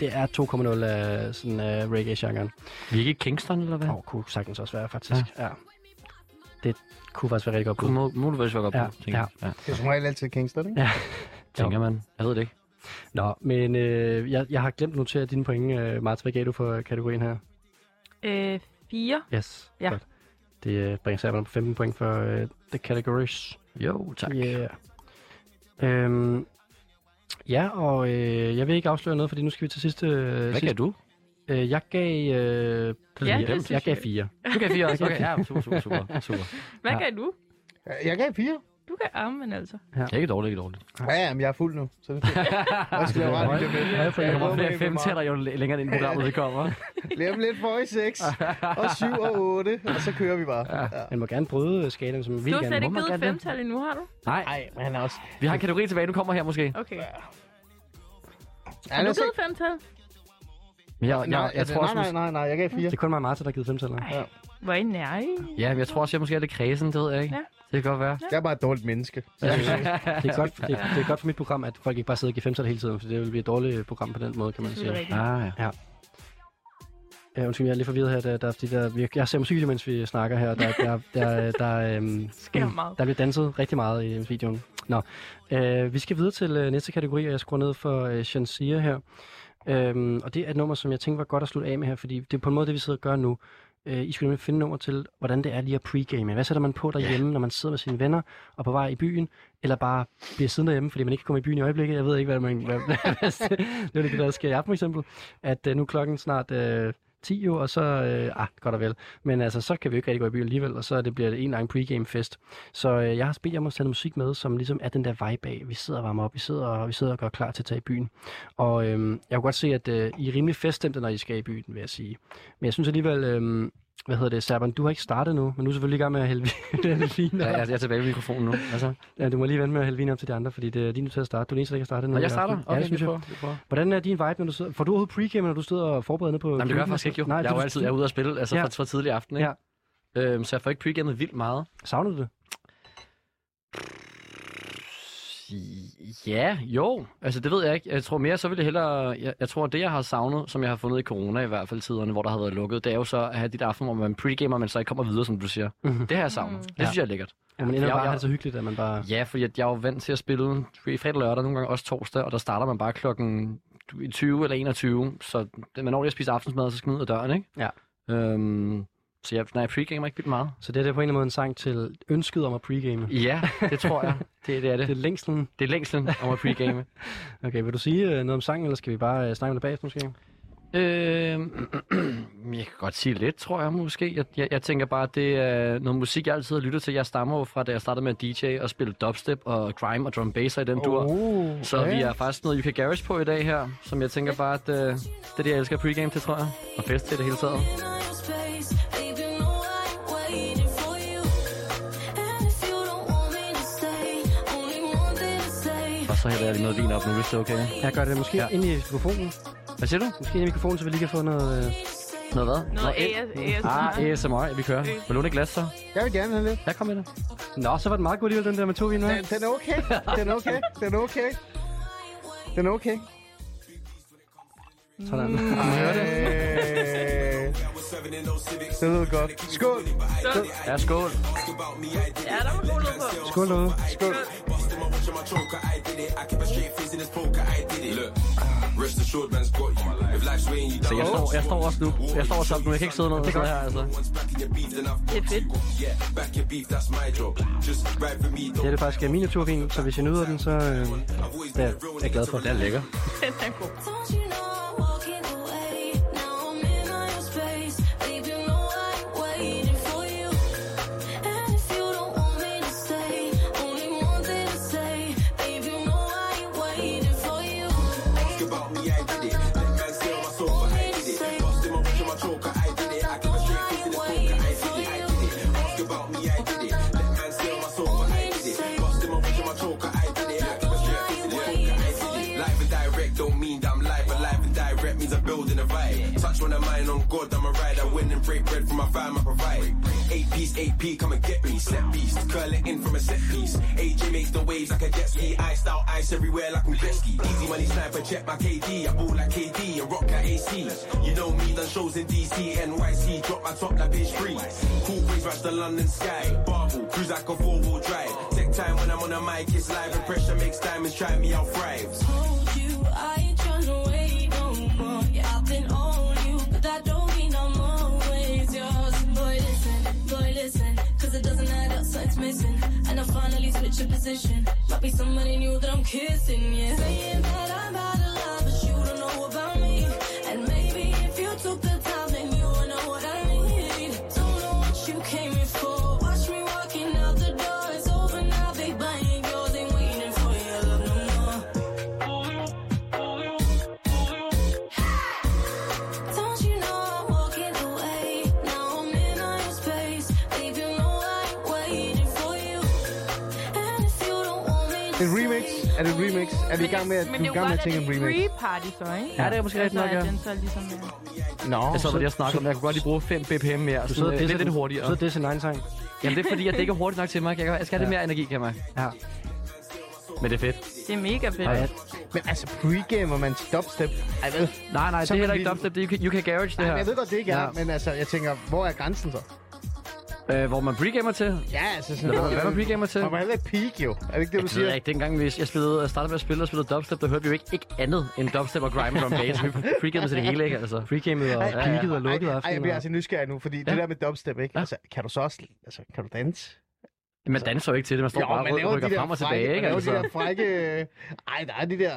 det er 2,0 af sådan uh, reggae-genren. Vi er ikke i Kingston, eller hvad? Åh, oh, kunne sagtens også være, faktisk. Ja. ja. Det kunne faktisk være rigtig godt bud. Kunne må, må du være godt Ja, på, tænker, jeg. ja. Det er som regel altid Kingston, ikke? tænker man. Jeg ved det ikke. Nå, men øh, jeg, jeg har glemt at notere dine point, øh, Martin. Hvad gav du for kategorien her? Øh, fire. Yes, Ja. godt. Det øh, bringer sig på 15 point for øh, the categories. Jo, tak. Yeah. Øhm, Ja, og øh, jeg vil ikke afsløre noget, fordi nu skal vi til sidste... Øh, Hvad gav du? Øh, jeg gav... Øh, Ja, det jeg, synes jeg gav jeg. fire. Du gav fire også? Jeg gav Okay, ja, fire. super, super, super. super. Hvad Ja. ja. gav du? Jeg gav fire. Du gav armen altså. Ja. Ikke dårligt, ikke dårligt. Ja, ja, men jeg er fuld nu. Så det er fint. Jeg skal lave ret i det med. Der kommer flere femtæller, jo læ- længere ind i programmet vi kommer. Læv lidt for i 6, og 7 og 8, og så kører vi bare. Ja. Man må gerne bryde øh, skalaen, som vi Du har gerne slet må. ikke Man givet gerne det. femtal endnu, har du? Nej. Nej, men han er også... Vi har en kategori tilbage, du kommer her måske. Okay. Ja, Har lad du os se. givet femtal? Men jeg, jeg, Nej, jeg, jeg tror altså, nej, også, nej, nej, nej, jeg gav fire. Det er kun mig og Martha, der har givet femtal. Ja. Hvor er I nær i? Ja, men jeg tror også, jeg måske er lidt kredsen, det ved jeg ikke. Ja. Det kan godt være. Jeg er bare et dårligt menneske. Det er, godt, det, er- det er godt for mit program, at folk ikke bare sidder og giver femtal hele tiden, for det vil blive et dårligt program på den måde, kan man sige. Selvfølgelig Ah, ja. Ja. Ja, undskyld, jeg er lidt forvirret her. Der, der, er de der, vi- jeg ser musik, mens vi snakker her. Der, der, der, der, øhm, Sker meget. der bliver danset rigtig meget i videoen. Nå, øh, vi skal videre til øh, næste kategori, og jeg skruer ned for øh, Shansia her. Øhm, og det er et nummer, som jeg tænkte var godt at slutte af med her, fordi det er på en måde det, vi sidder og gør nu. Øh, I skal nemlig finde nummer til, hvordan det er lige at pregame. Hvad sætter man på derhjemme, yeah. når man sidder med sine venner og på vej i byen, eller bare bliver siddende derhjemme, fordi man ikke kan komme i byen i øjeblikket. Jeg ved ikke, hvad man... Hvad, hvad, det er lidt det, der sker i aften for eksempel. At øh, nu er klokken snart øh, 10 jo, og så... Øh, ah, godt og vel. Men altså, så kan vi jo ikke rigtig gå i byen alligevel, og så er det bliver det en lang pregame-fest. Så øh, jeg har bedt jer om at sende musik med, som ligesom er den der vibe af. Vi sidder og varmer op, vi sidder og, vi sidder og gør klar til at tage i byen. Og øh, jeg kan godt se, at øh, I er rimelig feststemte, når I skal i byen, vil jeg sige. Men jeg synes alligevel... Øh, hvad hedder det, Serban, du har ikke startet nu, men du er selvfølgelig i gang med at hælde vin Ja, jeg, jeg er tilbage ved mikrofonen nu. Altså. Ja, du må lige vente med at hælde vin op til de andre, fordi det er lige nu til at starte. Du er den eneste, der ikke har startet nu. Nå, i jeg starter? aften. Okay, ja, det synes vi jeg. prøver. Vi prøver. Hvordan er din vibe, når du sidder... Får du overhovedet pregame, når du sidder og forbereder ned på... Jamen, det gør jeg faktisk ikke jo. Nej, jeg er jo du- altid jeg er ude og spille, altså Ja. fra, fra tidlig aften, ikke? Ja. Øhm, så jeg får ikke pregamet vildt meget. Savner du det? Ja, jo. Altså, det ved jeg ikke. Jeg tror mere, så vil det hellere... Jeg, jeg tror, det, jeg har savnet, som jeg har fundet i corona i hvert fald tiderne, hvor der har været lukket, det er jo så at have dit aften, hvor man pregamer, men så ikke kommer videre, som du siger. Mhm. Det har jeg savnet. Det Ja. synes jeg er lækkert. Ja, man ender Jeg- bare at jeg- have det så hyggeligt, at man bare... Ja, fordi at jeg er jo vant til at spille i fredag og lørdag, nogle gange også torsdag, og der starter man bare klokken 20 eller 21, så det- man når lige at spise aftensmad, og så skal man ud af døren, ikke? Ja. Øhm, så jeg, nej, jeg pregamer ikke vildt meget. Så det her, det er på en eller anden måde en sang til ønsket om at pregame. Ja, det tror jeg. Det, det er det. Det er længslen. Det er længslen om at pregame. Okay, vil du sige øh, noget om sangen, eller skal vi bare øh, snakke om det bagefter måske? øhm, jeg kan godt sige lidt, tror jeg måske. Jeg, jeg, jeg tænker bare, at det er noget musik, jeg altid har lyttet til. Jeg stammer jo fra, da jeg startede med at DJ og spille dubstep og grime og drum bass og i den dur. Oh, Så vi har faktisk noget UK Garage på i dag her, som jeg tænker bare, at øh, det er det, jeg elsker pregame til, tror jeg. Og fest til det hele taget. Og så hælder jeg lige noget vin op nu, hvis det er okay. Jeg gør det måske ja. ind i mikrofonen. Hvad siger du? Måske ind i mikrofonen, så vi lige kan få noget... Øh... Noget hvad? Noget ind. AS, AS, Ah, ASMR. Ja, vi kører. Vil du ikke glas så? Jeg vil gerne have lidt. Ja, kom med det. Nå, så var det meget godt alligevel, den der med to vin, hva'? Den, den er okay. Den er okay. Den er okay. Den er okay. Sådan. Mm. Øh, det lyder godt. Skål. Ja, skål. Ja, der var god lyd på. Skål derude. Skål. Busting my watch on my choker, I did it. I keep a straight face in this poker, I did it. Look, rest assured, man's got you. If life's weighing you Så jeg down, står, jeg står også nu. Jeg står også op nu. Jeg kan ikke sidde noget sådan her, altså. once back in your beef, then I've Det er fedt. yeah, back your beef, that's my job. Just ride for me, Det don't er det faktisk øh, min naturvin, så hvis jeg nyder den, så øh, det er jeg glad for. Den er lækker. Den er god. ask about me, I did it. Let man stay on my sofa, I did it. Busting my watch on my choker, I did it. I keep a straight face in this poker, I did it. I did it. Ask about me, I did it. Let man stay on my sofa, I did it. Busting my watch on my choker, I did it. I keep a straight face in this poker, I did it. Live and direct don't mean that I'm live, but live and direct means I'm building a vibe. Touch one of mine on God, I'm a ride. I win and break bread from my fam, I provide. Eight piece, eight P, come and get me. Set piece, curl it in from a set piece. AJ makes the waves like a jet ski. Iced out ice everywhere like Gretzky. Easy money sniper, check my KD. I ball like KD and rock like AC. You know me, done shows in DC, NYC. Drop my top like page three. Cool breeze, rush the London sky. Barble, cruise like a four wheel drive. Take time when I'm on a mic, it's live. And pressure makes diamonds, try me, I'll thrive. Boy, listen, boy, listen, 'cause it doesn't add up, something's missing. And I finally switched. switch your position. Might be somebody new that I'm kissing, yeah. Saying that I'm out of love, but you don't know about me. And maybe if you took the time, then you would know what I need. Don't know what you came in for. Watch me walking out the door. It's over now, big bang ain't yours, ain't waiting for your love no more. Don't you know I'm walking away? Now I'm in all your space. Leave you know I ain't waiting for you. And if you don't want me, En remix? Er det en remix? Er vi i gang med at, Men du det er i gang med er jo at godt, at det tænke er en en remix? re-party så, ikke? Ja, det er måske Altså, rigtigt nok, ja. at den så ligesom er... Nå, jeg så, hvad jeg snakker om. Jeg kunne godt lige bruge 5 bpm Du mere. sidder Du sidder og lidt, disser lidt den. hurtigere. Du sidder og disser en egen sang. Jamen, det er fordi, at det ikke er hurtigt nok til mig. kan Jeg jeg skal have lidt mere energi, kan jeg mærke. Ja. Men det er fedt. Det er mega fedt. Ja. Men altså, pre-gamer man til dubstep. Ej, vel? Nej, nej, det Så er man heller ikke lige- dubstep. Det er UK, UK Garage, det Nej, her. men jeg ved godt, det ikke er, men altså, jeg tænker, hvor er grænsen så? Øh, hvor man pregamer til? Ja, altså sådan Hvad- hvad var pregamer til? Man må heller ikke peak, jo. Er det ikke det, du Jeg siger? ved ikke, dengang vi, jeg spillede, startede med at spille og spillede dubstep, der hørte vi jo ikke, ikke andet end dubstep og grime drum bass. Vi pregamede til det hele, ikke? Altså. Pregamede Ej, ej, peakede ej, ej, Ej, jeg bliver altså nysgerrig nu, fordi ja. det der med dubstep, ikke? Altså, kan du så også... Altså, kan du danse? Man danser jo ikke til det, man står Jo, bare man og laver rykker de der frem og frække- tilbage, Man ikke? laver Altså. de der frække... Ej, der er de der,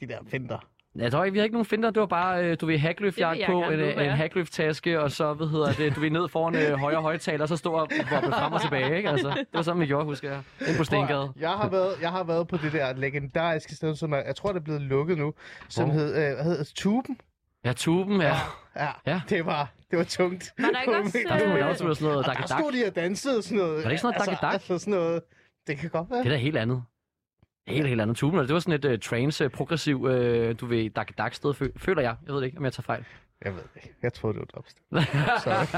de der finder. altså? Jeg tror ikke, vi har ikke nogen finder. Det var bare, øh, du ved, hackløftjagt Det vil på, jeg en, gerne vide, hvad en er. hackløfttaske, og så, hvad hedder det, du ved, ned foran øh, højre højtaler, og så stå og boppe frem og tilbage, ikke? Altså, det var sådan, vi gjorde, husker jeg. Ind på Stengade. Jeg har, været, jeg har været på det der legendariske sted, som er, jeg tror, det er blevet lukket nu, som Hvor? hed, øh, hvad hedder det? Tuben. Ja, tuben, ja. Ja, ja. det var, det var tungt. Var der ikke også, Der skulle man også være sådan noget Og der dakkedak. stod de og dansede sådan noget. Var det ikke sådan noget altså, dakkedak? altså sådan noget. Det kan godt være. Det er da helt andet. Helt, helt andet. Tuben, det var sådan et øh, trance, øh, progressiv, øh, du ved, dak dak sted, fø- føler jeg. Jeg ved det ikke, om jeg tager fejl. Jeg ved det ikke. Jeg troede, det var dubstep.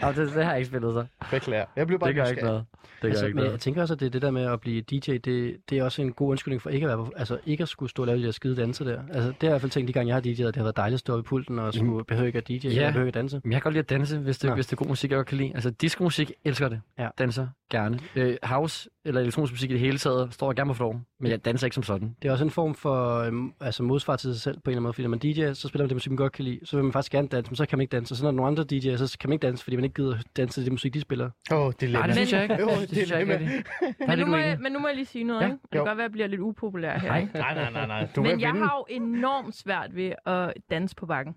Sorry. det, det har jeg ikke spillet så. Beklager. Jeg blev bare Det gør ikke nysgerrig. noget. Det gør altså, ikke men noget. jeg tænker også, at det er det der med at blive DJ, det, det er også en god undskyldning for ikke at, være, på- altså, ikke at skulle stå og lave de der skide danser der. Altså, det har jeg i hvert fald tænkt de gange, jeg har DJ'et, at det har været dejligt at stå oppe i pulten og skulle mm. behøve ikke at DJ, yeah. Ja. jeg behøver ikke at danse. Men jeg kan godt lide at danse, hvis det, Nå. hvis det er god musik, jeg godt kan lide. Altså diskomusik, elsker det. Ja. Danser gerne. Øh, house eller elektronisk musik i det hele taget, står jeg gerne på floor. Men jeg danser ikke som sådan. Det er også en form for øhm, altså modsvar til sig selv på en eller anden måde, fordi når man DJ'er, så spiller man det musik, man godt kan lide, så vil man faktisk gerne danse, men så kan man ikke danse, og så når der er nogle andre DJ'er, så kan man ikke danse, fordi man ikke gider danse til det musik, de spiller. Øh, Åh, oh, det er Nej, det synes jeg ikke. Jo, Det synes jeg ikke dilemma. rigtigt. Der er Men nu, lidt må uenig. jeg, men nu må jeg lige sige noget, Ja, ja. ikke? Det kan jo. godt være, at jeg bliver lidt upopulær her, Nej. ikke? Nej, nej, nej, nej. men jeg har jo enormt svært ved at danse på bakken.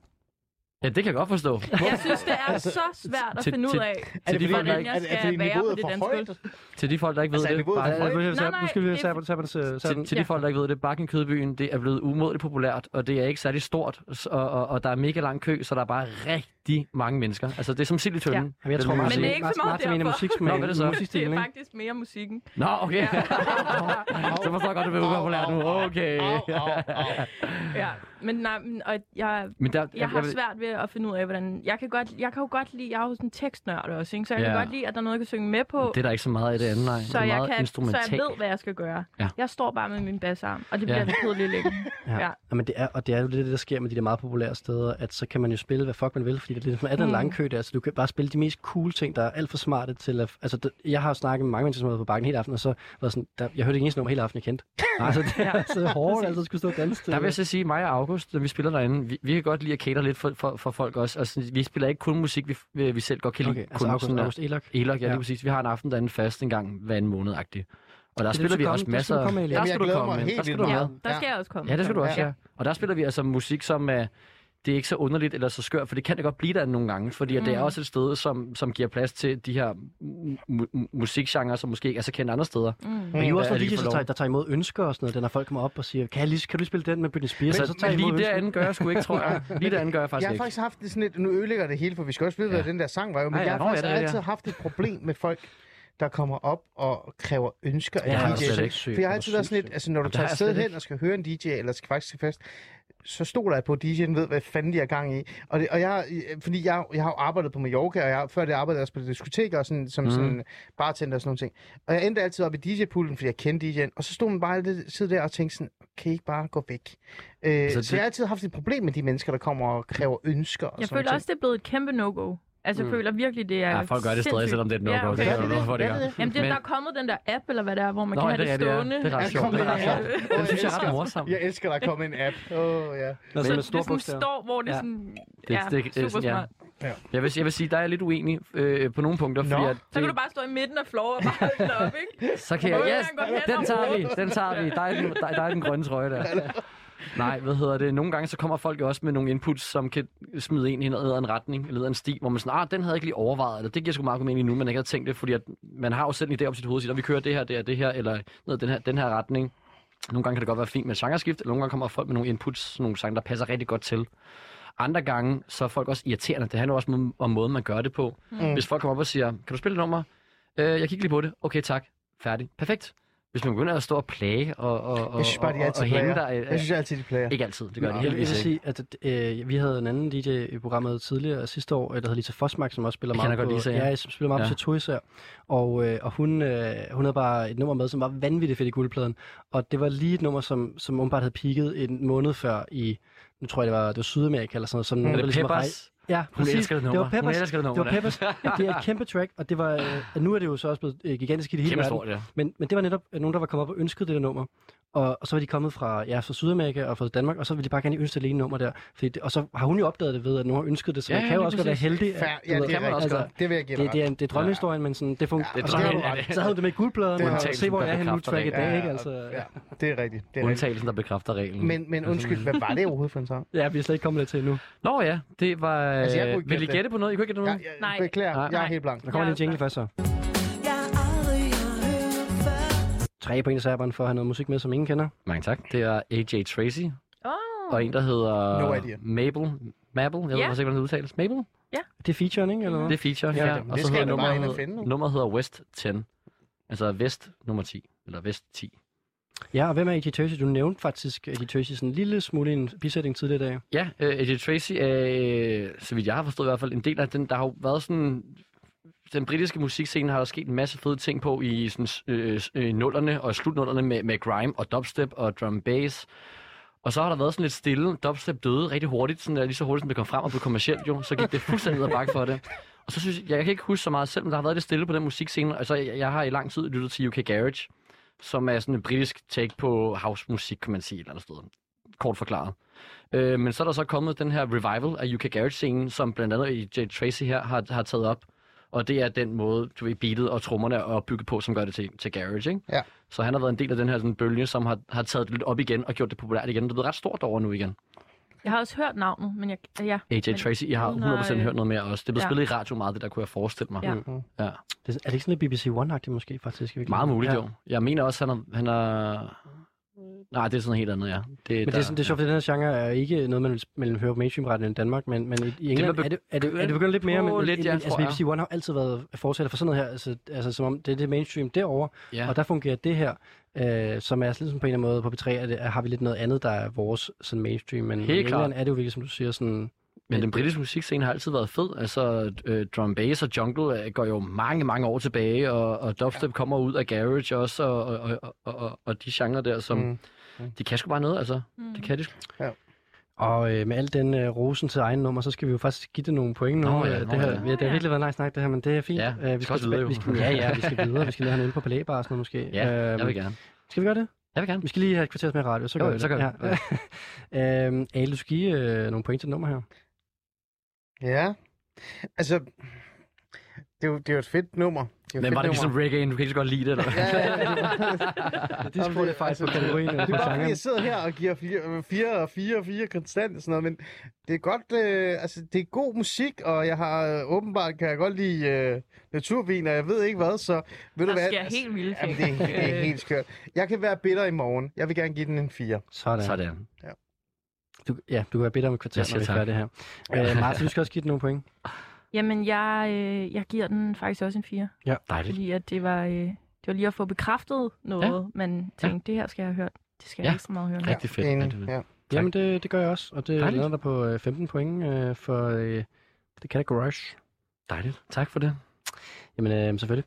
Ja, det kan jeg godt forstå. Jeg synes, det er så svært at Altså, Til- finde ud til- af, til de til, til folk, der hvordan ikke- jeg er det- er skal det være på niveauet det for danske højt? gulv. Til de folk, der ikke ved Altså, er det. niveauet for Bakken- højt? Nej, nej, Til- det- Nej, Nu skal vi lige det- se, hvordan- se, hvordan- se- sådan- Til, til de Ja. folk, der ikke ved det, Bakken Kødbyen, det er blevet umådeligt populært, og det er ikke særlig stort, s- og, og, og der er mega lang kø, så der er bare rigtig mange mennesker. Altså, det er som sild i tønden. Jamen, jeg tror, Den nye Martin- musik. Men det er ikke så Martin- meget Martin er en af derfor. musiksmagen- Nå, hvad er det så? musikstil, Det er ikke? faktisk mere musikken. Nå, okay. så forstår jeg godt, at det bliver upopulært nu. Okay. Ja, men nej, men, og jeg, Men der- jeg har jeg- svært ved at finde ud af, hvordan... Jeg kan, godt, jeg kan jo godt lide... Jeg er jo sådan en tekstnørd også, ikke? Så jeg kan Ja. godt lide, at der er noget, jeg kan synge med på. Det er der ikke så meget af det andet, nej. det så er jeg, meget kan, så instrumentalt. jeg ved, hvad jeg skal gøre. Ja. Jeg står bare med min bassarm, og det bliver Ja. ja. lidt kedeligt længe. Ja. ja. Ja. Jamen, det er, og det er jo lidt det, der sker med de der meget populære steder, at så kan man jo spille, hvad fuck man vil, fordi det er lidt er den Mm. lange kø der, så du kan bare spille de mest cool ting, der er alt for smarte til at... Altså, det, jeg har jo snakket med mange mennesker, som har været på bakken hele aften, og så var sådan, der, jeg hørte ikke eneste nummer hele aften, jeg kendte. altså, det er så hårdt, altså, at skulle stå og danse til. Der vil jeg så sige, mig og August, når vi spiller derinde, vi, vi kan godt lide at cater lidt for, for, for folk også. Altså, vi spiller ikke kun musik, vi, vi vi selv godt kan lide. Okay, altså kun August- sådan, August Elok. Elok, ja, Ja. lige præcis. Vi har en aften derinde fast en gang hver en måned -agtig. Og der Det spiller skal vi du også komme- der skal masser du komme, Elok. Der Jamen, jeg skal du glæder komme mig med. helt Der skal du vildt. med. Der skal jeg også komme. Ja, det skal du også, Ja. ja. Og der spiller vi altså musik, som er, det er ikke så underligt eller så skørt, for det kan det godt blive der nogle gange, fordi mm. det er Mm. også et sted, som, som giver plads til de her mu- mu- musikgenre, som måske ikke er så kendt andre steder. Mm. Men Men I er jo også At nogle de får DJ's, der lov. tager, der tager imod ønsker og sådan noget, når folk kommer op og siger, kan, jeg lige, kan du spille den med Britney Spears? og så tager I men imod lige ønsket. derinde gør jeg sgu ikke, tror jeg. Lige derinde gør jeg faktisk jeg har ikke. faktisk haft det sådan et, nu ødelægger det hele, for vi skal også vide, hvad Ja. den der sang var jo, men Ej, jeg har nå, ja, faktisk det er det, altid ja. haft et problem med folk, der kommer op og kræver ønsker af Ja, det er DJ'en. slet ikke For sygt. jeg har Det er altid været sådan lidt, sindssygt. altså når du Jamen, det har tager jeg sted slet hen ikke. og skal høre en DJ, eller skal faktisk til fest, så stoler jeg på, at DJ'en ved, hvad fanden de har gang i. Og, det, og jeg, fordi jeg, jeg har jo arbejdet på Mallorca, og jeg, før det arbejdede jeg også på diskoteker, og sådan, som Mm. mm. sådan bartender og sådan nogle ting. Og jeg endte altid op i DJ-pulten, fordi jeg kendte DJ'en, og så stod man bare lidt sidde der og tænkte sådan, kan I ikke bare gå væk? Øh, så Altså, det- jeg har altid haft et problem med de mennesker, der kommer og kræver ønsker og Jeg sådan føler nogle også, det er blevet et kæmpe no-go. Altså, jeg Mm. føler virkelig, det er Ja, folk gør det stadig, sindssygt. selvom det er et no-go. Ja, okay. Det er jo noget for, det Ja, gør. Jamen, det, Men- der er kommet den der app, eller hvad det er, hvor man Nå, kan ja, have det, det er det, ja. stående. Det er ret Altså, sjovt. Det er ret sjovt. Åh, Den synes jeg er ret elsker- morsom. Jeg elsker, der er kommet en app. Åh, ja. Men- Så med det store sådan bogstaver. står, hvor det Ja. sådan... Det, ja, det, det, super det, sådan, ja. smart. Ja. Jeg, vil, jeg vil sige, der er jeg lidt uenig øh, på nogle punkter, fordi at det, Så kan du bare stå i midten af floor og bare holde den op, ikke? Så kan Og jeg, hvor yes, kan han gå hen den og tager råbe? vi, den tager vi. Der er, den, der, der er den grønne trøje der. Nej, hvad hedder det? Nogle gange så kommer folk jo også med nogle inputs, som kan smide en hen ad en retning, eller ad en sti, hvor man sådan, ah, den havde jeg ikke lige overvejet, eller det giver sgu meget god mening nu, man ikke havde tænkt det, fordi at man har jo selv en idé op sit hoved, og siger, "Nå, vi kører det her, det her, det her, eller ned ad den her, den her retning. Nogle gange kan det godt være fint med et genreskift, eller nogle gange kommer folk med nogle inputs, sådan nogle sange, der passer rigtig godt til. Andre gange, så er folk også irriterende. Det handler også om, om måden, man gør det på. Mm. Mm. Hvis folk kommer op og siger, kan du spille et nummer? Øh, jeg kigger lige på det. Okay, tak. Færdig. Perfekt. Hvis man begynder at stå og plage og, og, og, Jeg synes bare, de og, og altid hænge plager. dig... øh, Jeg synes altid, de plager. Ikke altid, det gør de jeg vil heldigvis ikke. sige, at øh, vi havde en anden DJ i programmet tidligere sidste år, øh, der hedder Lisa Fosmark, som også spiller Jeg meget kender på, godt Lisa, ja. ja. som spiller meget ja. Ja. på Chateau især. Og, øh, og hun, øh, hun havde bare et nummer med, som var vanvittigt fedt i guldpladen. Og det var lige et nummer, som, som åbenbart havde peaket en måned før i, nu tror jeg, det var, det var Sydamerika eller sådan noget. Som Er var det ligesom at Mm. Peppers? rej- Ja, Hun præcis. elsker det nummer. Det var Hun Peppers. elsker det nummer, Det var Peppers. da. Det er et kæmpe track, og det var, øh, og nu er det jo så også blevet øh, gigantisk i det hele Kæmpe verden. stort, ja. Men, men det var netop øh, nogen, der var kommet op og ønskede det der nummer. Og, og så var de kommet fra, ja, fra Sydamerika og fra Danmark, og så ville de bare gerne ønske det alene nummer der. Fordi det, og så har hun jo opdaget det ved, at nogen har ønsket det, så Ja, man ja, kan jo lige også godt være præcis. heldig. at- Fair. du ved, Ja, altså, det kan man også godt. Det vil jeg give dig det, det, er, ret. en- det er drømmehistorien, men sådan, det fungerer. Ja, og det så, er havde, drømmen. så havde du med i guldpladen, Det og har så du. se, hvor jeg er henne nu Bekræfter track i det. dag, Ja, ikke? Altså, ja. Det er rigtigt. Det er rigtigt. Undtagelsen, Altså, der bekræfter reglen. Men, men undskyld, hvad var det overhovedet for en sang? ja, vi er slet ikke kommet lidt til endnu. Nå ja, det var... Altså, Altså, jeg kunne ikke vil I gætte det. gætte på noget? I kunne ikke gætte Mm, noget? Jeg, jeg beklager, jeg er helt blank. Der kommer lige en jingle først så. Tre point af serberen for at have noget musik med, som ingen kender. Mange tak. Det er AJ Tracy. Oh. Og en, der hedder... No idea. Mabel. Mabel? Jeg ved Ja. faktisk ikke, hvordan det udtales. Mabel? Det er featuren, ikke? Eller hvad? Det er feature, ja. Ja, Og det så skal hedder jeg da bare ind og nummeret, finde nu. nummeret hedder West 10. Altså Vest nummer 10. Eller Vest 10. Ja, og hvem er A.G. Tøsey? Du nævnte faktisk A.G. Tøsey sådan en lille smule i en bisætning tidligere i dag. Ja, øh, AJ Tracy er, øh, så vidt jeg har forstået i hvert fald, en del af den, der har jo været sådan... Den britiske musikscene har der sket en masse fede ting på i sådan, øh, øh, nullerne og slutnullerne med, med grime og dubstep og drum and bass. Og så har der været sådan lidt stille. Dubstep døde rigtig hurtigt, sådan der, lige så hurtigt, som det kom frem og blev kommercielt jo. Så gik det fuldstændig ned ad bakke for det. Og så synes jeg, jeg kan ikke huske så meget selv, men der har været lidt stille på den musikscene. Altså, jeg, jeg har i lang tid lyttet til UK Garage, som er sådan en britisk take på housemusik, kan man sige et eller andet sted. Kort forklaret. Øh, men så er der så kommet den her revival af UK Garage-scenen, som blandt andet i Jay Tracy her har, har taget op. Og det er den måde, du ved, beatet og trommerne er bygget på, som gør det til, til Garage, ikke? Ja. Så han har været en del af den her sådan, bølge, som har, har taget det lidt op igen og gjort det populært igen. Det er blevet ret stort over nu igen. Jeg har også hørt navnet, men jeg... Ja. AJ men, Tracy, I har uden 100% at, øh, hørt noget mere også. Det blev ja. ja. spillet i radio meget, det der kunne jeg forestille mig. Ja. Mm-hmm. ja. Det, er det ikke sådan lidt BBC One-agtigt måske faktisk? i virkeligheden? Meget muligt ja. ja. jo. Jeg mener også, han er... Han er... Nej, det er sådan noget helt andet, ja. Men det er, sådan, det er sjovt, for den her genre er ikke noget, man, vil- man vil høre på mainstream-retten i Danmark, men, men i- i England man er det, er det, er begyndt det begyndt lidt mere, på men lidt, men- ja, altså, tror jeg. BBC One har altid været fortsætter for sådan noget her, altså, altså som om det er det mainstream derovre, Ja. og der fungerer det her, øh, som er sådan på en eller anden måde på B3, er det, har vi lidt noget andet, der er vores sådan mainstream, men Helt i England klart. er det jo virkelig, som du siger, sådan... Men den britiske musikscene har altid været fed. Altså, øh, drum bass og jungle øh, går jo mange, mange år tilbage, og, og dubstep kommer ud af garage også, og, og, og, og, og, og de genrer der, som... Mm. Mm. De kan sgu bare noget, altså. Mm. Det kan de sgu. Og øh, med al den øh, rosen til egen nummer, så skal vi jo faktisk give det nogle point nu. Nå Nå, ja, ja, det, nå her, ja. ja. det har virkelig været nice snak, det her, men det er fint. Ja, Øh, vi skal også videre, jo. vi skal, ja, ja, vi skal videre. Vi skal lige have en øl på palæbar og sådan noget måske. Ja, jeg vil Øhm, gerne. Skal vi gøre det? Jeg vil gerne. Vi skal lige have et kvarters med radio, så Jo, gør jo, vi så det. gør vi det. Ja. øhm, Ale, du skal give øh, nogle point til det nummer her. Ja. Altså, det er jo, det er jo et fedt nummer. Det er jo et Men fedt var det ligesom nummer. reggae, du kan ikke så godt lide det, eller hvad? Det er sgu faktisk på kategorien. Det er bare, fordi jeg sidder her og giver 4 fire, og 4 og 4 konstant og sådan noget, men det er godt, øh, altså det er god musik, og jeg har øh, åbenbart, kan jeg godt lide øh, naturvin, og jeg ved ikke hvad, så ved Der du hvad? Altså, sker helt vilde Jamen, det, er, ting. det er helt skørt. Jeg kan være bitter i morgen. Jeg vil gerne give den en 4. Sådan. Sådan. Ja. Du, ja, du kan være bedt om et kvarter, Jeg når siger vi er tak. færdige her. Øh, Martin, du skal også give den nogle point. Jamen, jeg, øh, jeg giver den faktisk også en 4. Ja. Dejligt. Fordi at det var, øh, det var lige at få bekræftet noget, ja. man tænkte, ja. det her skal jeg have hørt. Det skal jeg Ja. ikke så meget høre. nu. Rigtig fedt. Enig, Rigtig fedt. Ja. Jamen, det, det gør jeg også, og det Dejligt. lander der på øh, 15 point øh, for øh, det kan garage. Dejligt. Tak for det. Jamen, øh, selvfølgelig.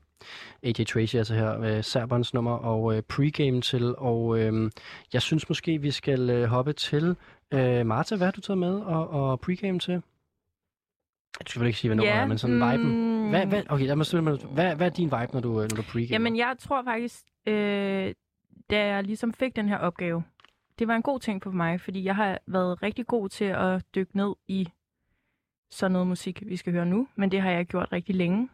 AJ Tracy altså her, øh, Serberens nummer og øh, pregame til, og øh, jeg synes måske, vi skal øh, hoppe til øh, Marta, hvad har du taget med og, og pregame til? Du skal vel ikke sige, hvad nummeret Ja, er, men sådan mm. viben. Hvad, hvad, okay, lad mig stille mig, hvad, hvad er din vibe, når du, øh, når du pre Jamen, jeg tror faktisk, øh, da jeg ligesom fik den her opgave, det var en god ting for mig, fordi jeg har været rigtig god til at dykke ned i sådan noget musik, vi skal høre nu, men det har jeg gjort rigtig længe,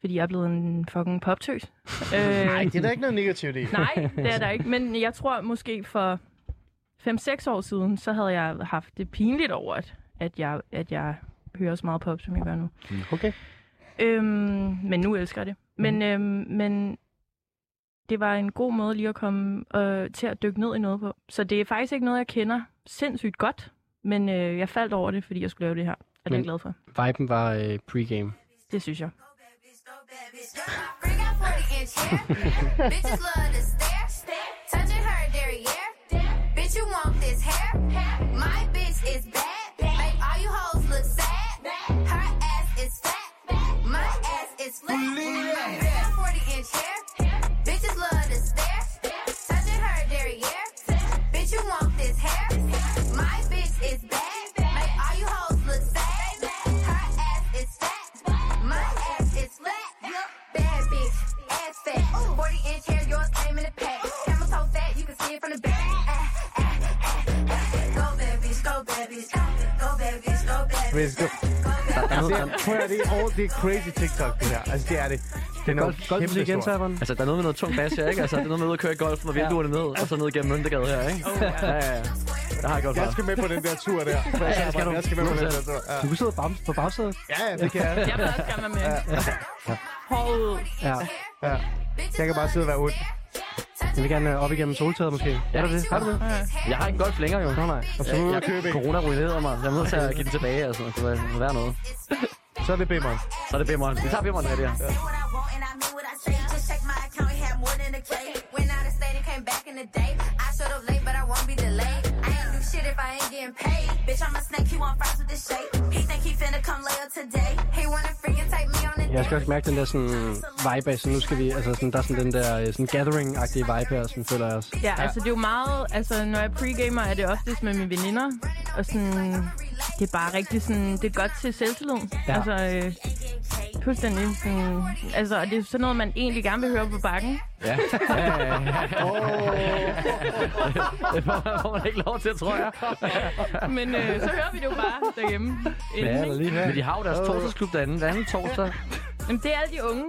fordi jeg er blevet en fucking poptøs. Øh, Nej, det er der ikke noget negativt i. Nej, det er der ikke. Men jeg tror måske for 5-6 år siden, så havde jeg haft det pinligt over, at, at, jeg, at jeg hører så meget pop, som jeg gør nu. Mm, Okay. Mm. Øhm, men nu elsker jeg det. Men, øhm, men det var en god måde lige at komme øh, til at dykke ned i noget på. Så det er faktisk ikke noget, jeg kender sindssygt godt, men øh, jeg faldt over det, fordi jeg skulle lave det her. Og det er jeg Men- glad for. Viben var øh, pregame. Det synes jeg. Bitches love to stare, stare, touching her derriere. Bitch, you want this hair? My bitch is bad. Make all you hoes look sad. Her ass is fat. My ass is flat. Big 40 inch hair. Bitches love to stare, touching her derriere. Bitch, you want this hair? My bitch is bad. Make all you hoes look sad. Her ass is fat. My ass is flat. Look bad, bitch. Ass fat. 40 inch hair, yours came in a pack. Camel toe fat, you can see it from the back. Ah, ah, ah, ah. Go, babies, go, babies. Go, go, babies, go, babies. Hvis du... Altså, prøv at det er all det er crazy TikTok, det her. Altså, det er det. Det er noget Golf- kæmpe golfmusik igen, stort. Sabern. Altså, der er noget med noget tung bas her, ikke? Altså, det er noget med at ud og køre i golf, når vinduerne ned, og så ned gennem Møntegade her, ikke? Oh, Ja, ja, ja. Der har jeg godt Jeg skal med på den der tur der. Ja, ja, skal du. Jeg skal med på den der tur. Ja. Du kunne sidde på bams- på bagsædet. Ja, ja, det kan jeg. Jeg vil også gerne være med. Håret ud. Ja. ja. Jeg kan bare sidde og være ond. Jeg vil gerne øh, op igennem soltaget måske. Er du det? Har du det? Jeg har ikke golf længere, jo. Nå, nej. Så må du Jeg, købe jeg, en. corona ruinerede mig. Jeg er nødt til at give den tilbage, altså. Det må være noget. Så er det bimmeren. Så er det bimmeren. Vi tager bimmeren, rigtig. Ja. and I mean what I say. Just check my account, it had more than a K. Went out of state and came back in the day. I showed up late, but I won't be delayed. I ain't do shit if I ain't getting paid. Bitch, I'm a snake, he want fries with the shake. He think he finna come later today. He wanna free and take me on a Jeg skal også mærke den der sådan, vibe af, så nu skal vi, altså sådan, der er sådan den der øh, sådan gathering-agtige vibe her, sådan føler jeg også. Ja, altså det er jo meget, altså når jeg pregamer, er det oftest med mine veninder, og sådan, det er bare rigtig sådan, det er godt til selvtilliden. Ja. Ja. Altså, øh, fuldstændig sådan, altså, og det er sådan noget, man egentlig gerne vil høre på bakken. Ja. ja, ja, ja. Det får man ikke lov til, tror jeg. Men øh, så hører vi det jo bare derhjemme. Ja, Oh. inden, ikke? Men de har jo deres torsdagsklub derinde. Hver anden torsdag. Jamen, det er alle de unge,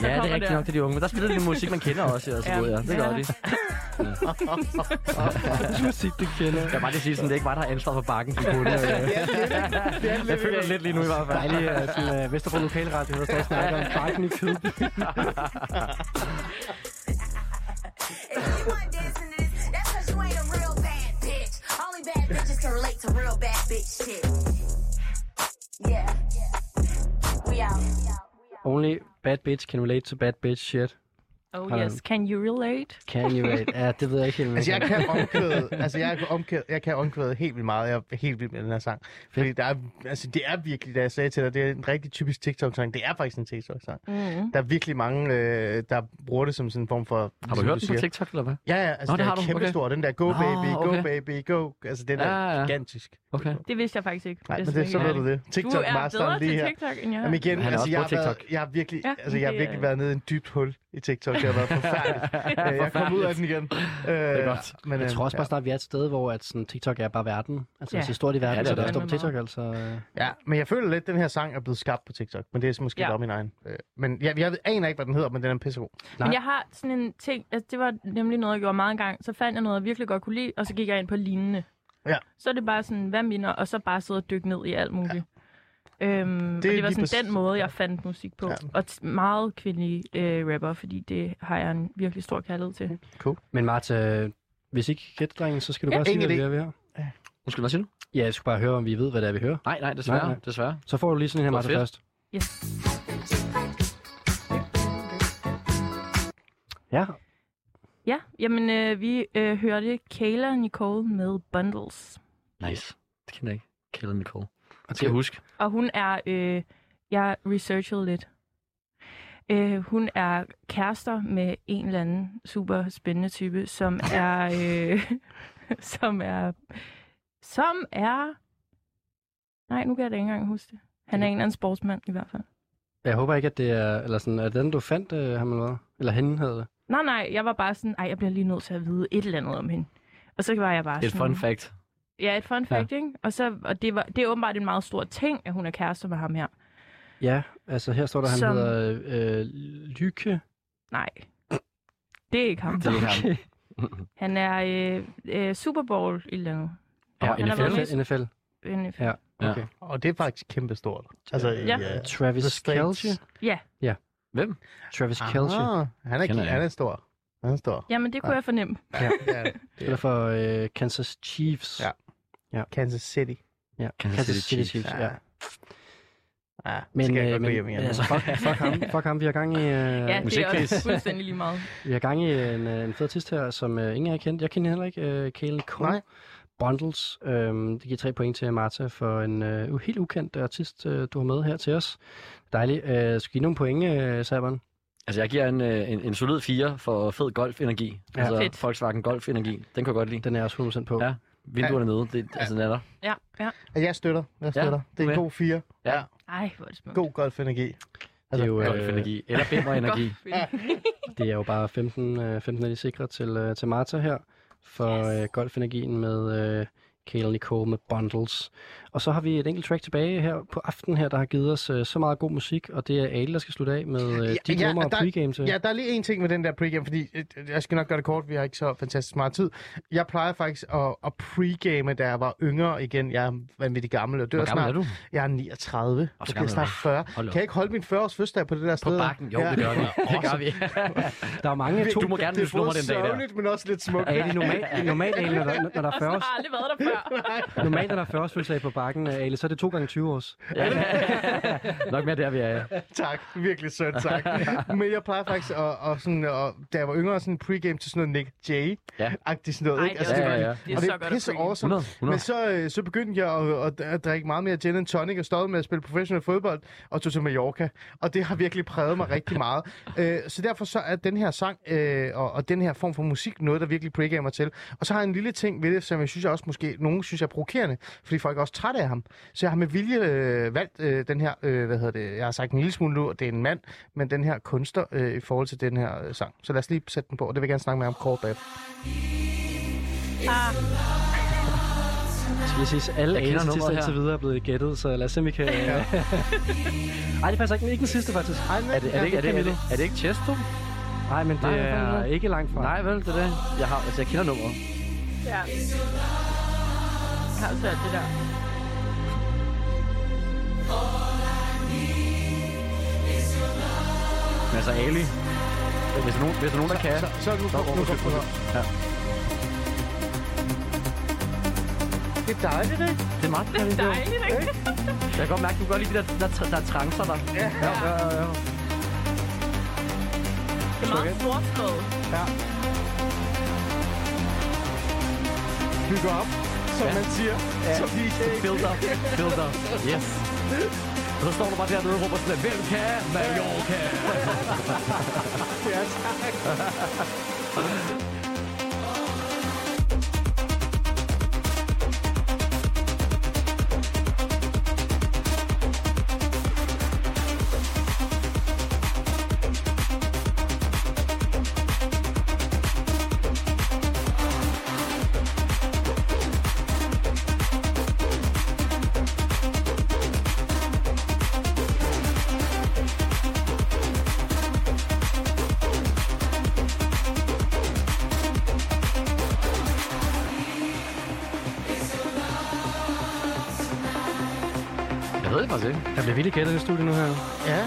der Ja, det kommer er rigtigt der. nok til de unge. Men der spiller de musik, man kender også. Altså, Ja. ja. ja. Det gør de. Musik, det kender. Jeg kan bare lige sige, sådan, det er ikke mig, der har ansvar for bakken. som kunne. øh. Jeg føler lidt lige nu i hvert fald. Dejligt, at sådan, øh, Vesterbro Lokalradio, der står og snakker om parken i Kødby. If you want dancing to this, that's cause you ain't a real bad bitch. Only bad bitches can relate to real bad bitch shit. Yeah. We out. Only bad bitch can relate to bad bitch shit. Oh Har yes, den. can you relate? Can you relate? Ja, det ved jeg ikke helt. om Altså, jeg kan omkvæde, altså, jeg kan omkvæde, jeg kan omkvæde helt vildt meget. Jeg er helt vild med den her sang. Fordi der er, altså, det er virkelig, da jeg sagde til dig, det er en rigtig typisk TikTok-sang. Det er faktisk en TikTok-sang. Mm. Der er virkelig mange, øh, der bruger det som sådan en form for... Har du hørt den på TikTok, eller hvad? Ja, ja, altså, Nå, Nå, det det har er du. kæmpestor. Okay. Den der, go Nå, baby, go okay. baby, go. Altså, den er Ja, ja. gigantisk. Okay. Det vidste jeg faktisk ikke. Nej, hvis men jeg det, så ved skal være du ærlig. det. Tiktok Du er masteren bedre lige til her. Tiktok, end jeg er. Jamen igen, Men han er altså, også jeg har, på været, TikTok. jeg har virkelig, Ja, ja, altså, jeg har det virkelig er- været nede i en dybt hul i TikTok. Det har været forfærdeligt. Øh, jeg kom ud af den igen. Øh, det godt. Men, Jeg øh, tror også ja. bare snart, vi er et sted, hvor at sådan, TikTok er bare verden. Altså, Ja. ja. så stort i verden, Ja, ja, det det er så der det. står på TikTok, altså. øh. Ja, men jeg føler lidt, at den her sang er blevet skabt på TikTok, men det er så måske Ja. ja. bare min egen. Øh, Men jeg, jeg ved- aner ikke, hvad den hedder, men den er pissegod. Men jeg har sådan en ting, altså det var nemlig noget, jeg gjorde meget engang. Så fandt jeg noget, jeg virkelig godt kunne lide, og så gik jeg ind på lignende. Ja. Så er det bare sådan, hvad minder, og så bare sidde og dykke ned i alt muligt. Ja. Øhm, det, er og det var lige sådan præcis- den måde, jeg fandt musik på. Ja. Ja. Og t- meget kvindelige øh, rapper, fordi det har jeg en virkelig stor kærlighed Mhm. til. Men Marta, hvis ikke gætter, drengen, så skal du Ja. bare sige, Ingen hvad det idé. er, vi hører. Undskyld, hvad siger du? Ja, jeg skulle bare høre, om vi ved, hvad det er, vi hører. Nej, nej, desværre. Nej, nej. Desværre. Så får du lige sådan en her, Hvor Marta, fedt. først. Yes. Ja, Ja, jamen øh, vi øh, hørte Kayla Nicole med Bundles. Nice. Det kender jeg ikke. Kælder Nicole. og Skal jeg huske. Og hun er, øh, jeg researchede lidt. Øh, hun er kærester med en eller anden super spændende type, som er, øh, som er, som er, nej, nu kan jeg da ikke engang huske det. Han er en eller anden sportsmand i hvert fald. Jeg håber ikke, at det er... Eller sådan, er det den, du fandt øh, ham eller hvad? Eller hende hedder det? Nej, nej, jeg var bare sådan, ej, jeg bliver lige nødt til at vide et eller andet om hende. Og så var jeg bare Et sådan... fun fact. Ja, et fun fact, ja. ikke? Og, så, og det, var, det er åbenbart en meget stor ting, at hun er kærester med ham her. Ja, altså her står der, han Som- hedder øh, øh, Lykke. Nej, det er ikke ham. Han er øh, øh, Super Bowl et eller andet. Ja, han har været med i- NFL. NFL. NFL. Ja, Ja. okay. Og det er faktisk kæmpestort. Altså, Ja. øh, Travis The States. Kelce? Ja. Ja. Hvem? Travis Ah, Kelce. han, er, Kender jeg. han er stor. Han er stor. Jamen, det kunne jeg fornemme. Ja. Spiller for øh, Kansas Chiefs. Ja. ja. Kansas City. Ja, Kansas Kansas, City City, Chiefs. Chiefs. Ja. Ja, men, skal jeg øh, godt gå men, hjem igen. Altså, fuck, fuck, ham, fuck ham, vi har gang i... Øh, Ja, det er også fuldstændig lige meget. Vi har gang i en, øh, en fed artist her, som øh, ingen har kendt. Jeg kender heller ikke øh, Kalen Cole. Nej. Bundles. Øhm, det giver tre point til Marta for en øh, u- helt ukendt artist, øh, du har med her til os. Dejligt. Øh, skal I give nogle point, øh, Sabern? Altså, jeg giver en, øh, en, en solid 4 for fed golfenergi. Ja. altså, Fedt. Volkswagen golfenergi. Den kan jeg godt lide. Den er jeg også 100% på. Ja, vinduerne nede. Det, altså, den er der. Ja, ja. Og Jeg støtter. Jeg Ja, støtter. det er okay. en god fire. Ja. Ej, hvor er det smukt. God golfenergi. Det er jo, øh, Golfenergi. Eller bimmerenergi. Det er jo bare 15, øh, 15 af de sikre til, øh, til Marta her for yes. øh, golfenergien med øh, Kale Nicole med Bundles. Og så har vi et enkelt track tilbage her på aftenen her, der har givet os øh, så meget god musik, og det er Ale, der skal slutte af med øh, dit nummer og øh. der, pregame til. Ja, der er lige en ting med den der pregame, fordi øh, jeg skal nok gøre det kort, vi har ikke så fantastisk meget tid. Jeg plejer faktisk at, at pregame, da jeg var yngre igen. Jeg er vanvittig gammel og dør Hvor gammel snart. er du? Jeg er 39. Og Og så så bliver gammel er snart du. 40. Hold Kan da op. jeg ikke holde min 40-års fødselsdag på det der sted? På bakken. Jo, det gør vi. Det gør vi. Der er mange Det er to... Du må gerne det løfte er nummer både den dag der. sørgeligt, men også lidt smukt. Er det normalt, normalt Ale, når der, når der er 40 Jeg har aldrig været der før. normalt, når der er 40 års fødselsdag på bakken, øh, Ale, så er det 2 gange 20 års. Nok mere der, vi er. tak, virkelig sødt tak. Men jeg plejer faktisk at, at, sådan, at da jeg var yngre, sådan pregame til sådan noget Nick Jay. Ja. Agtigt sådan noget, Ej, ikke? det er- var- ja, ja, ja. Det er Og så det godt er at pisse pregame. awesome. 100, 100. Men så, øh, så begyndte jeg at, at, at drikke meget mere gin and tonic, og stoppede med at spille professionel fodbold, og tog til Mallorca. Og det har virkelig præget mig rigtig meget. Øh, så derfor så er den her sang øh, og, og den her form for musik noget, der virkelig pregamer mig til. Og så har jeg en lille ting ved det, som jeg synes jeg også måske, nogen synes jeg er provokerende, fordi folk er også trætte af ham. Så jeg har med vilje øh, valgt øh, den her, øh, hvad hedder det, jeg har sagt en lille smule nu, og det er en mand, men den her kunstner øh, i forhold til den her øh, sang. Så lad os lige sætte den på, og det vil jeg gerne snakke med ham kort bagefter. Ah. Det skal lige siges, alle Jeg kender artister nummeret her. indtil videre er blevet gættet, så lad os se, om vi kan... Ja. Ej, det passer ikke, men ikke den sidste, faktisk. Ej, Er det, er det, ikke- er det, er det, er det ikke Chesto? Nej, men det Nej, hvad fanden er er det? ikke langt fra. Nej, vel, det er det. Jeg, har, altså, jeg kender nummeret. Ja. Jeg har også hørt det der. Men altså, Ali. Hvis der er nogen, hvis der er nogen der kan... Så, så er det nu på, nu på, nu på. Ja. Det er dejligt, ikke? Det er meget Det er dejligt, ikke? Jeg kan godt mærke, du kan godt lide de der, der, der, der trancer der. Ja. ja, ja, ja. Det er meget storslået. Ja. Bygger op, som Ja. man siger. Ja. Som DJ. Build up, build up. Yes. Og så står du bare dernede og råber sådan, hvem kan? Mallorca. Ja, tak. Jeg ved det faktisk ikke. Der bliver vildt gættet i studiet nu her. Ja,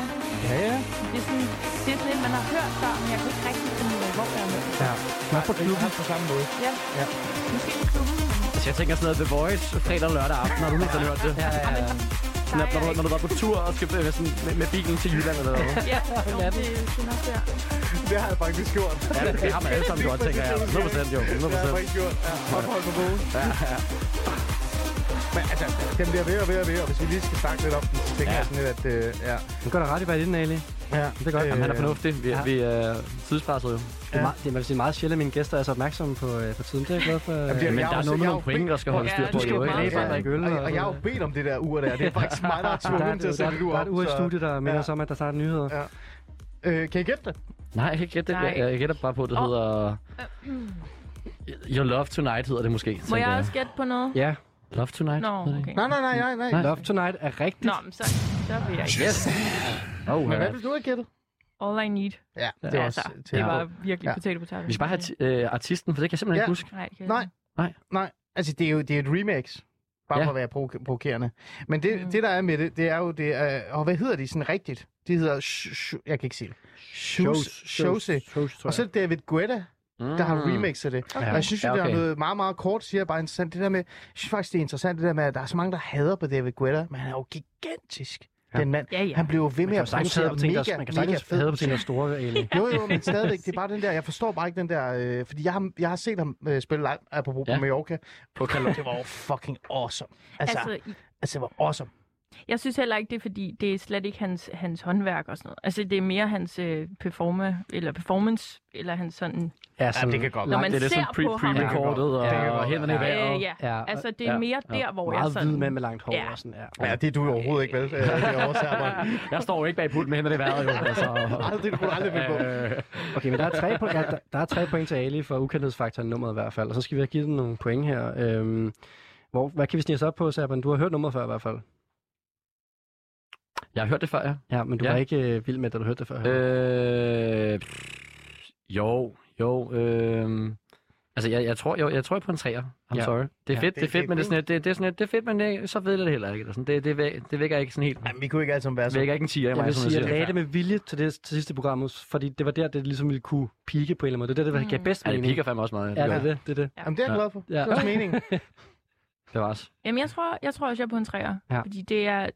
ja, ja. Det er sådan, det er sådan et, man har hørt før, men jeg kunne ikke rigtig finde ud af, hvor jeg er med. Ja. Nok på klubben. på samme måde. Ja. Ja. Måske i klubben. Altså, jeg tænker sådan noget The Voice, fredag og lørdag aften, når du nogensinde hørt det. Ja, ja, ja. Når, når, du- når, du var på tur og skal øh, sådan, med, med, bilen til Jylland eller noget. Ja, jo, det, det er nok der. Det har jeg faktisk gjort. Ja, det, det har man alle sammen godt, tænker jeg. 100% jo, Det har jeg 100%. faktisk gjort. Ja, ophold på bogen. Ja, ja. Men altså, den bliver ved og ved og ved, og hvis vi lige skal snakke lidt om den, så tænker ja. jeg sådan lidt, at... Øh, ja. Nu går der ret i vej i den, Ali. Ja, det er godt. Jamen, han er fornuftig. Vi, ja. vi er tidspresset jo. Det er, meget, det, er, man vil sige, meget sjældent, at mine gæster er så opmærksomme på, øh, på tiden. Det er jeg glad for. Jamen, det er- Øh, jeg er også- jeg er jo bedt- Du skal jo bare læse og drikke øl. Øh, Og, og jeg har jo bedt om det der ur der. Det er faktisk mig, der har Der er tvunget et- til at sætte et ur Der op. er et ur i så- studiet, der minder os om, at der starter nyheder. Ja. Øh, kan I gætte det? Nej, jeg kan ikke gætte det. Nej. Jeg, jeg gætter bare på, at det Åh. hedder... Your Love Tonight hedder det måske. Må tænker jeg også gætte på noget? Ja. Love Tonight? Nå, hedder det okay. ikke? Nej, nej, nej, nej, nej. Love Tonight er rigtigt. Nå, men så, så vil jeg ikke. Yes. Oh, Men ja. hvad vil du have gættet? All I need. Ja, det er altså, også tæt Det på. var virkelig Ja. ja. potato potato. Vi skal bare have ti- øh, artisten, for det kan jeg simpelthen Ja. ikke huske. Nej, det kan jeg Nej. ikke. Nej. Nej, altså det er jo det er et remix. Bare Ja. for at være provo- provokerende. Men det, det, der er med det, det er jo det... Øh, og hvad hedder de sådan rigtigt? De hedder... Sh- sh- jeg kan ikke sige det. Shows. Shows. Og så er det David Guetta, der har Mm. remixet det. Okay. Og jeg synes jo, Ja, det er okay. noget meget, meget kort, siger jeg bare interessant. Det der med, jeg synes faktisk, det er interessant, det der med, at der er så mange, der hader på David Guetta, men han er jo gigantisk, den mand. Ja, ja. Han blev jo ved Man med kan jo at sagtens producere have på ting, mega, der, man kan mega sagtens have på fed ting, der er store, egentlig. jo, jo, men stadigvæk, det er bare den der, jeg forstår bare ikke den der, øh, fordi jeg har, jeg har set ham øh, spille live, apropos ja. Ja. på Mallorca, På Kalor. det var jo fucking awesome. Altså, altså, Altså, altså det var awesome. jeg synes heller ikke, det er fordi, det er slet ikke hans, hans håndværk og sådan noget. Altså, det er mere hans øh, performa, eller performance, eller hans sådan... Ja, sådan, det kan godt Når være. man Det er lidt ser sådan pre- på ham. pre-recordet og Ja, det kan godt- hænderne i ja. vejret. Øh, ja. Ja, ja, altså, det er ja, mere ja. der, hvor jeg Meget sådan... hvid mand med langt hår Ja. og sådan, ja. Ja, det er du jo overhovedet ikke, vel? Øh, det er oversætter mig. Jeg står jo ikke bag pulten med hænderne i vejret, jo. Altså. Aldrig, det kunne du aldrig finde på. Okay, men der er tre, point, der, der er tre point til Ali for ukendthedsfaktoren nummeret i hvert fald, og så skal vi have givet den nogle point her. Øhm, hvor, hvad kan vi snige os op på, Saban? Du har hørt nummeret før i hvert fald. Jeg har hørt det før, ja. Ja, men du Ja. var ikke øh, vild med, da du hørte det før. Øh. Øh, jo, jo. Øh, altså, jeg, jeg, tror, jeg, jeg tror jeg er på en træer. I'm Ja. ja. sorry. Det er Ja. fedt, det er Det- fedt, det- men det er sådan lidt, det, det er sådan lidt, det er fedt, men det, så ved jeg det heller ikke. Eller sådan. Det, det, væ- det vækker ikke sådan helt. Jamen, vi kunne ikke alle sammen være Det så. vækker ikke en tiger i altså- Jeg mig, vil som jeg sige, jeg siger. lagde det med vilje til det til sidste program, fordi det var der, det ligesom ville kunne pike på en eller anden måde. Det er der, det, der Mm. gav bedst Ja, det mening. piker fandme også meget. Ja, Det, det var- er det. det, er det. Jamen, det er jeg glad for. Ja. Ja. Det var også meningen. det var også. Jamen, jeg tror, jeg tror også, jeg er på en træer. Ja. Fordi det er...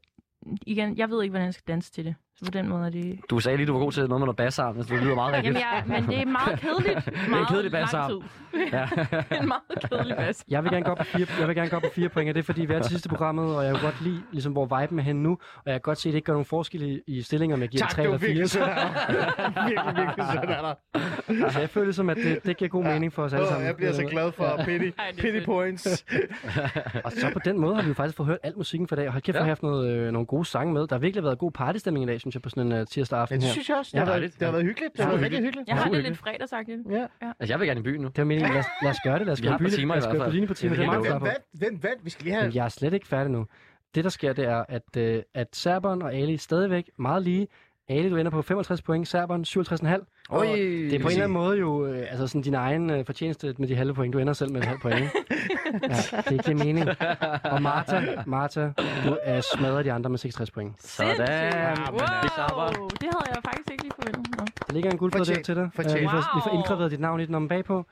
Igen, jeg ved ikke, hvordan jeg skal danse til det. Så på den måde er det... Du sagde lige, du var god til noget med noget bassarm, så det lyder meget rigtigt. Jamen, jeg, men det er meget kedeligt. Meget kedelig lang bassarm. tid. Ja. en meget kedelig bas. Jeg vil gerne gå op på fire, jeg vil gerne gå op på fire point, og det er fordi, vi er til sidste programmet, og jeg kan godt lide, ligesom, hvor viben er henne nu, og jeg kan godt se, at det ikke gør nogen forskel i, i stillinger, om jeg giver tak, en tre det var eller fire. virkelig sødt af dig. Virkelig, virkelig sødt af dig. Altså, jeg føler ligesom, at det, det giver god mening for os alle Åh, sammen. Jeg bliver så glad for pity, Ej, det er pity fedt. points. Og så på den måde har vi jo faktisk fået hørt alt musikken for i dag, og har kæft, ja. har haft noget, øh, nogle gode sange med. Der har virkelig været god partystemning i dag, synes jeg, på sådan en uh, tirsdag aften Men her. det synes jeg også. Det har Ja, været, dejligt. det har været hyggeligt. Det Ja, har været det er rigtig hyggeligt. Jeg har det lidt uhyggeligt. fredagsagtigt. Ja. Altså, jeg vil gerne i byen nu. Det var meningen, lad os, lad os gøre det. Lad os Vi gå i har et par byen- timer lad os i gå hvert på fald. linje på timer. Det Det er er meget helt Hvem klar på. vandt? Hvem vandt? Vi skal lige have... Men jeg er slet ikke færdig nu. Det, der sker, det er, at, øh, at Serberen og Ali stadigvæk meget lige. Ali, du ender på 55 point, Serberen 57,5. Oj, Det er på en eller anden måde jo øh, altså sådan din egen øh, fortjeneste med de halve point. Du ender selv med en halv point. ja, det giver mening. Og Martha, Martha du øh, smadrer de andre med 66 point. Sådan. Sindssygt. Vi klapper. Wow, det havde jeg faktisk ikke lige forventet. Nå. Der ligger en guldplade der Fortjent, til dig. Øh, fortjent. vi, får, vi får Wow. indgraveret dit navn i den om bagpå.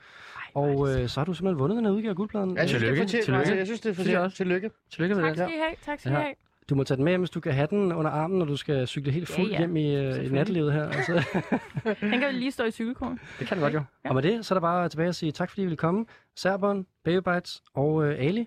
Og øh, så har du simpelthen vundet den her udgave af guldpladen. Jeg synes, det er Tillykke. fortjent. Tillykke. Altså, Jeg synes, det er Synes jeg fortjent. også. Tillykke. Tillykke med Tak det. skal I have. Tak skal I Ja. have. Du må tage den med hjem, hvis du kan have den under armen, når du skal cykle helt Ja, fuld ja. hjem i, øh, i Selvfølgelig. nattelivet her. Altså. Den kan vi lige stå i cykelkurven. Det kan det godt jo. Og med det, så er der bare tilbage at sige tak, fordi I ville komme. Serberen, Baby Bites og øh, Ali.